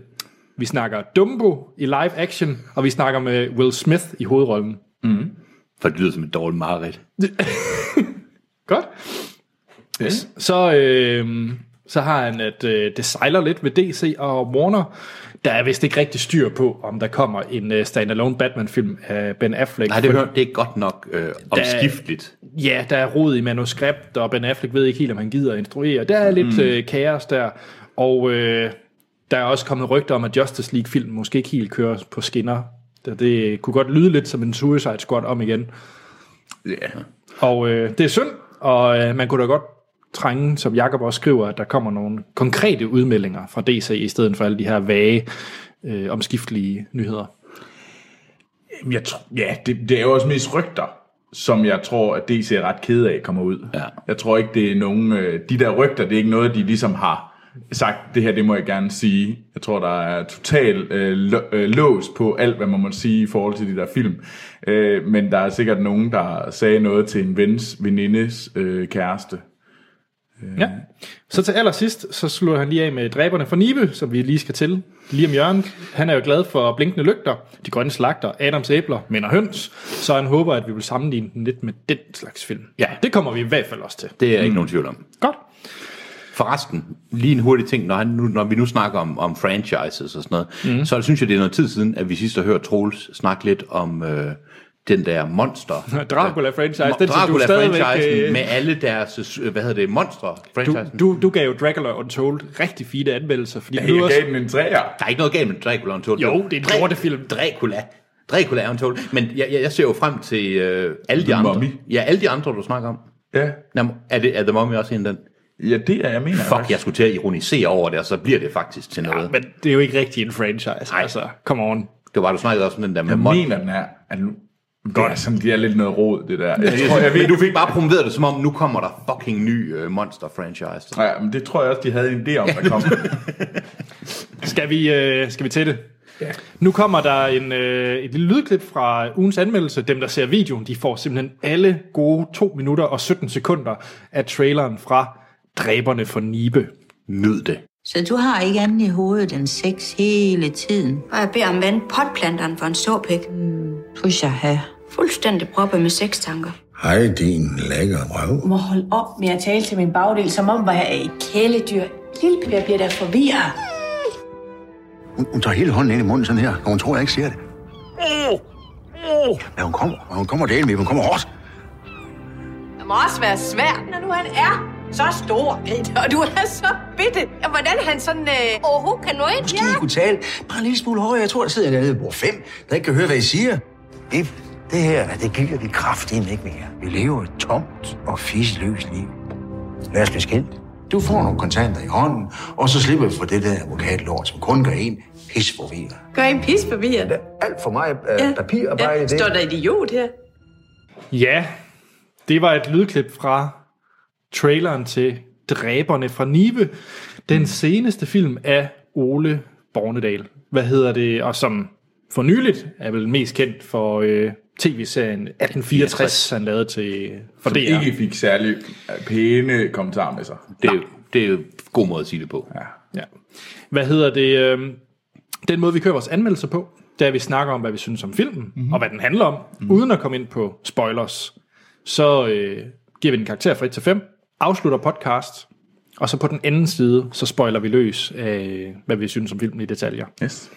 Speaker 1: Vi snakker Dumbo i live action, og vi snakker med Will Smith i hovedrollen.
Speaker 3: For det lyder som et dårligt mareridt.
Speaker 1: Godt. Yes. Så, øh, så har han, at øh, det sejler lidt ved DC og Warner. Der er vist ikke rigtig styr på, om der kommer en øh, standalone Batman-film af Ben Affleck.
Speaker 3: Nej, det, hører- det er godt nok øh, omskifteligt.
Speaker 1: Ja, der er rod i manuskript, og Ben Affleck ved ikke helt, om han gider at instruere. Der er lidt mm. øh, kaos der, og øh, der er også kommet rygter om, at Justice League-film måske ikke helt kører på skinner. Det, det kunne godt lyde lidt som en Suicide Squad om igen.
Speaker 3: Yeah.
Speaker 1: Og øh, det er synd, og øh, man kunne da godt trænge, som Jakob også skriver, at der kommer nogle konkrete udmeldinger fra DC, i stedet for alle de her vage, øh, omskiftelige nyheder.
Speaker 2: Jamen, jeg tror, ja, det, det er jo også mest rygter, som jeg tror, at DC er ret ked af kommer ud.
Speaker 3: Ja.
Speaker 2: Jeg tror ikke, det er nogen... øh, De der rygter, det er ikke noget, de ligesom har sagt, det her, det må jeg gerne sige. Jeg tror, der er total øh, lo- øh, lås på alt, hvad man må sige i forhold til de der film. Øh, men der er sikkert nogen, der sagde noget til en vens, venindes øh, kæreste.
Speaker 1: Ja. Øhm, Så til allersidst, så slutter han lige af med dræberne fra Nibe, som vi lige skal til. Lige om hjørnet. Han er jo glad for blinkende lygter, de grønne slagter, Adams æbler, mænd og høns. Så han håber, at vi vil sammenligne den lidt med den slags film.
Speaker 3: Ja.
Speaker 1: Det kommer vi i hvert fald også til.
Speaker 3: Det er jeg ikke nogen tvivl om.
Speaker 1: Godt.
Speaker 3: Forresten, lige en hurtig ting, når, han nu, når vi nu snakker om, om franchises og sådan noget,
Speaker 1: Mhm.
Speaker 3: mm. så synes jeg, det er noget tid siden, at vi sidst har hørt Troels snakke lidt om øh, den der monster.
Speaker 1: Dracula-franchise, den som du stadigvæk...
Speaker 3: Dracula-franchisen
Speaker 1: øh,
Speaker 3: med alle deres, øh, hvad hedder det,
Speaker 1: Du,
Speaker 3: monster-franchisen.
Speaker 1: du, du gav jo Dracula Untold rigtig fine anmeldelser, fordi
Speaker 2: Jeg
Speaker 1: du også...
Speaker 2: gav den en træer.
Speaker 3: Der er ikke noget galt med Dracula Untold.
Speaker 1: Jo, det er en
Speaker 3: Dra-
Speaker 1: lortefilm.
Speaker 3: Dracula. Dracula er Untold. Men jeg, jeg, jeg ser jo frem til øh, alle de
Speaker 2: The
Speaker 3: andre.
Speaker 2: Mummy.
Speaker 3: Ja, alle de andre, du snakker om.
Speaker 2: Ja.
Speaker 3: Jamen, er, det, er The Mummy også en af den?
Speaker 2: ja, det er jeg mener.
Speaker 3: Fuck, jeg skulle til at ironisere over det, og så bliver det faktisk til noget.
Speaker 1: Men det er jo ikke rigtig en franchise.
Speaker 3: Nej.
Speaker 1: Altså, come on.
Speaker 3: Det var, du snakkede også om den der med
Speaker 2: Jeg
Speaker 3: mon-
Speaker 2: mener, den er... er nu, Godt. Det er sådan, de er lidt noget rod, det der. Jeg
Speaker 3: Jeg
Speaker 2: tror, jeg ved,
Speaker 3: men du fik bare promoveret det, som om nu kommer der fucking ny øh, monster-franchise.
Speaker 2: Ja, men det tror jeg også, de havde en idé om, der kom.
Speaker 1: Skal vi, øh, skal vi til det? Ja. Nu kommer der en, øh, et lille lydklip fra ugens anmeldelse. Dem, der ser videoen, de får simpelthen alle gode 2 minutter og 17 sekunder af traileren fra Dræberne for Nibe.
Speaker 3: Nyd det.
Speaker 4: Så du har ikke andet i hovedet end sex hele tiden?
Speaker 5: Og jeg beder om vand potplanteren for en såpæk.
Speaker 4: Push jeg have.
Speaker 5: Fuldstændig proppet med sextanker.
Speaker 6: Hej, din lækker røv.
Speaker 7: må holde op med at tale til min bagdel, som om var jeg er et kæledyr. Lille Per bliver da forvirret.
Speaker 6: Hun, hun tager hele hånden ind i munden sådan her, og hun tror, jeg ikke ser det. Men hun kommer, og hun kommer delen med, hun kommer hårdt.
Speaker 7: Det må også være svært, når nu han er så stor, Peter, og du er så bitte. Og Hvordan han sådan øh, overhovedet kan nå ind?
Speaker 6: Måske I kunne tale bare en lille smule højere. Jeg tror, der sidder en nede på fem, der ikke kan høre, hvad I siger. Det, det her, det giver vi kraftigt ikke mere. Vi lever et tomt og fisløst liv. Lad os blive skilt. Du får nogle kontanter i hånden, og så slipper vi for det der advokatlort, som kun gør en pis forvirret.
Speaker 7: Gør en pis forvirret.
Speaker 6: Der er alt for meget øh, papirarbejde. i det.
Speaker 7: Står der idiot her?
Speaker 1: Ja, det var et lydklip fra traileren til Dræberne fra Nibe. Den seneste film af Ole Bornedal. Hvad hedder det? Og som for nyligt er vel mest kendt for øh, tv-serien 1864, han lavede til for DR.
Speaker 2: ikke fik særlig øh, pæne kommentarer med sig.
Speaker 3: Det er, jo, det er jo en god måde at sige det på.
Speaker 1: Ja. Hvad hedder det? øhm, den måde, vi kører vores anmeldelser på, det er, at vi snakker om, hvad vi synes om filmen, mm-hmm. og hvad den handler om, mm-hmm. uden at komme ind på spoilers. Så øh, giver vi den karakter fra 1 til 5, afslutter podcast, og så på den anden side, så spoiler vi løs af, hvad vi synes om filmen i detaljer.
Speaker 2: Yes.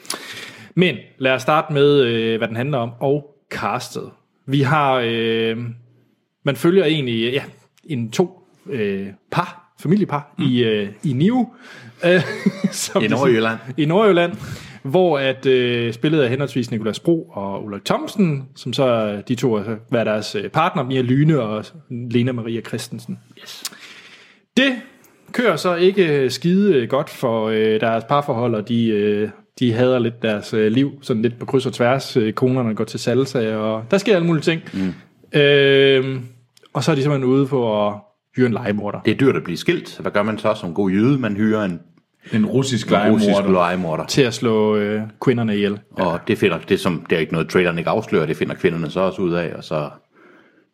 Speaker 1: Men lad os starte med, øh, hvad den handler om, og castet. Vi har, øh, man følger egentlig ja, en to øh, par, familiepar, mm. i, øh, i Niu. Øh, som
Speaker 3: I
Speaker 1: ligesom-
Speaker 3: Nordjylland.
Speaker 1: I Nordjylland, hvor at øh, spillet af henholdsvis Nikolas Bro og Ulrik Thomsen, som så øh, de to altså, hvad er deres øh, partner, Mia Lyne og Lena Maria Christensen. Yes. Det kører så ikke øh, skide øh, godt for øh, deres parforhold, og de, øh, de hader lidt deres øh, liv, sådan lidt på kryds og tværs. Øh, konerne går til salsa, og der sker alle mulige ting. Mm. Øh, og så er de simpelthen ude på at hyre en legemorder.
Speaker 3: Det er dyrt at blive skilt. Hvad gør man så som god jøde? Man hyrer en
Speaker 2: En russisk
Speaker 3: russisk
Speaker 2: lejemorder.
Speaker 3: legemorder.
Speaker 1: til at slå øh, kvinderne ihjel.
Speaker 3: Og det finder det, som det er ikke noget, traileren ikke afslører, det finder kvinderne så også ud af, og så,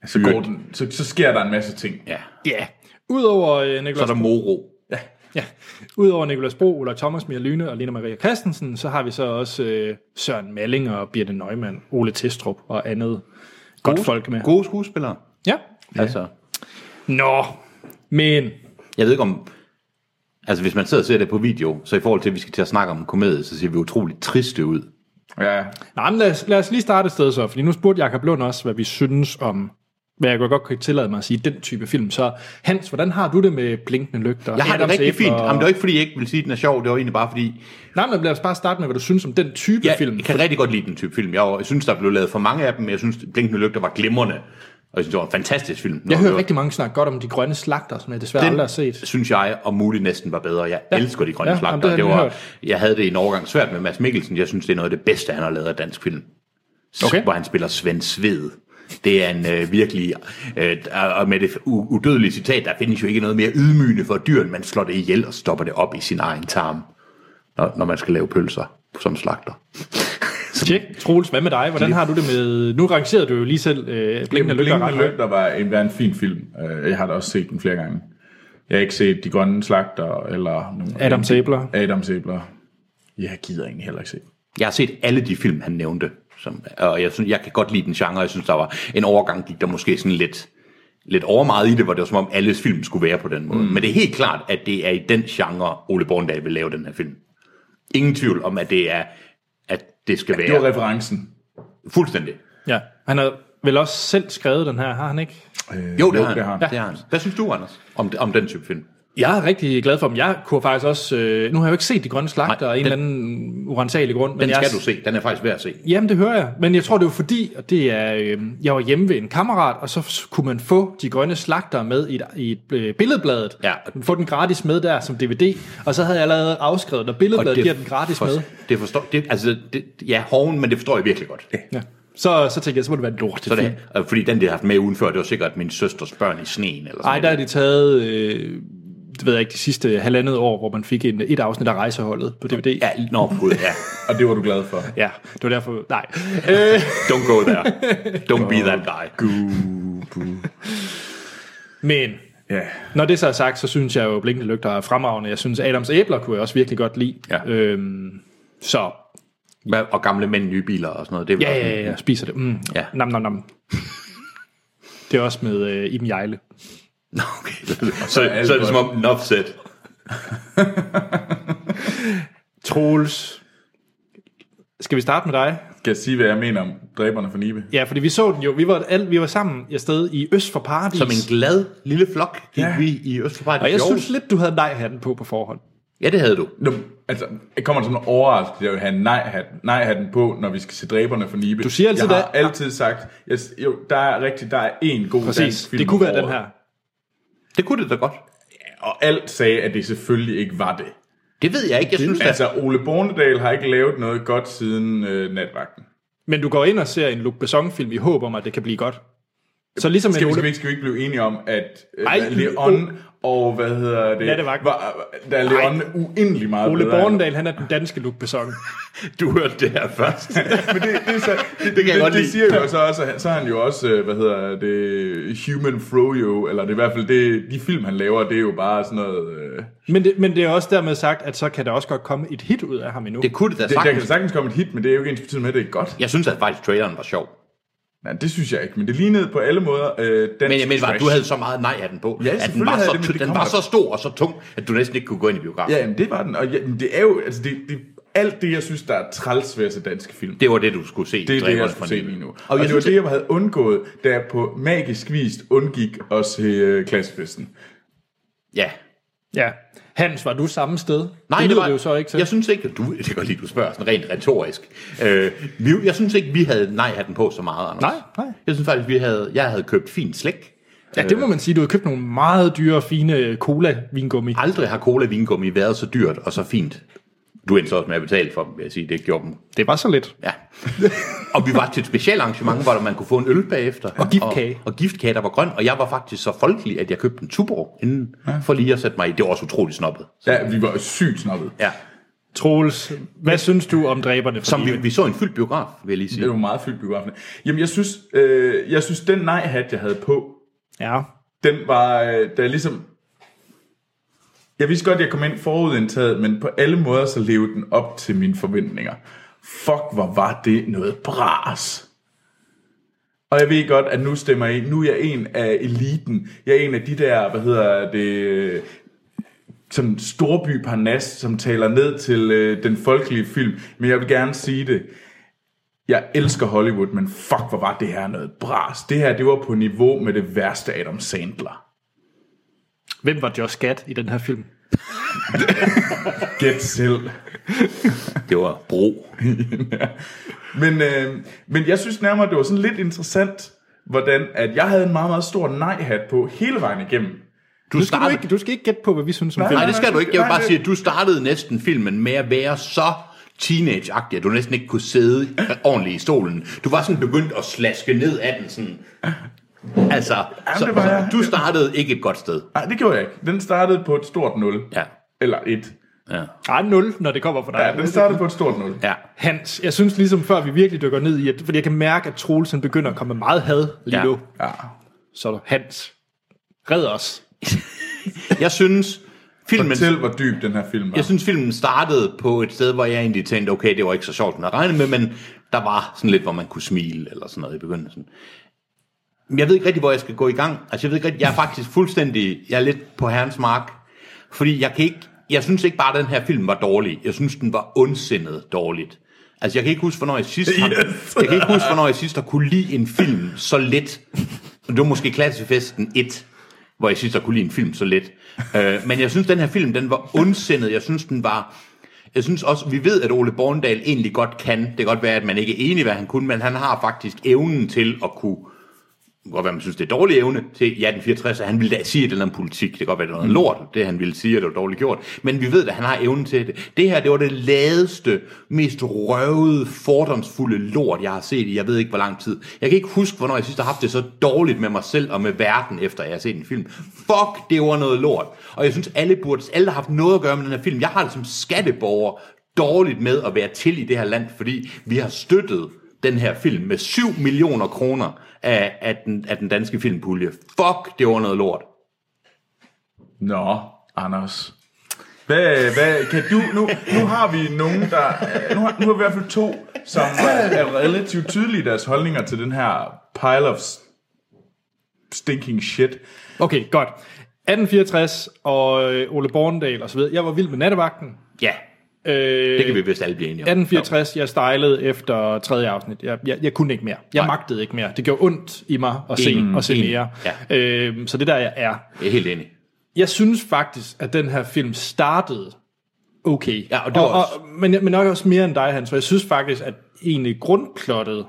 Speaker 2: Så, går den, så, så sker der en masse ting.
Speaker 3: ja.
Speaker 1: Ja. Udover øh, Nicolas
Speaker 3: så er der Moro.
Speaker 1: Ja. Udover Nikolas Bro, Ulla Thomas, Mia Lyne og Lena Maria Christensen, så har vi så også øh, Søren Malling og Birte Neumann, Ole Testrup og andet godt folk med.
Speaker 3: Gode skuespillere.
Speaker 1: Ja.
Speaker 3: Ja. Altså,
Speaker 1: Nå, men
Speaker 3: jeg ved ikke om... Altså, hvis man sidder og ser det på video, så i forhold til, at vi skal til at snakke om en komedie, så ser vi utroligt triste ud.
Speaker 2: Ja.
Speaker 1: Nej, men lad, os, lad os lige starte et sted så, fordi nu spurgte Jakob Lund også, hvad vi synes om, hvad jeg godt kunne tillade mig at sige, den type film. Så Hans, hvordan har du det med blinkende lygter?
Speaker 3: Jeg har det
Speaker 1: Adams
Speaker 3: rigtig
Speaker 1: æbler?
Speaker 3: fint. Jamen, det var ikke, fordi jeg ikke ville sige, at den er sjov. Det var egentlig bare, fordi
Speaker 1: Nej, men lad os bare starte med, hvad du synes om den type
Speaker 3: jeg
Speaker 1: film.
Speaker 3: film. kan rigtig godt lide den type film. Jeg, var- jeg synes, der blev lavet for mange af dem, men jeg synes, Blinkende Lygter var glimrende. Og jeg synes, det var en fantastisk film.
Speaker 1: Jeg
Speaker 3: Når
Speaker 1: hører
Speaker 3: det var-
Speaker 1: rigtig mange snakke godt om de grønne slagter, som jeg desværre
Speaker 3: Den
Speaker 1: aldrig har set.
Speaker 3: synes jeg, og muligt næsten var bedre. Jeg ja. elsker de grønne
Speaker 1: Ja,
Speaker 3: ja,
Speaker 1: jamen, det
Speaker 3: slagter.
Speaker 1: har
Speaker 3: Det
Speaker 1: jeg
Speaker 3: var,
Speaker 1: hørt.
Speaker 3: jeg havde det i en overgang svært med Mads Mikkelsen. Jeg synes, det er noget af det bedste, han har lavet af dansk film. S-
Speaker 1: Okay.
Speaker 3: Hvor han spiller Svend Sved. Det er en øh, virkelig... Øh, og med det u- udødelige citat, der findes jo ikke noget mere ydmygende for dyr, end man slår det ihjel og stopper det op i sin egen tarm, når, når man skal lave pølser som slagter.
Speaker 1: Tjek, Troels, hvad med dig? Hvordan har du det med... Nu rangerede du jo lige selv øh, Blinkende Lykker ret
Speaker 2: Blinkende
Speaker 1: højt.
Speaker 2: Lygter var en, var en fin film. Øh, Jeg har da også set den flere gange. Jeg har ikke set De Grønne Slagter, eller...
Speaker 1: Adam Sabler.
Speaker 2: Adam Sæbler. Jeg gider egentlig heller ikke se.
Speaker 3: Jeg har set alle de film, han nævnte. Som, og jeg, synes, jeg kan godt lide den genre. Jeg synes, der var en overgang, gik der måske sådan lidt, lidt over meget i det, hvor det var som om, alles film skulle være på den måde. Mm. Men det er helt klart, at det er i den genre, Ole Borndal vil lave den her film. Ingen tvivl om, at det er at det skal
Speaker 2: Det var
Speaker 3: være
Speaker 2: referencen.
Speaker 3: fuldstændig.
Speaker 1: Ja, han har vel også selv skrevet den her, har han ikke?
Speaker 3: Jo, det har han.
Speaker 2: det har han.
Speaker 3: Det har han. Hvad synes du, Anders, om, om den type film?
Speaker 1: Jeg er rigtig glad for dem. Jeg kunne faktisk også... Øh, nu har jeg jo ikke set De Grønne Slagter
Speaker 3: Nej,
Speaker 1: af en eller
Speaker 3: den-
Speaker 1: anden urensagelig grund. Men
Speaker 3: Den
Speaker 1: jeg,
Speaker 3: skal du se. Den er faktisk værd at se.
Speaker 1: Jamen, det hører jeg. Men jeg tror, det var fordi, og det er, øh, jeg var hjemme ved en kammerat, og så s- kunne man få De Grønne Slagter med i et, i et øh, billedbladet.
Speaker 3: Ja.
Speaker 1: Få den gratis med der som DVD. Og så havde jeg allerede afskrevet, når billedbladet giver den gratis
Speaker 3: for,
Speaker 1: med.
Speaker 3: Det forstår, det, altså, det, ja, hoven, men det forstår jeg virkelig godt.
Speaker 1: Ja. Så, så tænkte jeg, så må det være en lort.
Speaker 3: Så det, og fordi den, de har haft med ugen før, det var sikkert min søsters børn i sneen. Eller sådan
Speaker 1: Ej, der er de taget, øh, det ved jeg ikke, de sidste halvandet år, hvor man fik en, et afsnit af rejseholdet på DVD.
Speaker 3: Ja, nå, gud, ja.
Speaker 2: Og det var du glad for.
Speaker 1: ja det var derfor, nej. Øh,
Speaker 3: Don't go there. Don't be that guy.
Speaker 1: men
Speaker 2: Ja.
Speaker 1: når det så er sagt, så synes jeg jo, Blinkende Lygter er fremragende. Jeg synes, Adams æbler kunne jeg også virkelig godt lide.
Speaker 3: Ja.
Speaker 1: Øhm, så
Speaker 3: Hvad- Og gamle mænd, nye biler og sådan noget. Det er vel
Speaker 1: ja,
Speaker 3: også-
Speaker 1: ja, ja, jeg spiser det. Mm.
Speaker 3: Ja.
Speaker 1: Nam, nam, nam. Det er også med øh, Iben Jejle.
Speaker 3: Nå, okay. Så, så er det som om, enough said.
Speaker 1: Troels, skal vi starte med dig?
Speaker 2: Skal jeg sige, hvad jeg mener om dræberne for Nibe?
Speaker 1: Ja, fordi vi så den jo. Vi var, alt, vi var sammen et sted i Øst for Paradis.
Speaker 3: Som en glad lille flok gik
Speaker 2: Ja.
Speaker 3: ja. vi i Østerpejl.
Speaker 1: og jeg synes lidt, du havde nej-hatten på på forhånd.
Speaker 3: Ja, det havde du.
Speaker 2: Nå, altså, jeg kommer som en overraskelse, jeg vil have nej-hatten nej -hatten på, når vi skal se dræberne for Nibe.
Speaker 1: Du siger altid
Speaker 2: Jeg har
Speaker 1: det.
Speaker 2: altid sagt, jeg, s- jo, der er rigtigt, der er en god
Speaker 1: Præcis,
Speaker 2: dansk film
Speaker 1: det kunne
Speaker 2: om
Speaker 1: være den
Speaker 2: året.
Speaker 1: her.
Speaker 3: Det kunne det da godt.
Speaker 2: Og alt sagde, at det selvfølgelig ikke var det.
Speaker 3: Det ved jeg ikke. Jeg synes, at
Speaker 2: Altså, Ole Bornedal har ikke lavet noget godt siden øh, natvagten.
Speaker 1: Men du går ind og ser en Luc Besson-film i håb om, at det kan blive godt. Så ligesom
Speaker 2: Skal
Speaker 1: en
Speaker 2: vi, skal, vi
Speaker 1: Ole...
Speaker 2: ikke, skal vi ikke blive enige om, at øh,
Speaker 1: Ej,
Speaker 2: Ej, Leon og hvad hedder det,
Speaker 1: Lad det vagt.
Speaker 2: var, der er Leon uendelig meget
Speaker 1: Ole
Speaker 2: bedre end-
Speaker 1: Bornedal, han er den danske Luke Besson.
Speaker 3: Du hørte altså- det her først.
Speaker 2: Men det, det, er så, det, det,
Speaker 3: jeg
Speaker 2: det,
Speaker 3: godt
Speaker 2: det
Speaker 3: lide.
Speaker 2: siger jo så også, at han- så er han jo også, øh, hvad hedder det, Human Froyo, eller det er i hvert fald det, de film, han laver, det er jo bare sådan noget... Øh,
Speaker 1: Men det, men det er også dermed sagt, at så kan der også godt komme et hit ud af ham endnu.
Speaker 3: Det kunne det da
Speaker 2: det, der kan
Speaker 3: sagtens.
Speaker 2: sagtens komme et hit, men det er jo ikke ens betydende med, at det er godt.
Speaker 3: Jeg synes, at faktisk traileren var sjov.
Speaker 2: Nej, det synes jeg ikke, men det lignede på alle måder øh, dansk
Speaker 3: Men jeg mener bare,
Speaker 2: trash.
Speaker 3: du havde så meget nej af den på,
Speaker 2: Ja,
Speaker 3: at den
Speaker 2: selvfølgelig
Speaker 3: var,
Speaker 2: havde
Speaker 3: så,
Speaker 2: jeg det, men det
Speaker 3: den
Speaker 2: kommer
Speaker 3: var
Speaker 2: jo-
Speaker 3: så stor og så tung, at du næsten ikke kunne gå ind i biografen.
Speaker 2: Ja, jamen, det var den, og ja, men det er jo, altså det, det, alt det, jeg synes, der er træls ved at se danske film.
Speaker 3: Det var det, du skulle se.
Speaker 2: Det er det, jeg
Speaker 3: traileren
Speaker 2: skulle
Speaker 3: fra
Speaker 2: se
Speaker 3: Nibe.
Speaker 2: lige nu. Og,
Speaker 3: Og, jeg
Speaker 2: det var
Speaker 3: synes,
Speaker 2: det, jeg havde undgået, da jeg på magisk vis undgik at se øh, klassefesten.
Speaker 3: Ja.
Speaker 1: Ja. Hans, var du samme sted?
Speaker 3: Nej,
Speaker 1: det,
Speaker 3: det,
Speaker 1: lyder
Speaker 3: var,
Speaker 1: det jo så ikke til.
Speaker 3: Jeg synes ikke, at du, det kan godt lide, du spørger sådan rent retorisk. Øh, vi, jeg synes ikke, vi havde nej-hatten på så meget, Anders.
Speaker 1: Nej, nej.
Speaker 3: Jeg synes faktisk, vi havde, jeg havde købt fint slik.
Speaker 1: Ja, det må man sige. Du har købt nogle meget dyre, fine øh, cola-vingummi.
Speaker 3: Aldrig har cola vingummi været så dyrt og så fint. Du endte så også med at betale for dem, vil jeg sige. Det gjorde dem.
Speaker 1: Det var så lidt.
Speaker 3: Ja. og vi var til et specielt arrangement, hvor man kunne få en øl bagefter. Og
Speaker 1: giftkage.
Speaker 3: Og, og giftkage, der var grøn. Og jeg var faktisk så folkelig, at jeg købte en tuborg inden, ja. for lige at sætte mig i. Det var også utroligt snobbet.
Speaker 2: Ja, vi var sygt snobbet.
Speaker 3: Ja.
Speaker 1: Troels, hvad synes du om dræberne?
Speaker 3: Som vi, vi så en fyldt biograf, vil jeg lige sige.
Speaker 2: Det var meget fyldt biografen. Jamen, jeg synes, øh, jeg synes den nej-hat, jeg havde på,
Speaker 1: Ja.
Speaker 2: den var, øh, der ligesom... Jeg vidste godt, jeg kom ind forudindtaget, men på alle måder så levede den op til mine forventninger. Fuck, hvor var det noget bras. Og jeg ved godt, at nu stemmer jeg Nu er jeg en af eliten. Jeg er en af de der, hvad hedder det, øh, sådan storby parnas, som taler ned til øh, den folkelige film. Men jeg vil gerne sige det. Jeg elsker Hollywood, men fuck, hvor var det her noget bras. Det her, det var på niveau med det værste Adam Sandler.
Speaker 1: Hvem var Josh Gad i den her film?
Speaker 2: Gæt selv.
Speaker 3: Det var bro.
Speaker 2: Men, øh, men jeg synes nærmere, det var sådan lidt interessant, hvordan at jeg havde en meget, meget stor nej-hat på hele vejen igennem.
Speaker 1: Du skal, du,
Speaker 3: startede-
Speaker 1: ikke, du skal ikke gætte på, hvad vi synes om
Speaker 2: Nej,
Speaker 1: filmen.
Speaker 3: Nej, det skal du ikke. Jeg vil
Speaker 2: Nej,
Speaker 3: bare
Speaker 2: det-
Speaker 3: sige, at du startede næsten filmen med at være så teenage at du næsten ikke kunne sidde ordentligt i stolen. Du var sådan begyndt at slaske ned af den sådan. Altså, så,
Speaker 2: det var
Speaker 3: så,
Speaker 2: jeg.
Speaker 3: du startede ikke et godt sted.
Speaker 2: Nej, det gjorde jeg ikke. Den startede på et stort 0.
Speaker 3: Ja.
Speaker 2: Eller et.
Speaker 3: Ja.
Speaker 1: Nej, nul, når det kommer fra dig.
Speaker 2: Ja, den startede på et stort 0.
Speaker 3: ja.
Speaker 1: Hans, jeg synes ligesom før, vi virkelig dykker ned i, at, fordi jeg kan mærke, at Troels han begynder at komme med meget had lige
Speaker 3: Ja.
Speaker 1: nu.
Speaker 2: Ja.
Speaker 1: Så er der Hans, red os.
Speaker 3: Jeg synes, filmen,
Speaker 2: Fortæl, hvor dyb den her film var.
Speaker 3: jeg synes, filmen startede på et sted, hvor jeg egentlig tænkte, okay, det var ikke så sjovt, som jeg regnede med, men der var sådan lidt, hvor man kunne smile eller sådan noget i begyndelsen. Men Jeg ved ikke rigtig, hvor jeg skal gå i gang. Altså, jeg ved ikke rigtig, jeg er faktisk fuldstændig, jeg er lidt på herrens mark. Fordi jeg kan ikke, jeg synes ikke bare, at den her film var dårlig. Jeg synes, den var ondsindet dårligt. Altså, jeg kan ikke huske, hvornår jeg sidst har, yes. jeg kan ikke huske, hvornår jeg sidst har kunne lide en film så let. Det var måske Klassefesten 1, hvor jeg sidst har kunne lide en film så let. Øh, men jeg synes, den her film, den var ondsindet. Jeg synes, den var... Jeg synes også, vi ved, at Ole Borndal egentlig godt kan. Det kan godt være, at man ikke er enig, i, hvad han kunne, men han har faktisk evnen til at kunne det kan godt være, man synes, det er dårlig evne til i 1864, at han ville da sige et eller andet politik. Det kan godt være, det var noget lort, det han ville sige, at det var dårligt gjort. Men vi ved, at han har evnen til det. Det her, det var det ladeste, mest røvede, fordomsfulde lort, jeg har set i, jeg ved ikke hvor lang tid. Jeg kan ikke huske, hvornår jeg sidst har haft det så dårligt med mig selv og med verden, efter jeg har set en film. Fuck, det var noget lort. Og jeg synes, alle burde, alle der har haft noget at gøre med den her film. Jeg har det som skatteborger dårligt med at være til i det her land, fordi vi har støttet den her film med 7 millioner kroner af, af, den, af den danske filmpulje. Fuck, det var noget lort.
Speaker 2: Nå, Anders. Hvad, hvad, kan du, nu, nu har vi nogen, der, øh, nu har, nu har vi i hvert fald to, som er- er relativt tydelige i deres holdninger til den her pile of s- stinking shit.
Speaker 1: Okay, godt. 1864 og øh, Ole Borndal og så videre. Jeg var vild med nattevagten.
Speaker 3: Ja,
Speaker 1: Øh,
Speaker 3: det kan vi vist alle blive enige om.
Speaker 1: 1864, jeg stejlede efter tredje afsnit. Jeg, jeg, jeg kunne ikke mere. Jeg
Speaker 3: Nej.
Speaker 1: magtede ikke mere. Det gjorde ondt i mig at se,
Speaker 3: Enig,
Speaker 1: og se
Speaker 3: enig.
Speaker 1: mere.
Speaker 3: Ja.
Speaker 1: Øhm, så det der, jeg er.
Speaker 3: Jeg er helt enig.
Speaker 1: Jeg synes faktisk, at den her film startede okay.
Speaker 3: Ja, og det var
Speaker 1: og,
Speaker 3: også-
Speaker 1: og, men, men nok også mere end dig, Hans. For jeg synes faktisk, at egentlig grundplottet,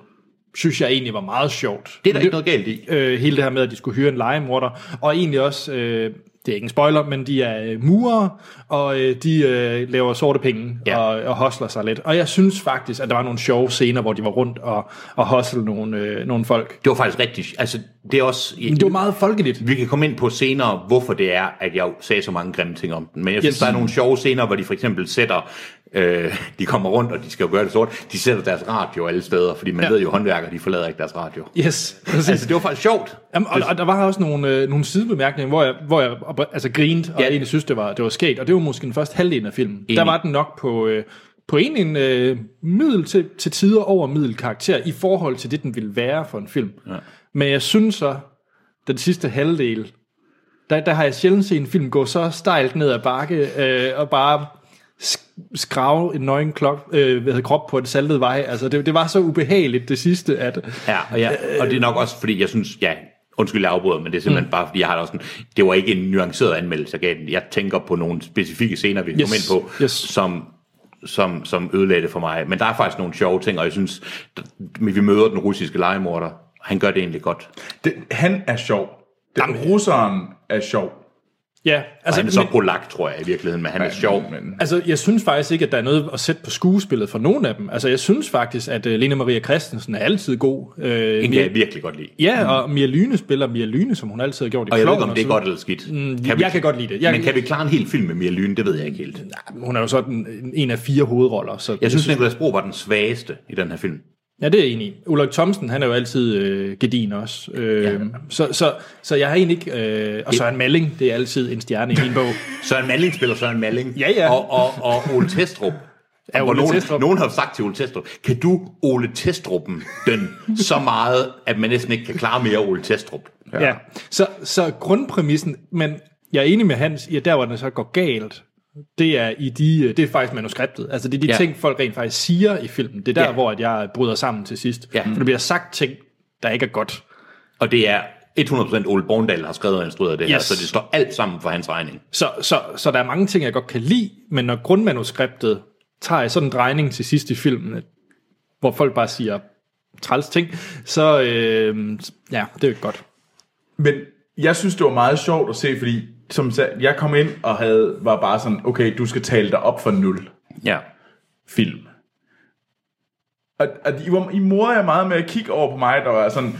Speaker 1: synes jeg egentlig var meget sjovt.
Speaker 3: Det er der ikke noget galt i.
Speaker 1: Øh, hele det her med, at de skulle hyre en legemorder, og egentlig også øh, det er ikke en spoiler, men de er øh, murer, og øh, de øh, laver sorte penge
Speaker 3: Ja.
Speaker 1: ja. og, og hostler sig lidt. Og jeg synes faktisk, at der var nogle sjove scener, hvor de var rundt og, og hostlede nogle, øh, nogle folk.
Speaker 3: Det var faktisk rigtig... Altså, det er også...
Speaker 1: Men det var meget folkeligt.
Speaker 3: Vi kan komme ind på senere, hvorfor det er, at jeg sagde så mange grimme ting om den. Men jeg synes,
Speaker 1: Yes.
Speaker 3: yes. der er nogle sjove scener, hvor de for eksempel sætter... Øh, de kommer rundt, og de skal jo gøre det sort. De sætter deres radio alle steder, fordi man
Speaker 1: Ja.
Speaker 3: ja. ved jo, håndværkere, de forlader ikke deres radio.
Speaker 1: Yes, præcis.
Speaker 3: Altså, det var faktisk sjovt.
Speaker 1: Jamen, og, og der var også nogle, øh, nogle sidebemærkninger, hvor jeg, hvor jeg op- altså, grinede, og
Speaker 3: Ja.
Speaker 1: ja. egentlig synes, det var, det var sket. Og det var måske den første halvdel af filmen.
Speaker 3: Enig.
Speaker 1: Der var den nok på, øh, på en, en øh, middel til, til tider over middel karakter, i forhold til det, den ville være for en film. Ja. Men jeg synes så, den sidste halvdel, der, der har jeg sjældent set en film gå så stejlt ned ad bakke, øh, og bare sk- skrave en nøgen klok, øh, hvad hedder, krop på en saltet vej. Altså, det, det var så ubehageligt det sidste, at...
Speaker 3: Ja, og, ja,
Speaker 1: Øh,
Speaker 3: og det er nok også, fordi jeg synes, ja, undskyld, jeg afbryder, men det er simpelthen mm. bare, fordi jeg har det også sådan, det var ikke en nuanceret anmeldelse, jeg gav den. Jeg tænker på nogle specifikke scener, vi yes. kom
Speaker 1: Yes,
Speaker 3: ind på,
Speaker 1: yes.
Speaker 3: som, som, som ødelagde det for mig. Men der er faktisk nogle sjove ting, og jeg synes, d- vi møder den russiske legemorder, han gør det egentlig godt.
Speaker 2: Det, han er sjov. Den russeren er sjov.
Speaker 1: Ja,
Speaker 3: Altså, han er så
Speaker 1: men-
Speaker 3: polak, tror jeg, i virkeligheden, men han er sjov.
Speaker 2: Men,
Speaker 1: Altså, jeg synes faktisk ikke, at der er noget at sætte på skuespillet for nogen af dem. Altså, jeg synes faktisk, at uh, Lena Maria Christensen er altid god. Uh,
Speaker 3: Den kan jeg
Speaker 1: Mia,
Speaker 3: virkelig godt lide.
Speaker 1: ja, og Mia Lyne spiller Mia Lyne, som hun altid har gjort i
Speaker 3: Mm. Og jeg ved ikke,
Speaker 1: Klovn
Speaker 3: om det er
Speaker 1: sådan.
Speaker 3: godt eller skidt. Mm,
Speaker 1: jeg kan godt lide det. Jeg-
Speaker 3: men kan vi klare en hel film med Mia Lyne? Det ved jeg ikke helt.
Speaker 1: Hun er jo sådan en af fire hovedroller. Så
Speaker 3: Jeg synes, Nicolas Bro var den svageste i den her film.
Speaker 1: Ja, det er jeg enig i. Ulrik Thomsen, han er jo altid øh, gedin også. Øh, ja. så, så, så jeg har egentlig ikke... Øh, og Søren Malling, det er altid en stjerne i min bog.
Speaker 3: Søren Malling spiller Søren Malling.
Speaker 1: Ja, ja.
Speaker 3: Og, og, og Ole Testrup.
Speaker 1: Ja,
Speaker 3: Hvor
Speaker 1: Ole
Speaker 3: nogen,
Speaker 1: Thestrup.
Speaker 3: nogen har sagt til Ole Testrup, kan du Ole Testruppen den så meget, at man næsten ikke kan klare mere Ole Testrup?
Speaker 1: Ja. ja. Så, så grundpræmissen, men jeg er enig med Hans i, at der, hvor den så går galt, det er, i de, øh, det er faktisk manuskriptet. Altså det er de
Speaker 3: Ja.
Speaker 1: ja. ting, folk rent faktisk siger i filmen. Det er der,
Speaker 3: Ja.
Speaker 1: ja. hvor at jeg bryder sammen til sidst.
Speaker 3: Ja.
Speaker 1: For der bliver sagt ting, der ikke er godt.
Speaker 3: Og det er 100% Ole Borndal, der har skrevet og instrueret det her,
Speaker 1: Yes.
Speaker 3: så det står alt sammen for hans regning.
Speaker 1: Så, så, så der er mange ting, jeg godt kan lide, men når grundmanuskriptet tager sådan en drejning til sidst i filmen, at- hvor folk bare siger træls ting, så øh, ja, det er jo ikke godt.
Speaker 2: men jeg synes, det var meget sjovt at se, fordi som sag, jeg kom ind og havde, var bare sådan, okay, du skal tale dig op for nul
Speaker 3: Ja.
Speaker 2: film. Og, og I, var- I morede jer meget med at kigge over på mig, der var sådan...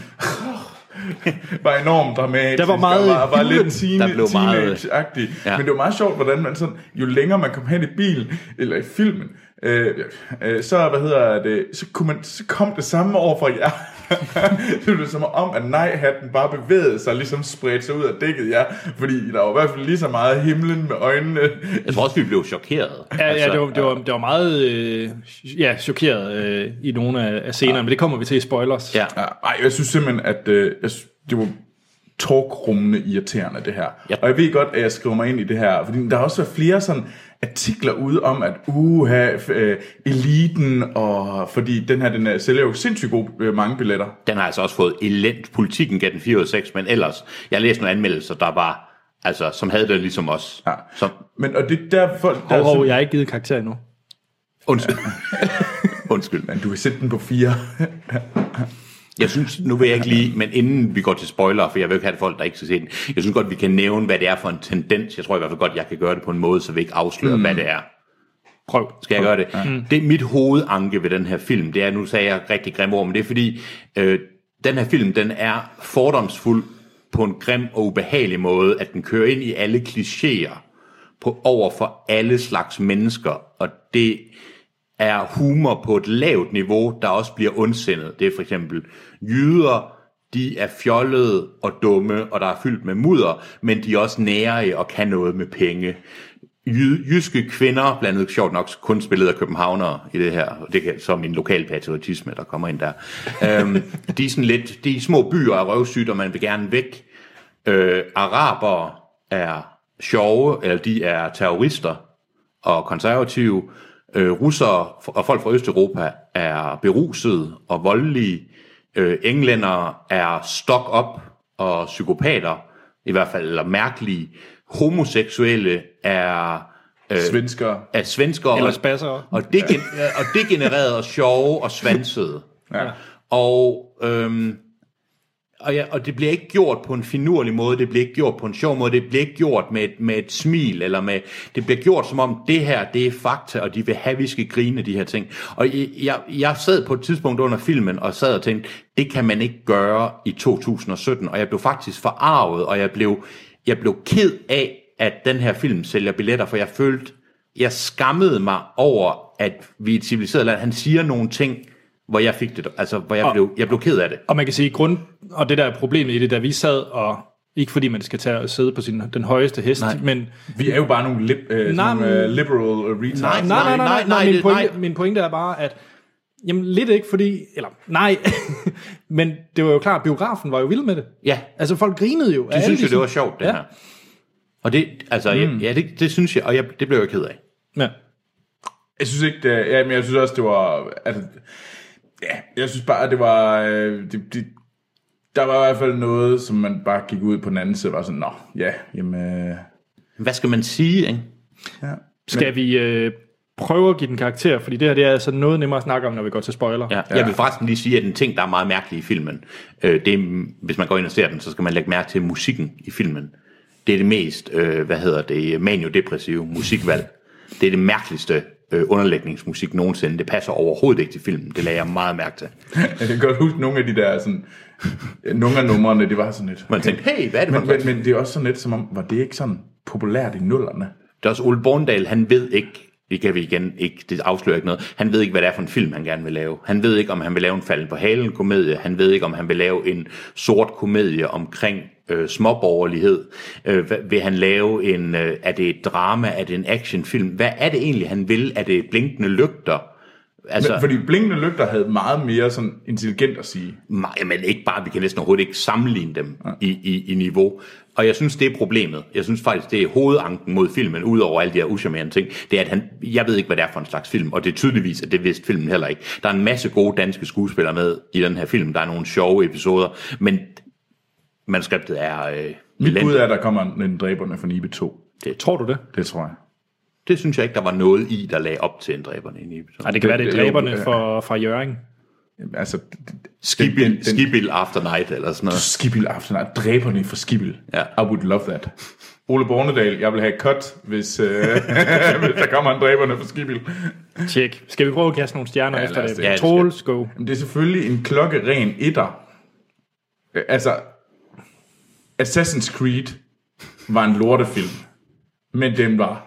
Speaker 2: var enormt dramatisk.
Speaker 1: Der var meget
Speaker 2: og var, var
Speaker 1: hylen.
Speaker 2: lidt teen,
Speaker 3: Der blev meget-
Speaker 2: teenage-agtig.
Speaker 3: Ja.
Speaker 2: Ja. Men det var meget sjovt, hvordan man sådan, jo længere man kom hen i bilen, eller i filmen, øh, øh, så, hvad hedder det, så, kunne man, så kom det samme over fra jer. det blev som om, at nej-hatten bare bevægede sig, ligesom spredte sig ud af dækket jer, fordi der var i hvert fald lige så meget himlen med øjnene.
Speaker 3: Jeg tror også, vi blev chokeret.
Speaker 1: Ja, altså,
Speaker 3: Altså,
Speaker 1: ja det, var, det, var, det var meget øh, ja, chokeret øh, i nogle af, af scenerne, ja. men det kommer vi til i spoilers.
Speaker 3: Ja.
Speaker 2: Ja, Ej, jeg synes simpelthen, at øh, jeg synes, det var talkrummende irriterende, det her.
Speaker 3: Ja.
Speaker 2: Ja. Og jeg ved godt, at jeg skriver mig ind i det her, fordi der har også været flere sådan artikler ude om, at uha, f- øh, eliten, og fordi den her, den er, sælger jo sindssygt gode øh, mange billetter.
Speaker 3: Den har altså også fået elendt. Politikken gav den 4 ud af 6, men ellers, jeg læste nogle anmeldelser, der var, altså, som havde det ligesom os.
Speaker 2: Ja.
Speaker 3: Som,
Speaker 2: Men, og det er derfor... Der
Speaker 1: Hov,
Speaker 2: er
Speaker 3: Altså-
Speaker 1: hov,
Speaker 2: sådan-
Speaker 1: jeg har ikke givet karakter endnu.
Speaker 3: undskyld. undskyld.
Speaker 2: Men du kan sætte den på fire.
Speaker 3: Jeg synes, nu vil jeg ikke lige, men inden vi går til spoiler, for jeg vil jo ikke have at folk, der ikke skal se den. Jeg synes godt, vi kan nævne, hvad det er for en tendens. Jeg tror i hvert fald godt, jeg kan gøre det på en måde, så vi ikke afslører, mm. hvad det er.
Speaker 1: Prøv.
Speaker 3: Skal jeg gøre det? Mm. Det er mit hovedanke ved den her film. Det er, nu sagde jeg rigtig grimme ord, men det er fordi, øh, den her film, den er fordomsfuld på en grim og ubehagelig måde, at den kører ind i alle klichéer på over for alle slags mennesker, og det er humor på et lavt niveau, der også bliver ondsindet. Det er for eksempel jyder, de er fjollede og dumme, og der er fyldt med mudder, men de er også nære og kan noget med penge. Jy- jyske kvinder, blandt andet sjovt nok kun spillet af københavnere i det her, og det kan så er min lokal patriotisme, der kommer ind der. øhm, de er sådan lidt, de små byer er røvsygt, og man vil gerne væk. Øh, araber er sjove, eller de er terrorister, og konservative. Øh, russere og folk fra Østeuropa er berusede og voldelige. Øh, englænder er stok op og psykopater, i hvert fald, eller mærkelige. Homoseksuelle er,
Speaker 1: Øh.
Speaker 2: Svensker.
Speaker 3: er svenskere.
Speaker 1: Eller
Speaker 3: og-
Speaker 1: spassere.
Speaker 3: Og det, gen- og det genererede sjove og svansede. Ja. Og, øhm, og, ja, og det bliver ikke gjort på en finurlig måde, det bliver ikke gjort på en sjov måde, det bliver ikke gjort med et, med et smil, eller med, det bliver gjort som om, det her, det er fakta, og de vil have, vi skal grine af de her ting. Og jeg, jeg, jeg sad på et tidspunkt under filmen, og sad og tænkte, det kan man ikke gøre i 2017, og jeg blev faktisk forarvet, og jeg blev, jeg blev ked af, at den her film sælger billetter, for jeg følte, jeg skammede mig over, at vi i et civiliseret land, han siger nogle ting, hvor jeg fik det, altså hvor jeg, blev, jeg blev ked af det.
Speaker 1: Og man kan sige, grund, og det der er problemet i det, da vi sad og, ikke fordi man skal tage og sidde på sin, den højeste hest,
Speaker 3: Nej.
Speaker 1: men
Speaker 2: Vi er jo bare nogle lib, øh,
Speaker 1: Nej,
Speaker 2: sådan, nogle, øh,
Speaker 1: men-
Speaker 2: liberal øh, retards.
Speaker 3: Nej,
Speaker 1: nej, nej, nej, nej, nej, min,
Speaker 3: det-
Speaker 1: pointe,
Speaker 3: nej.
Speaker 1: min pointe er bare, at jamen lidt ikke, fordi, eller nej, men det var jo klart, biografen var jo vild med det.
Speaker 3: Ja.
Speaker 1: Altså folk grinede jo. af
Speaker 3: De
Speaker 1: alle
Speaker 3: synes jo, det
Speaker 1: sådan-
Speaker 3: var sjovt, det
Speaker 1: ja.
Speaker 3: ja. her. Og det, altså, mm. ja, det, det synes jeg, og jeg, det blev jeg ked af.
Speaker 1: Ja.
Speaker 2: Jeg synes ikke, det, ja, men jeg synes også, det var... Altså, ja, jeg synes bare, det var... Øh, det, det, der var i hvert fald noget, som man bare gik ud på den anden side og var sådan, nå, ja, jamen... Øh,
Speaker 3: Hvad skal man sige, ikke?
Speaker 2: ja.
Speaker 1: Skal vi øh, prøve at give den karakter, fordi det her det er altså noget nemmere at snakke om, når vi går til spoiler.
Speaker 3: Ja. Jeg vil forresten lige sige, at en ting, der er meget mærkelig i filmen, øh, det er, hvis man går ind og ser den, så skal man lægge mærke til musikken i filmen. Det er det mest, øh, hvad hedder det, maniodepressive musikvalg. Det er det mærkeligste øh, underlægningsmusik nogensinde. Det passer overhovedet ikke til filmen. Det lagde jeg meget mærke til.
Speaker 2: Jeg kan godt huske nogle af de der sådan... Nogle af numrene, det var sådan lidt...
Speaker 3: Man tænkte, hey, hvad er det for
Speaker 2: Men,
Speaker 3: en
Speaker 2: men, men det er også sådan lidt som om, var det ikke sådan populært i nullerne?
Speaker 3: Det er også Ole Borndal, han ved ikke, det kan vi igen ikke, det afslører ikke noget, han ved ikke, hvad det er for en film, han gerne vil lave. Han ved ikke, om han vil lave en falden på halen komedie, han ved ikke, om han vil lave en sort komedie omkring øh, småborgerlighed. Øh, hvad, vil han lave en, øh, er det et drama, er det en actionfilm? Hvad er det egentlig, han vil? Er det blinkende lygter? Altså,
Speaker 2: Men, fordi Blinkende Lygter havde meget mere sådan intelligent at sige.
Speaker 3: Nej, men ikke bare, vi kan næsten overhovedet ikke sammenligne dem i, i, i niveau. Og jeg synes, det er problemet. Jeg synes faktisk, det er hovedanken mod filmen, udover alle de her uschammerende ting, det er, at han, jeg ved ikke, hvad det er for en slags film, og det er tydeligvis, at det vidste filmen heller ikke. Der er en masse gode danske skuespillere med i den her film, der er nogle sjove episoder, men manuskriptet er øh,
Speaker 2: Mit bud
Speaker 3: elendigt.
Speaker 2: er, at der kommer en dræberne fra Nibe 2.
Speaker 1: Tror du det?
Speaker 2: Det tror jeg.
Speaker 3: Det synes jeg ikke, der var noget i, der lagde op til en dræberne i en episode.
Speaker 1: Nej, det kan
Speaker 2: Det-
Speaker 1: være, det
Speaker 2: det
Speaker 1: er
Speaker 2: er jo-
Speaker 1: dræberne for, fra Jørgen.
Speaker 2: Jamen, Altså, d- d-
Speaker 3: Skibil,
Speaker 2: den- den-
Speaker 3: Skibil After Night eller sådan noget.
Speaker 2: Skibil aften, nej, dræberne fra Skibil.
Speaker 3: Ja.
Speaker 2: I would love that. Ole Bornedal, jeg vil have et cut, hvis, øh, hvis der kommer en dræberne fra Skibil.
Speaker 1: Tjek. Skal vi prøve at kaste nogle stjerner
Speaker 2: Ja,
Speaker 1: ja, efter
Speaker 2: lad os
Speaker 1: det?
Speaker 2: det.
Speaker 3: Ja,
Speaker 1: Ja,
Speaker 3: det skal-
Speaker 1: Troels, go.
Speaker 2: Men det er selvfølgelig en klokkeren etter. Øh, Altså, Assassin's Creed var en lortefilm, men den var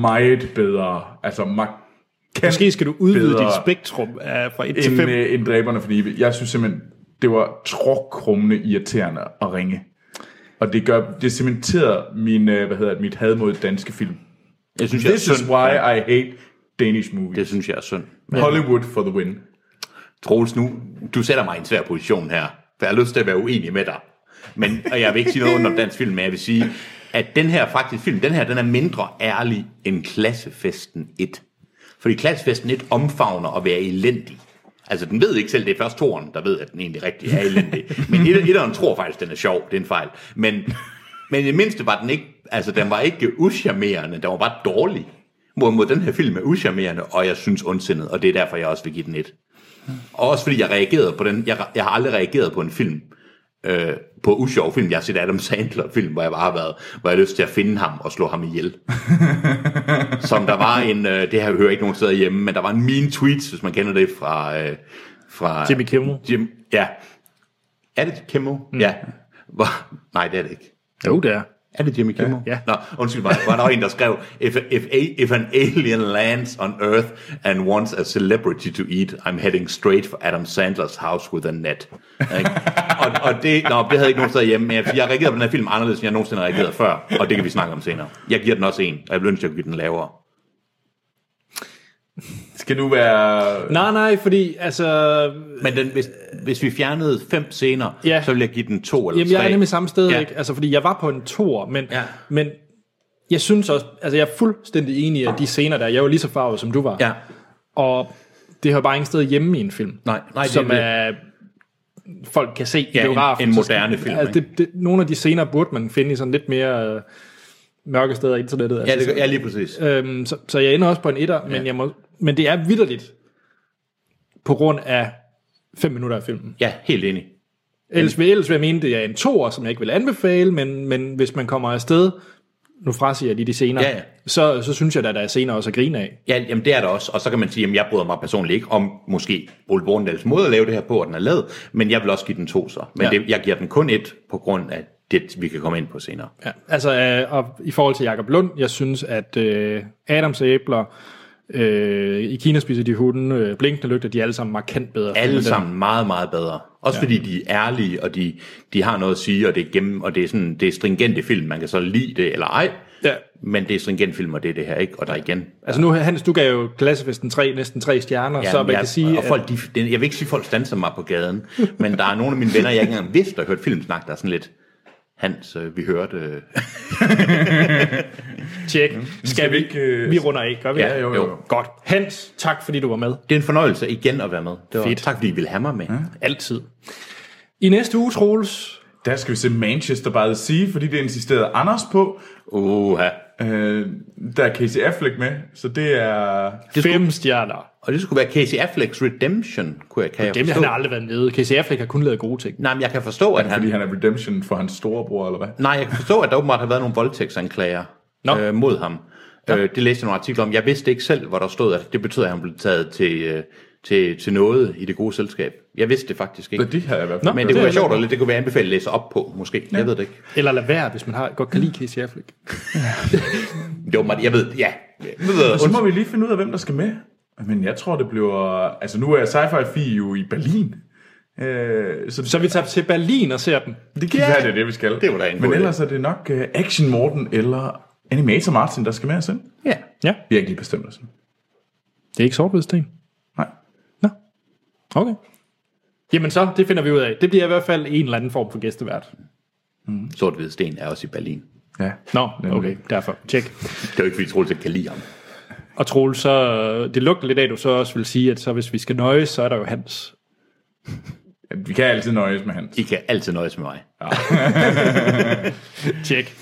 Speaker 2: meget bedre. Altså, markant
Speaker 1: Måske skal du udvide
Speaker 2: bedre.
Speaker 1: dit spektrum af, fra 1 til 5.
Speaker 2: end, øh, end dræberne for Nibe. Jeg synes simpelthen, det var tråkrummende irriterende at ringe. Og det gør, det cementerer min, øh, hvad hedder det, mit had mod danske film.
Speaker 3: Jeg synes, jeg er
Speaker 2: This is
Speaker 3: synd.
Speaker 2: why I hate Danish
Speaker 3: Det
Speaker 2: movies.
Speaker 3: synes jeg er synd.
Speaker 2: Hollywood for the win.
Speaker 3: Troels, nu, du sætter mig i en svær position her, for jeg har lyst til at være uenig med dig. Men, og jeg vil ikke sige noget under dansk film, men jeg vil sige, at den her faktisk film, den her, den er mindre ærlig end Klassefesten 1. Fordi Klassefesten 1 omfavner at være elendig. Altså, den ved ikke selv, det er først toren, der ved, at den egentlig rigtig er elendig. Men et- etteren tror faktisk, den er sjov, det er en fejl. Men, men i det mindste var den ikke, altså den var ikke uschammerende, den var bare dårlig. Hvorimod den her film er uschammerende, og jeg synes ondsindet, og det er derfor, jeg også vil give den et. Og også fordi jeg reagerede på den. Jeg, jeg har aldrig reageret på en film, øh, på usjov film. Jeg har set Adam Sandler-film, hvor jeg bare har været, hvor jeg har lyst til at finde ham og slå ham ihjel. Som der var en, øh, det her hører ikke nogen steder hjemme, men der var en mean tweets, hvis man kender det fra... Øh, fra
Speaker 1: Jimmy Kimmel.
Speaker 3: Jim, ja. Er det Kimmel? Mm. Ja. Hvor, nej, det er det ikke.
Speaker 1: Jo, det er.
Speaker 3: Er det Jimmy Kimmel?
Speaker 1: Ja.
Speaker 3: Nå, undskyld mig. Var der jo en, der skrev, if, if, a, if an alien lands on Earth and wants a celebrity to eat, I'm heading straight for Adam Sandlers house with a net. Ikke? og, og det, nå, det havde ikke nogen steder hjemme, men jeg, jeg reagerede på den her film anderledes, end jeg nogensinde har reageret før, og det kan vi snakke om senere. Jeg giver den også en, og jeg vil ønske, at jeg kunne give den lavere.
Speaker 2: Skal du være...
Speaker 1: Nej, nej, fordi altså...
Speaker 3: Men den, hvis, hvis vi fjernede fem scener,
Speaker 1: Ja.
Speaker 3: så ville jeg give den to eller
Speaker 1: Jamen, jeg
Speaker 3: tre.
Speaker 1: er nemlig samme sted,
Speaker 3: Ja.
Speaker 1: ja. ikke? Altså, fordi jeg var på en tor, men,
Speaker 3: Ja.
Speaker 1: ja. men jeg synes også... Altså, jeg er fuldstændig enig i at de scener der. Jeg var lige så farvet, som du var.
Speaker 3: Ja.
Speaker 1: Og det hører bare ingen sted hjemme i en film.
Speaker 3: Nej, nej, det
Speaker 1: Som
Speaker 3: er det.
Speaker 1: er, folk kan se
Speaker 3: Ja, en-
Speaker 1: biografen.
Speaker 3: en
Speaker 1: Så skal-
Speaker 3: moderne film,
Speaker 1: Altså, det, det, nogle af de scener burde man finde i sådan lidt mere øh, mørke steder af internettet.
Speaker 3: Ja,
Speaker 1: altså,
Speaker 3: det, ja, lige præcis.
Speaker 1: Øhm, så, så jeg ender også på en etter, ja. men, jeg må, men det er vidderligt på grund af fem minutter af filmen.
Speaker 3: Ja, helt enig.
Speaker 1: Ellers vil, ellers vil jeg mene, det er en toer, som jeg ikke vil anbefale, men, men hvis man kommer afsted, nu frasiger jeg lige de senere,
Speaker 3: Ja, ja.
Speaker 1: Så, så synes jeg da, der er senere også at grine af.
Speaker 3: Ja, jamen det er der også, og så kan man sige, at jeg bryder mig personligt ikke om måske Ole Bornedals måde at lave det her på, og den er lavet, men jeg vil også give den to så. Men
Speaker 1: Ja.
Speaker 3: ja. det, jeg giver den kun et, på grund af det, vi kan komme ind på senere.
Speaker 1: Ja, altså, øh, og i forhold til Jakob Lund, jeg synes, at øh, Adams æbler, øh, i Kina spiser de hunde, øh, blinkende lygter, de er alle sammen markant bedre.
Speaker 3: Alle
Speaker 1: Men den-
Speaker 3: sammen meget, meget bedre. Også ja. fordi de er ærlige, og de, de har noget at sige, og det er, gennem, og det er, sådan, det er stringente film. Man kan så lide det eller ej,
Speaker 1: Ja.
Speaker 3: men det er stringent film, og det er det her ikke. Og der igen,
Speaker 1: Altså nu, Hans, du gav jo klassefesten tre, næsten tre stjerner, ja, så man
Speaker 3: jeg,
Speaker 1: kan sige,
Speaker 3: og
Speaker 1: at-
Speaker 3: folk, de, det- jeg vil ikke sige, at folk stanser mig på gaden, men der er nogle af mine venner, jeg ikke engang vidste, der har hørt filmsnak, der er sådan lidt, Hans, øh, vi hørte... Øh,
Speaker 1: øh, Tjek. Skal vi
Speaker 2: ikke, øh,
Speaker 1: Vi runder af, gør vi?
Speaker 3: Mm. Ja,
Speaker 1: det?
Speaker 3: jo, jo.
Speaker 1: Godt. Hans, tak fordi du var med.
Speaker 3: Det er en fornøjelse igen at være med. Det var
Speaker 1: Fedt.
Speaker 3: Fedt. Tak fordi I ville have mig med. Ja.
Speaker 1: Altid. I næste uge, Troels,
Speaker 2: Der skal vi se Manchester by the Sea, fordi det insisterede Anders på.
Speaker 3: Oha.
Speaker 2: Øh, der er Casey Affleck med, så det er...
Speaker 3: Det skulle,
Speaker 1: fem stjerner.
Speaker 3: og det skulle være Casey Afflecks Redemption, kunne jeg, kan jeg
Speaker 1: Dem,
Speaker 3: forstå.
Speaker 1: han har aldrig været nede. Casey Affleck har kun lavet gode ting.
Speaker 3: Nej, men jeg kan forstå, at han...
Speaker 2: Fordi han er redemption for hans storebror, eller hvad?
Speaker 3: Nej, jeg kan forstå, at der åbenbart har været nogle voldtægtsanklager
Speaker 1: Nå.
Speaker 3: øh, mod ham. Øh, det læste jeg nogle artikler om. Jeg vidste ikke selv, hvor der stod, at det betød, at han blev taget til, øh, til, til noget i det gode selskab. Jeg vidste det faktisk ikke.
Speaker 2: Så de har jeg i hvert
Speaker 1: Nå,
Speaker 2: fald
Speaker 3: men
Speaker 2: hørt.
Speaker 3: det kunne
Speaker 1: er
Speaker 3: være sjovt,
Speaker 1: lidt-
Speaker 3: og det kunne være anbefalet at læse op på, måske. Ja. Jeg ved det ikke.
Speaker 1: Eller lad være, hvis man har, godt kan lide Casey Affleck.
Speaker 3: Det var meget, jeg ved, ja. Jeg ved,
Speaker 2: Og så må vi lige finde ud af, hvem der skal med. Men jeg tror, det bliver... Altså, nu er Sci-Fi Fi jo i Berlin. Øh, så,
Speaker 1: Så vi tager til Berlin og ser den.
Speaker 2: det kan ja, være, det er det, vi skal.
Speaker 3: Det var da en
Speaker 2: Men
Speaker 3: god idé.
Speaker 2: ellers er det nok uh, Action Morten eller Animator Martin, der skal med os ind.
Speaker 3: ja.
Speaker 1: Ja.
Speaker 2: Vi har ikke lige bestemt os. endnu.
Speaker 1: Det er ikke sort sten.
Speaker 2: Nej.
Speaker 1: Nå. Okay. Jamen så, det finder vi ud af. Det bliver i hvert fald en eller anden form for gæstevært.
Speaker 3: Sort-Hvide Sten er også i Berlin.
Speaker 2: Ja.
Speaker 1: Nå, okay, derfor. Tjek.
Speaker 3: Det er jo ikke, fordi Troels ikke kan lide ham.
Speaker 1: Og Troels, så, øh, det lugter lidt af, at du så også vil sige, at så hvis vi skal nøjes, så er der jo Hans.
Speaker 2: Vi kan altid nøjes med hans.
Speaker 3: I kan altid nøjes med mig.
Speaker 1: Tjek.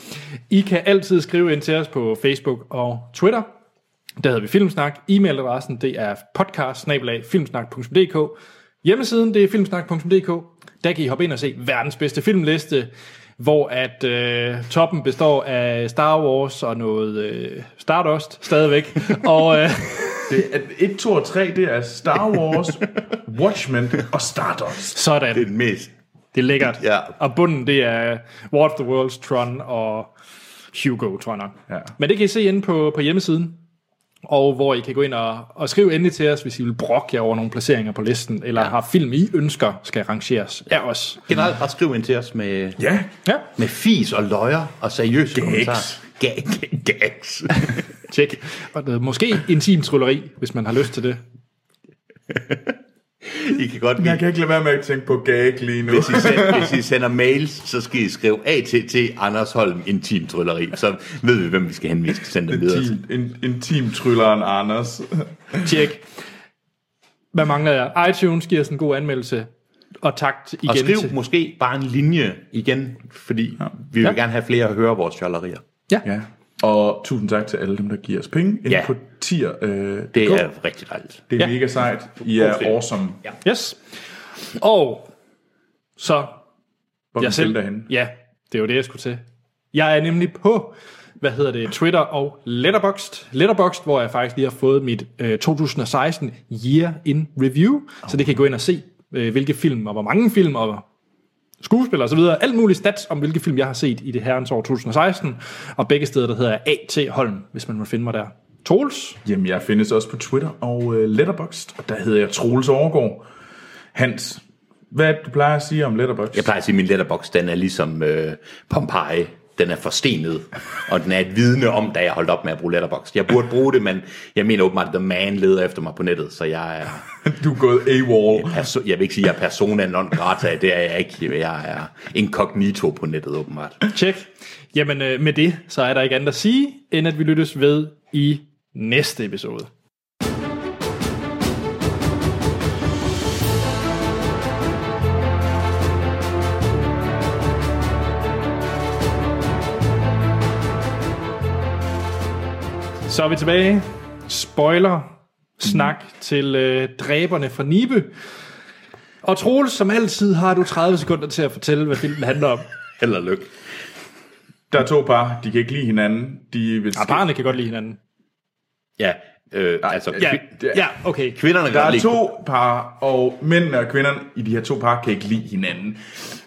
Speaker 1: I kan altid skrive ind til os på Facebook og Twitter. Der hedder vi Filmsnak. E-mailadressen det er podcast Hjemmesiden det er filmsnak.dk. Der kan I hoppe ind og se verdens bedste filmliste, hvor at øh, toppen består af Star Wars og noget øh, Stardust stadigvæk. og øh,
Speaker 2: Det er, 1, 2 og 3, det er Star Wars, Watchmen og Stardust.
Speaker 1: sådan.
Speaker 3: den mest.
Speaker 1: Det er lækkert.
Speaker 3: Ja.
Speaker 1: Og bunden, det er War of the Worlds, Tron og Hugo, tror jeg nok.
Speaker 2: Ja.
Speaker 1: Men det kan I se inde på, på hjemmesiden, og hvor I kan gå ind og, og skrive endelig til os, hvis I vil brokke jer over nogle placeringer på listen, eller ja. har film, I ønsker skal rangeres af os.
Speaker 3: Generelt bare skriv ind til os med,
Speaker 2: Ja,
Speaker 1: Ja,
Speaker 3: med fis og løjer og seriøse
Speaker 2: Gags.
Speaker 3: kommentarer. Ga- Gags.
Speaker 1: tjek. Og øh, måske intim trylleri, hvis man har lyst til det.
Speaker 3: I kan godt
Speaker 2: jeg
Speaker 3: lide.
Speaker 2: kan ikke lade være med at tænke på gag lige nu.
Speaker 3: Hvis I, sender, hvis I sender mails, så skal I skrive ATT Anders Holm Intim Trylleri. Så ved vi, hvem vi skal henvise til sende dem videre til.
Speaker 2: Intim, in, intimtrylleren Anders.
Speaker 1: Tjek. Hvad mangler jeg? iTunes giver os en god anmeldelse. Og tak igen
Speaker 3: Og skriv
Speaker 1: til...
Speaker 3: måske bare en linje igen, fordi vi vil
Speaker 1: Ja.
Speaker 3: gerne have flere at høre vores jollerier.
Speaker 2: Ja. Og tusind tak til alle dem, der giver os penge ind
Speaker 3: Ja.
Speaker 2: ja. på tier. Øh,
Speaker 3: Det
Speaker 2: go.
Speaker 3: er rigtig dejligt.
Speaker 2: det er
Speaker 1: Ja.
Speaker 2: ja. mega sejt. I er
Speaker 3: film.
Speaker 2: awesome. Ja.
Speaker 1: Yes. Og så
Speaker 2: Hvor
Speaker 1: jeg selv.
Speaker 2: Derhen.
Speaker 1: Ja, det var det, jeg skulle til. Jeg er nemlig på, hvad hedder det, Twitter og Letterboxd. Letterboxd, hvor jeg faktisk lige har fået mit øh, 2016 Year in Review, oh. så det kan I gå ind og se, øh, hvilke film og hvor mange film og skuespillere osv. Alt muligt stats om, hvilke film jeg har set i det herrens år 2016. Og begge steder, der hedder jeg A.T. Holm, hvis man må finde mig der. Troels?
Speaker 2: Jamen, jeg findes også på Twitter og øh, Letterboxd, og der hedder jeg Troels Overgaard. Hans, hvad er det, du plejer at sige om Letterboxd?
Speaker 3: Jeg plejer at sige, at min letterbox, den er ligesom øh, Pompeji. Den er forstenet, og den er et vidne om, da jeg holdt op med at bruge letterbox. Jeg burde bruge det, men jeg mener åbenbart, at The Man leder efter mig på nettet, så jeg er...
Speaker 2: Du er gået AWOL.
Speaker 3: Perso- jeg vil ikke sige, at jeg er persona non grata, det er jeg ikke. Jeg er incognito på nettet, åbenbart.
Speaker 1: Tjek. Jamen, øh, med det, så er der ikke andet at sige, end at vi lyttes ved i næste episode. Så er vi tilbage. Spoiler. Snak til øh, dræberne fra Nibe. Og Troels, som altid har du 30 sekunder til at fortælle, hvad filmen handler om.
Speaker 3: Held og lykke.
Speaker 2: Der er to par, de kan ikke lide hinanden. De vil
Speaker 1: Ja, barnet kan godt lide hinanden.
Speaker 3: Ja, øh, altså,
Speaker 1: Ja,
Speaker 3: kvi-
Speaker 1: ja okay.
Speaker 3: kvinderne kan
Speaker 2: Der
Speaker 3: godt
Speaker 2: er
Speaker 3: lide-
Speaker 2: to par, og mændene og kvinderne i de her to par kan ikke lide hinanden.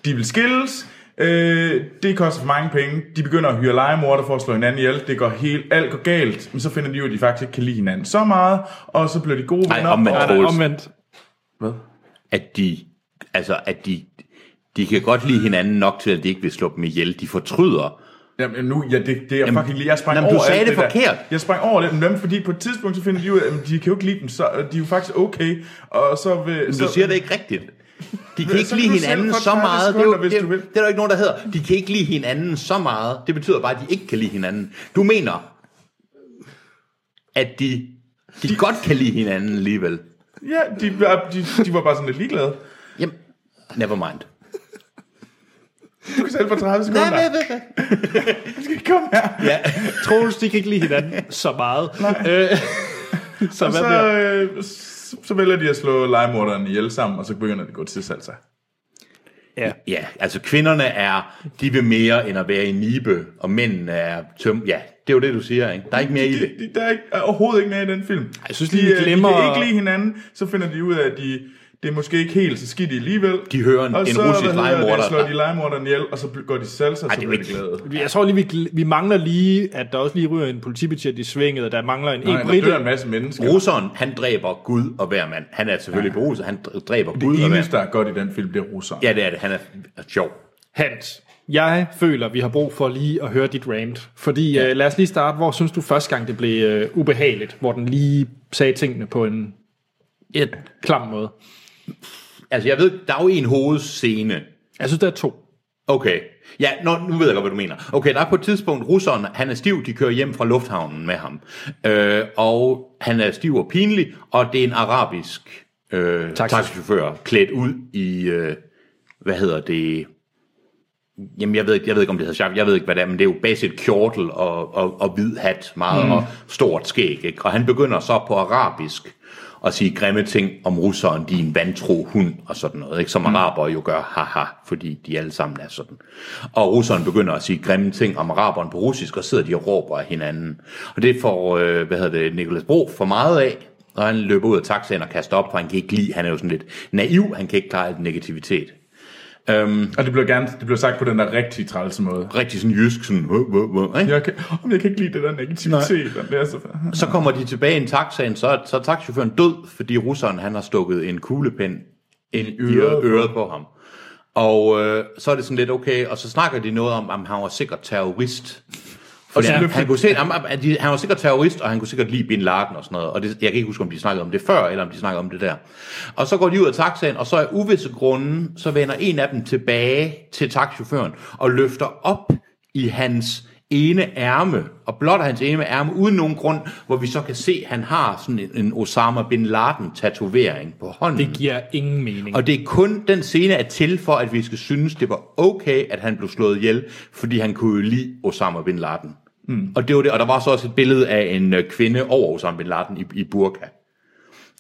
Speaker 2: De vil skilles. Øh, det koster for mange penge. De begynder at hyre legemorder for at slå hinanden ihjel. Det går helt, alt går galt. Men så finder de ud af, at de faktisk ikke kan lide hinanden så meget. Og så bliver de gode
Speaker 3: Nej,
Speaker 2: venner.
Speaker 3: omvendt.
Speaker 2: og-
Speaker 1: Nej, nej,
Speaker 3: Troels.
Speaker 1: omvendt.
Speaker 3: at de, altså, at de, de kan godt lide hinanden nok til, at de ikke vil slå dem ihjel. De fortryder.
Speaker 2: Jamen nu, ja, det, det er
Speaker 3: Jamen,
Speaker 2: fucking lige. Jeg sprang
Speaker 3: jamen, du
Speaker 2: over
Speaker 3: sagde
Speaker 2: alt
Speaker 3: det forkert.
Speaker 2: Der. Jeg sprang over det. Men dem, fordi på et tidspunkt, så finder de ud af, at de kan jo ikke lide dem. Så øh, de er jo faktisk okay. Og så vil,
Speaker 3: Men
Speaker 2: så,
Speaker 3: du siger det ikke rigtigt. De kan
Speaker 2: Men
Speaker 3: ikke
Speaker 2: så
Speaker 3: lide
Speaker 2: kan du selv
Speaker 3: hinanden
Speaker 2: få
Speaker 3: så
Speaker 2: 30
Speaker 3: meget. Det er,
Speaker 2: sekunder,
Speaker 3: jo,
Speaker 2: hvis
Speaker 3: det, er-
Speaker 2: du vil.
Speaker 3: det er der ikke nogen, der hedder. De kan ikke lide hinanden så meget. Det betyder bare, at de ikke kan lide hinanden. Du mener, at de, de, de... godt kan lide hinanden alligevel.
Speaker 2: Ja, de, var- de, de var bare sådan lidt ligeglade.
Speaker 3: Jamen, never mind.
Speaker 2: Du kan selv få 30 sekunder. Nej,
Speaker 3: hvad, hvad?
Speaker 2: Kom her.
Speaker 3: Ja.
Speaker 1: Troels, de kan ikke lide hinanden så meget. Øh, så hvad
Speaker 2: så,
Speaker 1: bliver
Speaker 2: øh, så, så vælger de at slå legemorderen ihjel sammen, og så begynder det at gå til salsa.
Speaker 3: Ja, altså kvinderne er, de vil mere end at være i nibe, og mændene er tøm. Ja, det er jo det, du siger, ikke? Der er ikke mere i det.
Speaker 2: De, der er, ikke, er overhovedet ikke med i den film.
Speaker 1: jeg synes
Speaker 2: de,
Speaker 1: lige, vi
Speaker 2: øh,
Speaker 1: glemmer-
Speaker 2: De kan ikke lide hinanden, så finder de ud af, at de, det er måske ikke helt så skidt alligevel.
Speaker 3: De hører en-
Speaker 2: og
Speaker 3: en
Speaker 2: så,
Speaker 3: russisk
Speaker 2: hvad hedder det,
Speaker 3: lejemorder,
Speaker 2: slår
Speaker 3: der-
Speaker 2: de legemorderen ihjel, og så bl- går de salsa, og
Speaker 3: Ej,
Speaker 2: så
Speaker 3: det er
Speaker 2: bliver de
Speaker 3: ikke-
Speaker 2: glade.
Speaker 1: Jeg tror lige, vi, gl- vi mangler lige, at der også lige ryger en politibetjent i svinget, og der mangler en,
Speaker 2: Nej,
Speaker 1: en
Speaker 2: der
Speaker 1: britte.
Speaker 2: dør en masse mennesker.
Speaker 3: Russeren, han dræber Gud og hver mand. Han er selvfølgelig ja. beruset, han dr- dræber Gud
Speaker 2: Det
Speaker 3: og hver
Speaker 2: eneste, der er godt i den film, det er russeren.
Speaker 3: Ja, det er det. Han er er sjov.
Speaker 1: Hans, jeg føler, vi har brug for lige at høre dit rant. Fordi ja. øh, lad os lige starte, hvor synes du første gang, det blev øh, ubehageligt, hvor den lige sagde tingene på en
Speaker 3: Jeg,
Speaker 1: klam måde?
Speaker 3: altså, jeg ved, der er jo en hovedscene.
Speaker 1: Jeg synes, der er to.
Speaker 3: Okay. Ja, nå, nu ved jeg godt, hvad du mener. Okay, der er på et tidspunkt, russeren, han er stiv, de kører hjem fra lufthavnen med ham. Øh, og han er stiv og pinlig, og det er en arabisk øh,
Speaker 1: Taxi.
Speaker 3: taxichauffør klædt ud i, øh, hvad hedder det, Jamen, jeg ved, ikke, jeg ved ikke, om det hedder sharp. Jeg ved ikke, hvad det er, men det er jo basic kjortel og, og, og hvid hat meget, mm. og stort skæg. Ikke? Og han begynder så på arabisk at sige grimme ting om russeren, din vantro hund og sådan noget, ikke? som araber jo gør, haha, fordi de alle sammen er sådan. Og russeren begynder at sige grimme ting om araberen på russisk, og sidder de og råber af hinanden. Og det får, øh, hvad hedder det, Nicolas Bro for meget af, og han løber ud af taxaen og kaster op, for han kan ikke lide, han er jo sådan lidt naiv, han kan ikke klare alt negativitet.
Speaker 2: Og det blev, gerne, det blev sagt på den der rigtig trælse måde.
Speaker 3: Rigtig sådan jysk, sådan, "Hå, hå, hå", ikke?
Speaker 2: Jeg kan, om jeg kan ikke lide det der negativitet. og Det er så...
Speaker 3: Så kommer de tilbage i en taxaen, så er, så er taxichaufføren død, fordi russeren han har stukket en kuglepen ind i øret, øret på ham. Og øh, så er det sådan lidt okay, og så snakker de noget om, at han var sikkert terrorist. Og
Speaker 2: så
Speaker 3: han,
Speaker 2: løfter-
Speaker 3: han, kunne se, jamen, at de- han var sikkert terrorist, og han kunne sikkert lide Bin Laden og sådan noget. Og det, jeg kan ikke huske, om de snakkede om det før, eller om de snakkede om det der. Og så går de ud af taxaen, og så af uvisse grunde, så vender en af dem tilbage til taxichaufføren og løfter op i hans ene ærme, og blotter hans ene ærme uden nogen grund, hvor vi så kan se, at han har sådan en, en Osama Bin Laden-tatovering på hånden.
Speaker 1: Det giver ingen mening.
Speaker 3: Og det er kun den scene er til for, at vi skal synes, det var okay, at han blev slået ihjel, fordi han kunne jo lide Osama Bin Laden. Mm. Og, det var det. og der var så også et billede af en øh, kvinde over Osama Bin Laden i, i burka.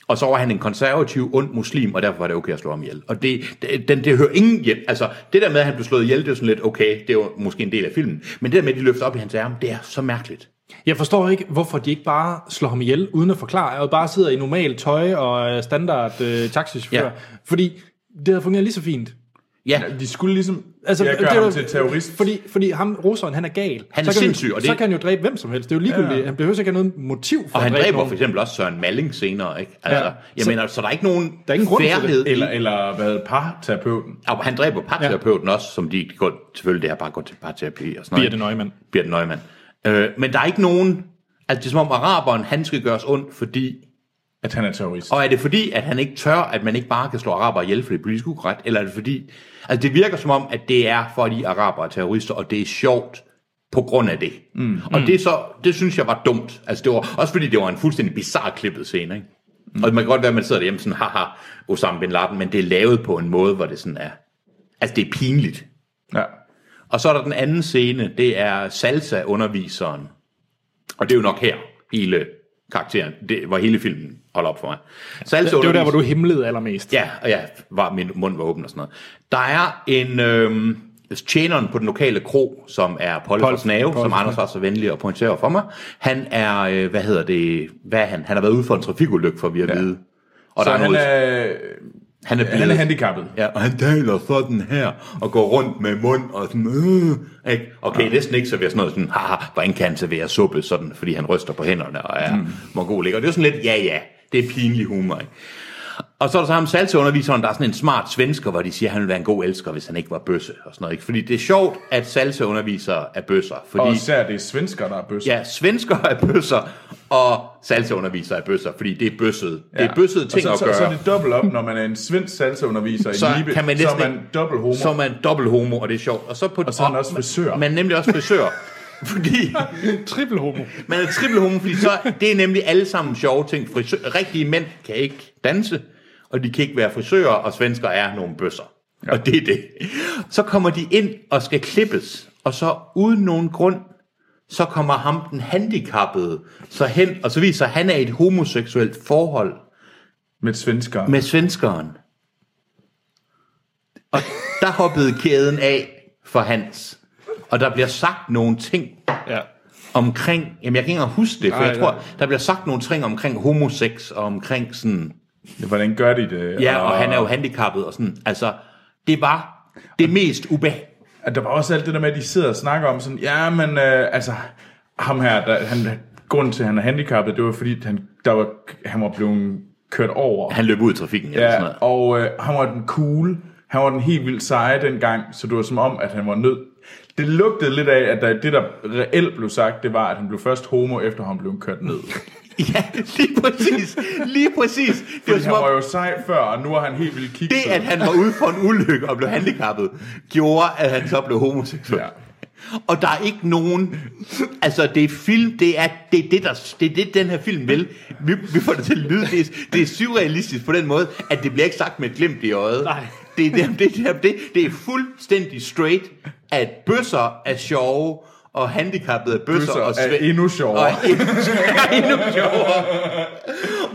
Speaker 3: Og så var han en konservativ, ond muslim, og derfor var det okay at slå ham ihjel. Og det, det, den, det hører ingen hjem. Altså, det der med, at han blev slået ihjel, det er sådan lidt okay, det er jo måske en del af filmen. Men det der med, at de løfter op i hans arm, det er så mærkeligt.
Speaker 1: Jeg forstår ikke, hvorfor de ikke bare slår ham ihjel, uden at forklare, og bare sidder i normalt tøj og er standard øh, taxichauffør.
Speaker 3: Ja.
Speaker 1: Ja. Fordi det havde fungeret lige så fint.
Speaker 3: Ja,
Speaker 2: De skulle ligesom...
Speaker 1: Altså,
Speaker 2: Altså, jeg gør
Speaker 1: det er jo-
Speaker 2: ham til terrorist.
Speaker 1: Fordi, fordi ham, russeren, han er gal.
Speaker 3: Han er
Speaker 1: så kan
Speaker 3: sindssyg,
Speaker 1: jo,
Speaker 3: og
Speaker 1: Så
Speaker 3: det-
Speaker 1: kan han jo dræbe hvem som helst. Det er jo ligegyldigt. Ja. Han behøver ikke have noget motiv for
Speaker 3: og han
Speaker 1: at dræbe
Speaker 3: dræber
Speaker 1: nogen.
Speaker 3: for eksempel også Søren Malling senere, ikke? Altså, ja.
Speaker 1: Ja.
Speaker 3: Jeg
Speaker 1: Så-
Speaker 3: mener, så der er ikke nogen
Speaker 1: er ingen grund til det.
Speaker 3: fairhed i-
Speaker 2: Eller, eller hvad hedder parterapeuten.
Speaker 3: Og han dræber parterapeuten ja. også, som de går, selvfølgelig det her bare går til parterapi og sådan
Speaker 1: Birthe Neumann.
Speaker 3: Birte Nøgman. Øh, men der er ikke nogen, altså det er som om araberen, han skal gøres ondt, fordi,
Speaker 2: At han er terrorist.
Speaker 3: og er det fordi, at han ikke tør, at man ikke bare kan slå araber ihjel, for det er politisk ukorrekt, eller er det fordi, altså det virker som om, at det er fordi araber er terrorister, og det er sjovt på grund af det. Mm. Og det, er så, det synes jeg var dumt. Altså det var, også fordi det var en fuldstændig bizarre klippet scene, ikke? Mm. Og man kan godt være, at man sidder derhjemme sådan, haha, Osama Bin Laden, men det er lavet på en måde, hvor det sådan er, altså det er pinligt.
Speaker 2: Ja.
Speaker 3: Og så er der den anden scene, det er salsa-underviseren. Og det er jo nok her, hele karakteren, det, hvor hele filmen holder op for mig. Så altså
Speaker 1: Det var der,
Speaker 3: undervis-
Speaker 1: hvor du himlede allermest.
Speaker 3: Ja, og ja, var, min mund var åben og sådan noget. Der er en øh, tjeneren på den lokale kro, som er Polly
Speaker 1: Polle-
Speaker 3: Polle, Snave,
Speaker 1: Polle
Speaker 3: som
Speaker 1: fra
Speaker 3: Anders var så venlig at pointere for mig. Han er, øh, hvad hedder det, hvad er han? Han har været ude for en trafikulykke, for vi at vide. Og
Speaker 2: Så
Speaker 3: der er
Speaker 2: han
Speaker 3: noget,
Speaker 2: er,
Speaker 3: han er,
Speaker 2: han er handicappet.
Speaker 3: Ja, og han taler sådan her, og går rundt med mund og sådan, øh, ikke? Okay, ja. næsten ikke serverer sådan noget sådan, haha, hvordan kan han servere suppe sådan, fordi han ryster på hænderne og er mm. mongolik. Og det er jo sådan lidt, ja ja, det er pinlig humor, ikke? Og så er der så ham salseunderviseren, der er sådan en smart svensker, hvor de siger, at han ville være en god elsker, hvis han ikke var bøsse og sådan noget. Ikke? Fordi det er sjovt, at salseundervisere er bøsser. Fordi
Speaker 2: Og især det er svensker, der er bøsser.
Speaker 3: Ja, svensker er bøsser, og salseundervisere er bøsser, fordi det er bøsset. Ja. Det er bøsset ting
Speaker 2: og så,
Speaker 3: at gøre.
Speaker 2: Så, så er det dobbelt op, når man er en svensk salsaunderviser
Speaker 3: så
Speaker 2: i Nibe,
Speaker 3: kan man
Speaker 2: så
Speaker 3: næsten
Speaker 2: er man
Speaker 3: ikke-
Speaker 2: dobbelt homo.
Speaker 3: Så er man dobbelt homo, og det er sjovt. Og så, på,
Speaker 2: Og så er man også frisør.
Speaker 3: Man er nemlig også frisør. fordi
Speaker 1: Triple homo.
Speaker 3: man er triple homo, fordi så, det er nemlig alle sammen sjove ting. Frisør, rigtige mænd kan ikke danse, og de kan ikke være frisører, og svensker er nogle bøsser. Ja. Og det er det. Så kommer de ind og skal klippes, og så uden nogen grund, så kommer ham den handicappede så hen, og så viser at han er i et homoseksuelt forhold
Speaker 2: Med svensker.
Speaker 3: med svenskeren. Og der hoppede kæden af for Hans. Og der bliver sagt nogle ting
Speaker 1: Ja.
Speaker 3: omkring, jamen jeg kan ikke engang huske det, for
Speaker 1: Nej,
Speaker 3: jeg tror,
Speaker 1: nej.
Speaker 3: der bliver sagt nogle ting omkring homosex og omkring sådan,
Speaker 2: Hvordan gør de det?
Speaker 3: ja, og han er jo handicappet og sådan, altså, det var det mest ubehag.
Speaker 2: At der var også alt det der med, at de sidder og snakker om sådan, ja, men øh, altså, ham her, der, han, grunden til, at han er handicappet, det var fordi, han, der var, han var blevet kørt over.
Speaker 3: Han løb ud i trafikken eller sådan
Speaker 2: ja,
Speaker 3: noget.
Speaker 2: og øh, han var den cool, han var den helt vildt seje dengang, så det var som om, at han var nødt. Det lugtede lidt af, at der, det, der reelt blev sagt, det var, at han blev først homo, efter han blev kørt ned.
Speaker 3: Ja, lige præcis, lige præcis. Det var
Speaker 2: Fordi
Speaker 3: som
Speaker 2: han
Speaker 3: om,
Speaker 2: var jo sej før, og nu er han helt vildt kigget.
Speaker 3: det, at han var ude for en ulykke og blev handicappet, gjorde, at han så blev homoseksuel.
Speaker 2: Ja.
Speaker 3: Ja. Og der er ikke nogen... Altså, det er film, det er det, er det, der, det, er det den her film vil. Vi, vi får det til at lyde. Det er, det er surrealistisk på den måde, at det bliver ikke sagt med et glimt i øjet.
Speaker 1: Nej.
Speaker 3: Det, er- det, det, det, det, det er fuldstændig straight, at bøsser er sjove, og handicappede er bøsser,
Speaker 2: Bøsser
Speaker 3: og
Speaker 2: er
Speaker 3: sve-
Speaker 2: endnu sjovere.
Speaker 3: Og er endnu, er endnu sjovere.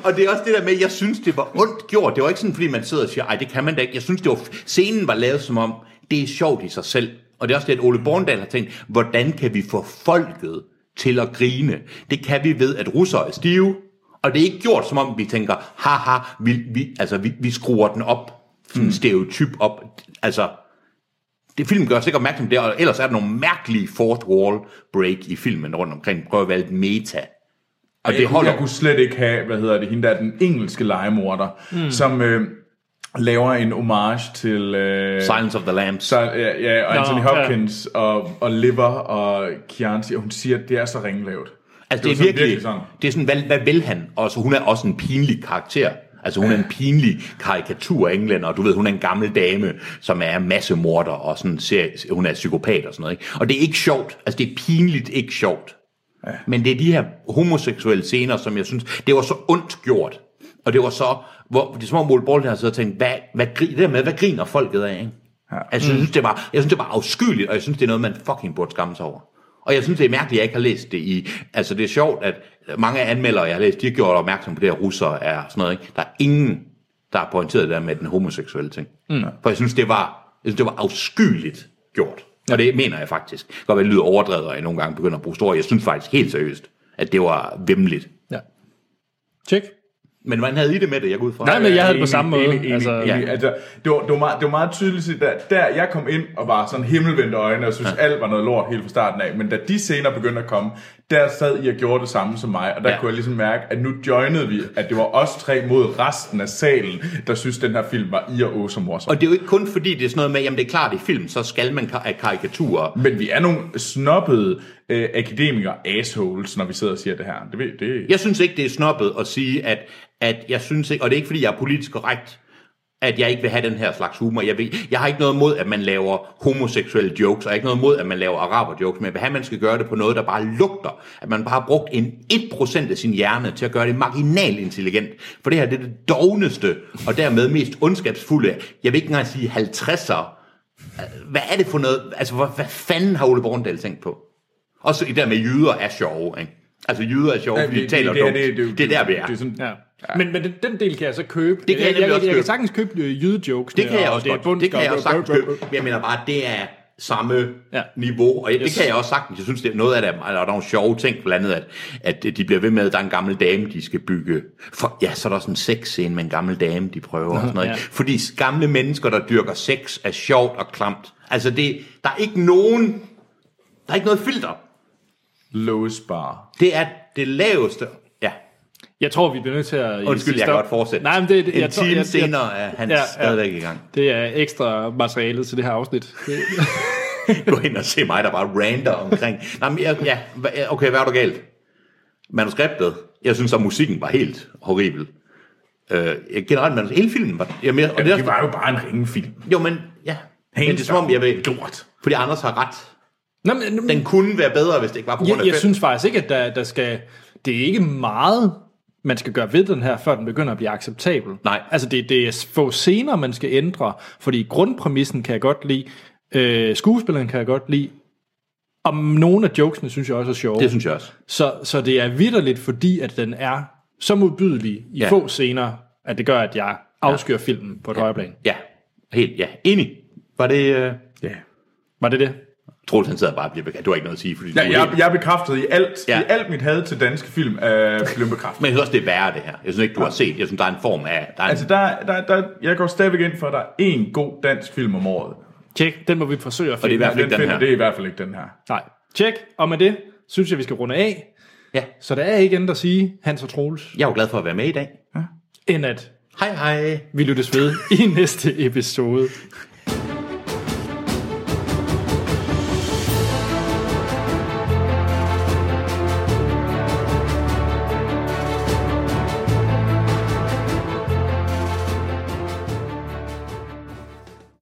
Speaker 3: Og det er også det der med, at jeg synes, det var ondt gjort. Det var ikke sådan, fordi man sidder og siger, ej, det kan man da ikke. Jeg synes, det var scenen var lavet som om, det er sjovt i sig selv. Og det er også det, at Ole Borndal har tænkt, hvordan kan vi få folket til at grine? Det kan vi ved, at russere er stive. Og det er ikke gjort som om, vi tænker, haha, vi, vi, altså, vi, vi skruer den op, sådan en stereotyp op. Altså, det film gør os ikke opmærksom på det, og ellers er der nogle mærkelige fourth wall break i filmen rundt omkring. Prøv at være lidt meta. Og det
Speaker 2: jeg,
Speaker 3: holder.
Speaker 2: jeg kunne slet ikke have, hvad hedder det, hende der, den engelske legemorder, mm.
Speaker 3: Hmm.
Speaker 2: som øh, laver en homage til... Øh,
Speaker 3: Silence of the Lambs.
Speaker 2: så, ja, ja, og Anthony
Speaker 1: Nå, ja.
Speaker 2: Hopkins og, og Liver og Chianti, og hun siger, at det er så ringlavt.
Speaker 3: Altså, det,
Speaker 2: var
Speaker 3: det er virkelig, virkelig
Speaker 2: sådan.
Speaker 3: sådan. det er sådan, hvad, hvad vil han? Og så hun er også en pinlig karakter. Altså hun er en pinlig karikatur af englænder, og du ved, hun er en gammel dame, som er massemorder, og sådan ser, hun er psykopat og sådan noget. Ikke? Og det er ikke sjovt. Altså det er pinligt ikke sjovt. Men det er de her homoseksuelle scener, som jeg synes, det var så ondt gjort. Og det var så, hvor, det er som om Ole Borg har siddet og tænkt, hvad, hvad, gri- det der med, hvad griner folket af, ikke? Ja. Altså, jeg, synes, det var, jeg synes, det var afskyeligt, og jeg synes, det er noget, man fucking burde skamme sig over. Og jeg synes, det er mærkeligt, at jeg ikke har læst det i... Altså, det er sjovt, at mange af anmeldere, jeg har læst, de har gjort opmærksom på det, at russere er sådan noget, ikke? Der er ingen, der har pointeret det der med den homoseksuelle ting. Mm. For jeg synes, det var, jeg synes, det var afskyeligt gjort. Og det mener jeg faktisk. Det kan godt være, det lyder overdrevet, og jeg nogle gange begynder at bruge store. Jeg synes faktisk helt seriøst, at det var vemmeligt.
Speaker 1: ja. Tjek.
Speaker 3: Men hvordan havde I det med det, jeg går ud fra? Øh,
Speaker 1: Nej, men jeg havde det på
Speaker 2: Enig,
Speaker 1: samme måde.
Speaker 2: enig, enig,
Speaker 1: altså,
Speaker 2: enig. Altså, det, var, det, var meget, det var meget tydeligt, at der, der jeg kom ind og var sådan himmelvendte øjne, og synes ja. alt var noget lort helt fra starten af, men da de scener begyndte at komme, der sad I og gjorde det samme som mig, og der ja.
Speaker 3: Ja.
Speaker 2: kunne jeg ligesom mærke, at nu joinede vi, at det var os tre mod resten af salen, der synes, den her film var i og å som morsom.
Speaker 3: Og det er jo ikke kun fordi, det er sådan noget med, jamen det er klart i film, så skal man ka- have karikaturer.
Speaker 2: Men vi er nogle snobbede øh, akademikere assholes, når vi sidder og siger det her. Det, ved- det,
Speaker 3: Jeg synes ikke, det er snobbet at sige, at, at jeg synes ikke, og det er ikke fordi, jeg er politisk korrekt, at jeg ikke vil have den her slags humor. Jeg, vil, jeg har ikke noget mod, at man laver homoseksuelle jokes, og jeg har ikke noget mod, at man laver araber jokes, men jeg vil have, at man skal gøre det på noget, der bare lugter. At man bare har brugt en 1% af sin hjerne til at gøre det marginal intelligent. For det her det er det dogneste, og dermed mest ondskabsfulde. Jeg vil ikke engang sige 50'er. Hvad er det for noget? Altså, hvad, hvad fanden har Ole Borndal tænkt på? Også i der med jyder er sjove, ikke? Altså, jyder er sjovt, fordi de taler dumt. Det er der, vi er.
Speaker 2: Det er sådan,
Speaker 1: Ja. Men, men den, den del kan jeg så købe.
Speaker 3: kan jeg
Speaker 1: jeg,
Speaker 3: nemlig
Speaker 1: jeg, jeg,
Speaker 3: også
Speaker 1: jeg
Speaker 3: købe.
Speaker 1: kan sagtens købe øh, jydejokes.
Speaker 3: Det kan jeg også
Speaker 1: det er
Speaker 3: godt. Det kan jeg også
Speaker 1: bundskab,
Speaker 3: sagtens
Speaker 1: øh, øh, øh,
Speaker 3: købe. Men jeg mener bare, det er samme ja.
Speaker 1: Ja.
Speaker 3: niveau, og yes. det
Speaker 1: Yes.
Speaker 3: kan jeg også sagtens. Jeg synes, det er noget af det, og der er nogle sjove ting, blandt andet, at, at de bliver ved med, at der er en gammel dame, de skal bygge. For, ja, så er der sådan en sexscene med en gammel dame, de prøver og sådan noget. Ja.
Speaker 1: ja.
Speaker 3: Fordi gamle mennesker, der dyrker sex, er sjovt og klamt. Altså, det, der er ikke nogen... Der er ikke noget filter.
Speaker 2: lowest bar.
Speaker 3: Det er det laveste... Ja,
Speaker 1: Jeg tror, vi bliver nødt til at...
Speaker 3: undskyld, jeg kan godt fortsætte.
Speaker 1: Nej, men det, det-
Speaker 3: en
Speaker 1: jeg tror-
Speaker 3: time
Speaker 1: jeg- jeg-
Speaker 3: senere er han
Speaker 1: Ja, ja.
Speaker 3: stadigvæk i gang.
Speaker 1: Det er ekstra materialet til det her afsnit. Det,
Speaker 3: gå ind og se mig, der bare rander omkring. Nej, men jeg, ja, hva- okay, hvad er du galt? Manuskriptet. Jeg synes, at musikken var helt horribel. Øh, generelt, manus, hele filmen var... Jeg mere, og det, er
Speaker 2: Det, det
Speaker 3: også-
Speaker 2: var jo bare en ringfilm.
Speaker 3: jo, men ja. Men det er som om, jeg ved... Lort. Fordi Anders har ret.
Speaker 1: Nå, men, nu-
Speaker 3: Den kunne være bedre, hvis det ikke var på grund af
Speaker 1: jeg, jeg
Speaker 3: fem.
Speaker 1: synes faktisk ikke, at der, der skal... Det er ikke meget, man skal gøre ved den her, før den begynder at blive acceptabel.
Speaker 3: Nej.
Speaker 1: Altså, det, det er få scener, man skal ændre, fordi grundpræmissen kan jeg godt lide, øh, skuespilleren kan jeg godt lide, og nogle af jokesene synes jeg også er sjove.
Speaker 3: Det synes jeg også.
Speaker 1: Så, så det er vidderligt, fordi at den er så modbydelig i
Speaker 3: Ja.
Speaker 1: ja. få scener, at det gør, at jeg afskyr ja. filmen på et ja. højere plan.
Speaker 3: Ja, helt, ja. Enig. Var det... Øh...
Speaker 2: Ja.
Speaker 1: Var det det?
Speaker 3: Troels, han sidder bare og bliver bekendt. Du har ikke noget at sige, fordi du
Speaker 2: Ja,
Speaker 3: er
Speaker 2: jeg,
Speaker 3: helt-
Speaker 2: jeg er bekræftet i alt,
Speaker 3: Ja.
Speaker 2: ja. i alt mit had til danske film er blevet bekræftet.
Speaker 3: Men jeg synes også, det er værre, det her. Jeg synes ikke, du har set. Jeg synes, der er en form af... Der er en...
Speaker 2: Altså, der, der, der, jeg går stadigvæk ind for, at der er én god dansk film om året.
Speaker 1: Tjek, den må vi forsøge at
Speaker 3: det er i
Speaker 1: finde.
Speaker 3: hvert
Speaker 2: Den
Speaker 3: fald ikke den
Speaker 2: finder,
Speaker 3: her.
Speaker 2: det er i hvert fald ikke den her.
Speaker 1: Nej. Tjek, og med det synes jeg, vi skal runde af.
Speaker 3: Ja.
Speaker 1: Så der er ikke andet at sige, Hans og Troels,
Speaker 3: Jeg er jo glad for at være med i dag.
Speaker 1: end at
Speaker 3: Hej, hej.
Speaker 1: vi lyttes ved i næste episode.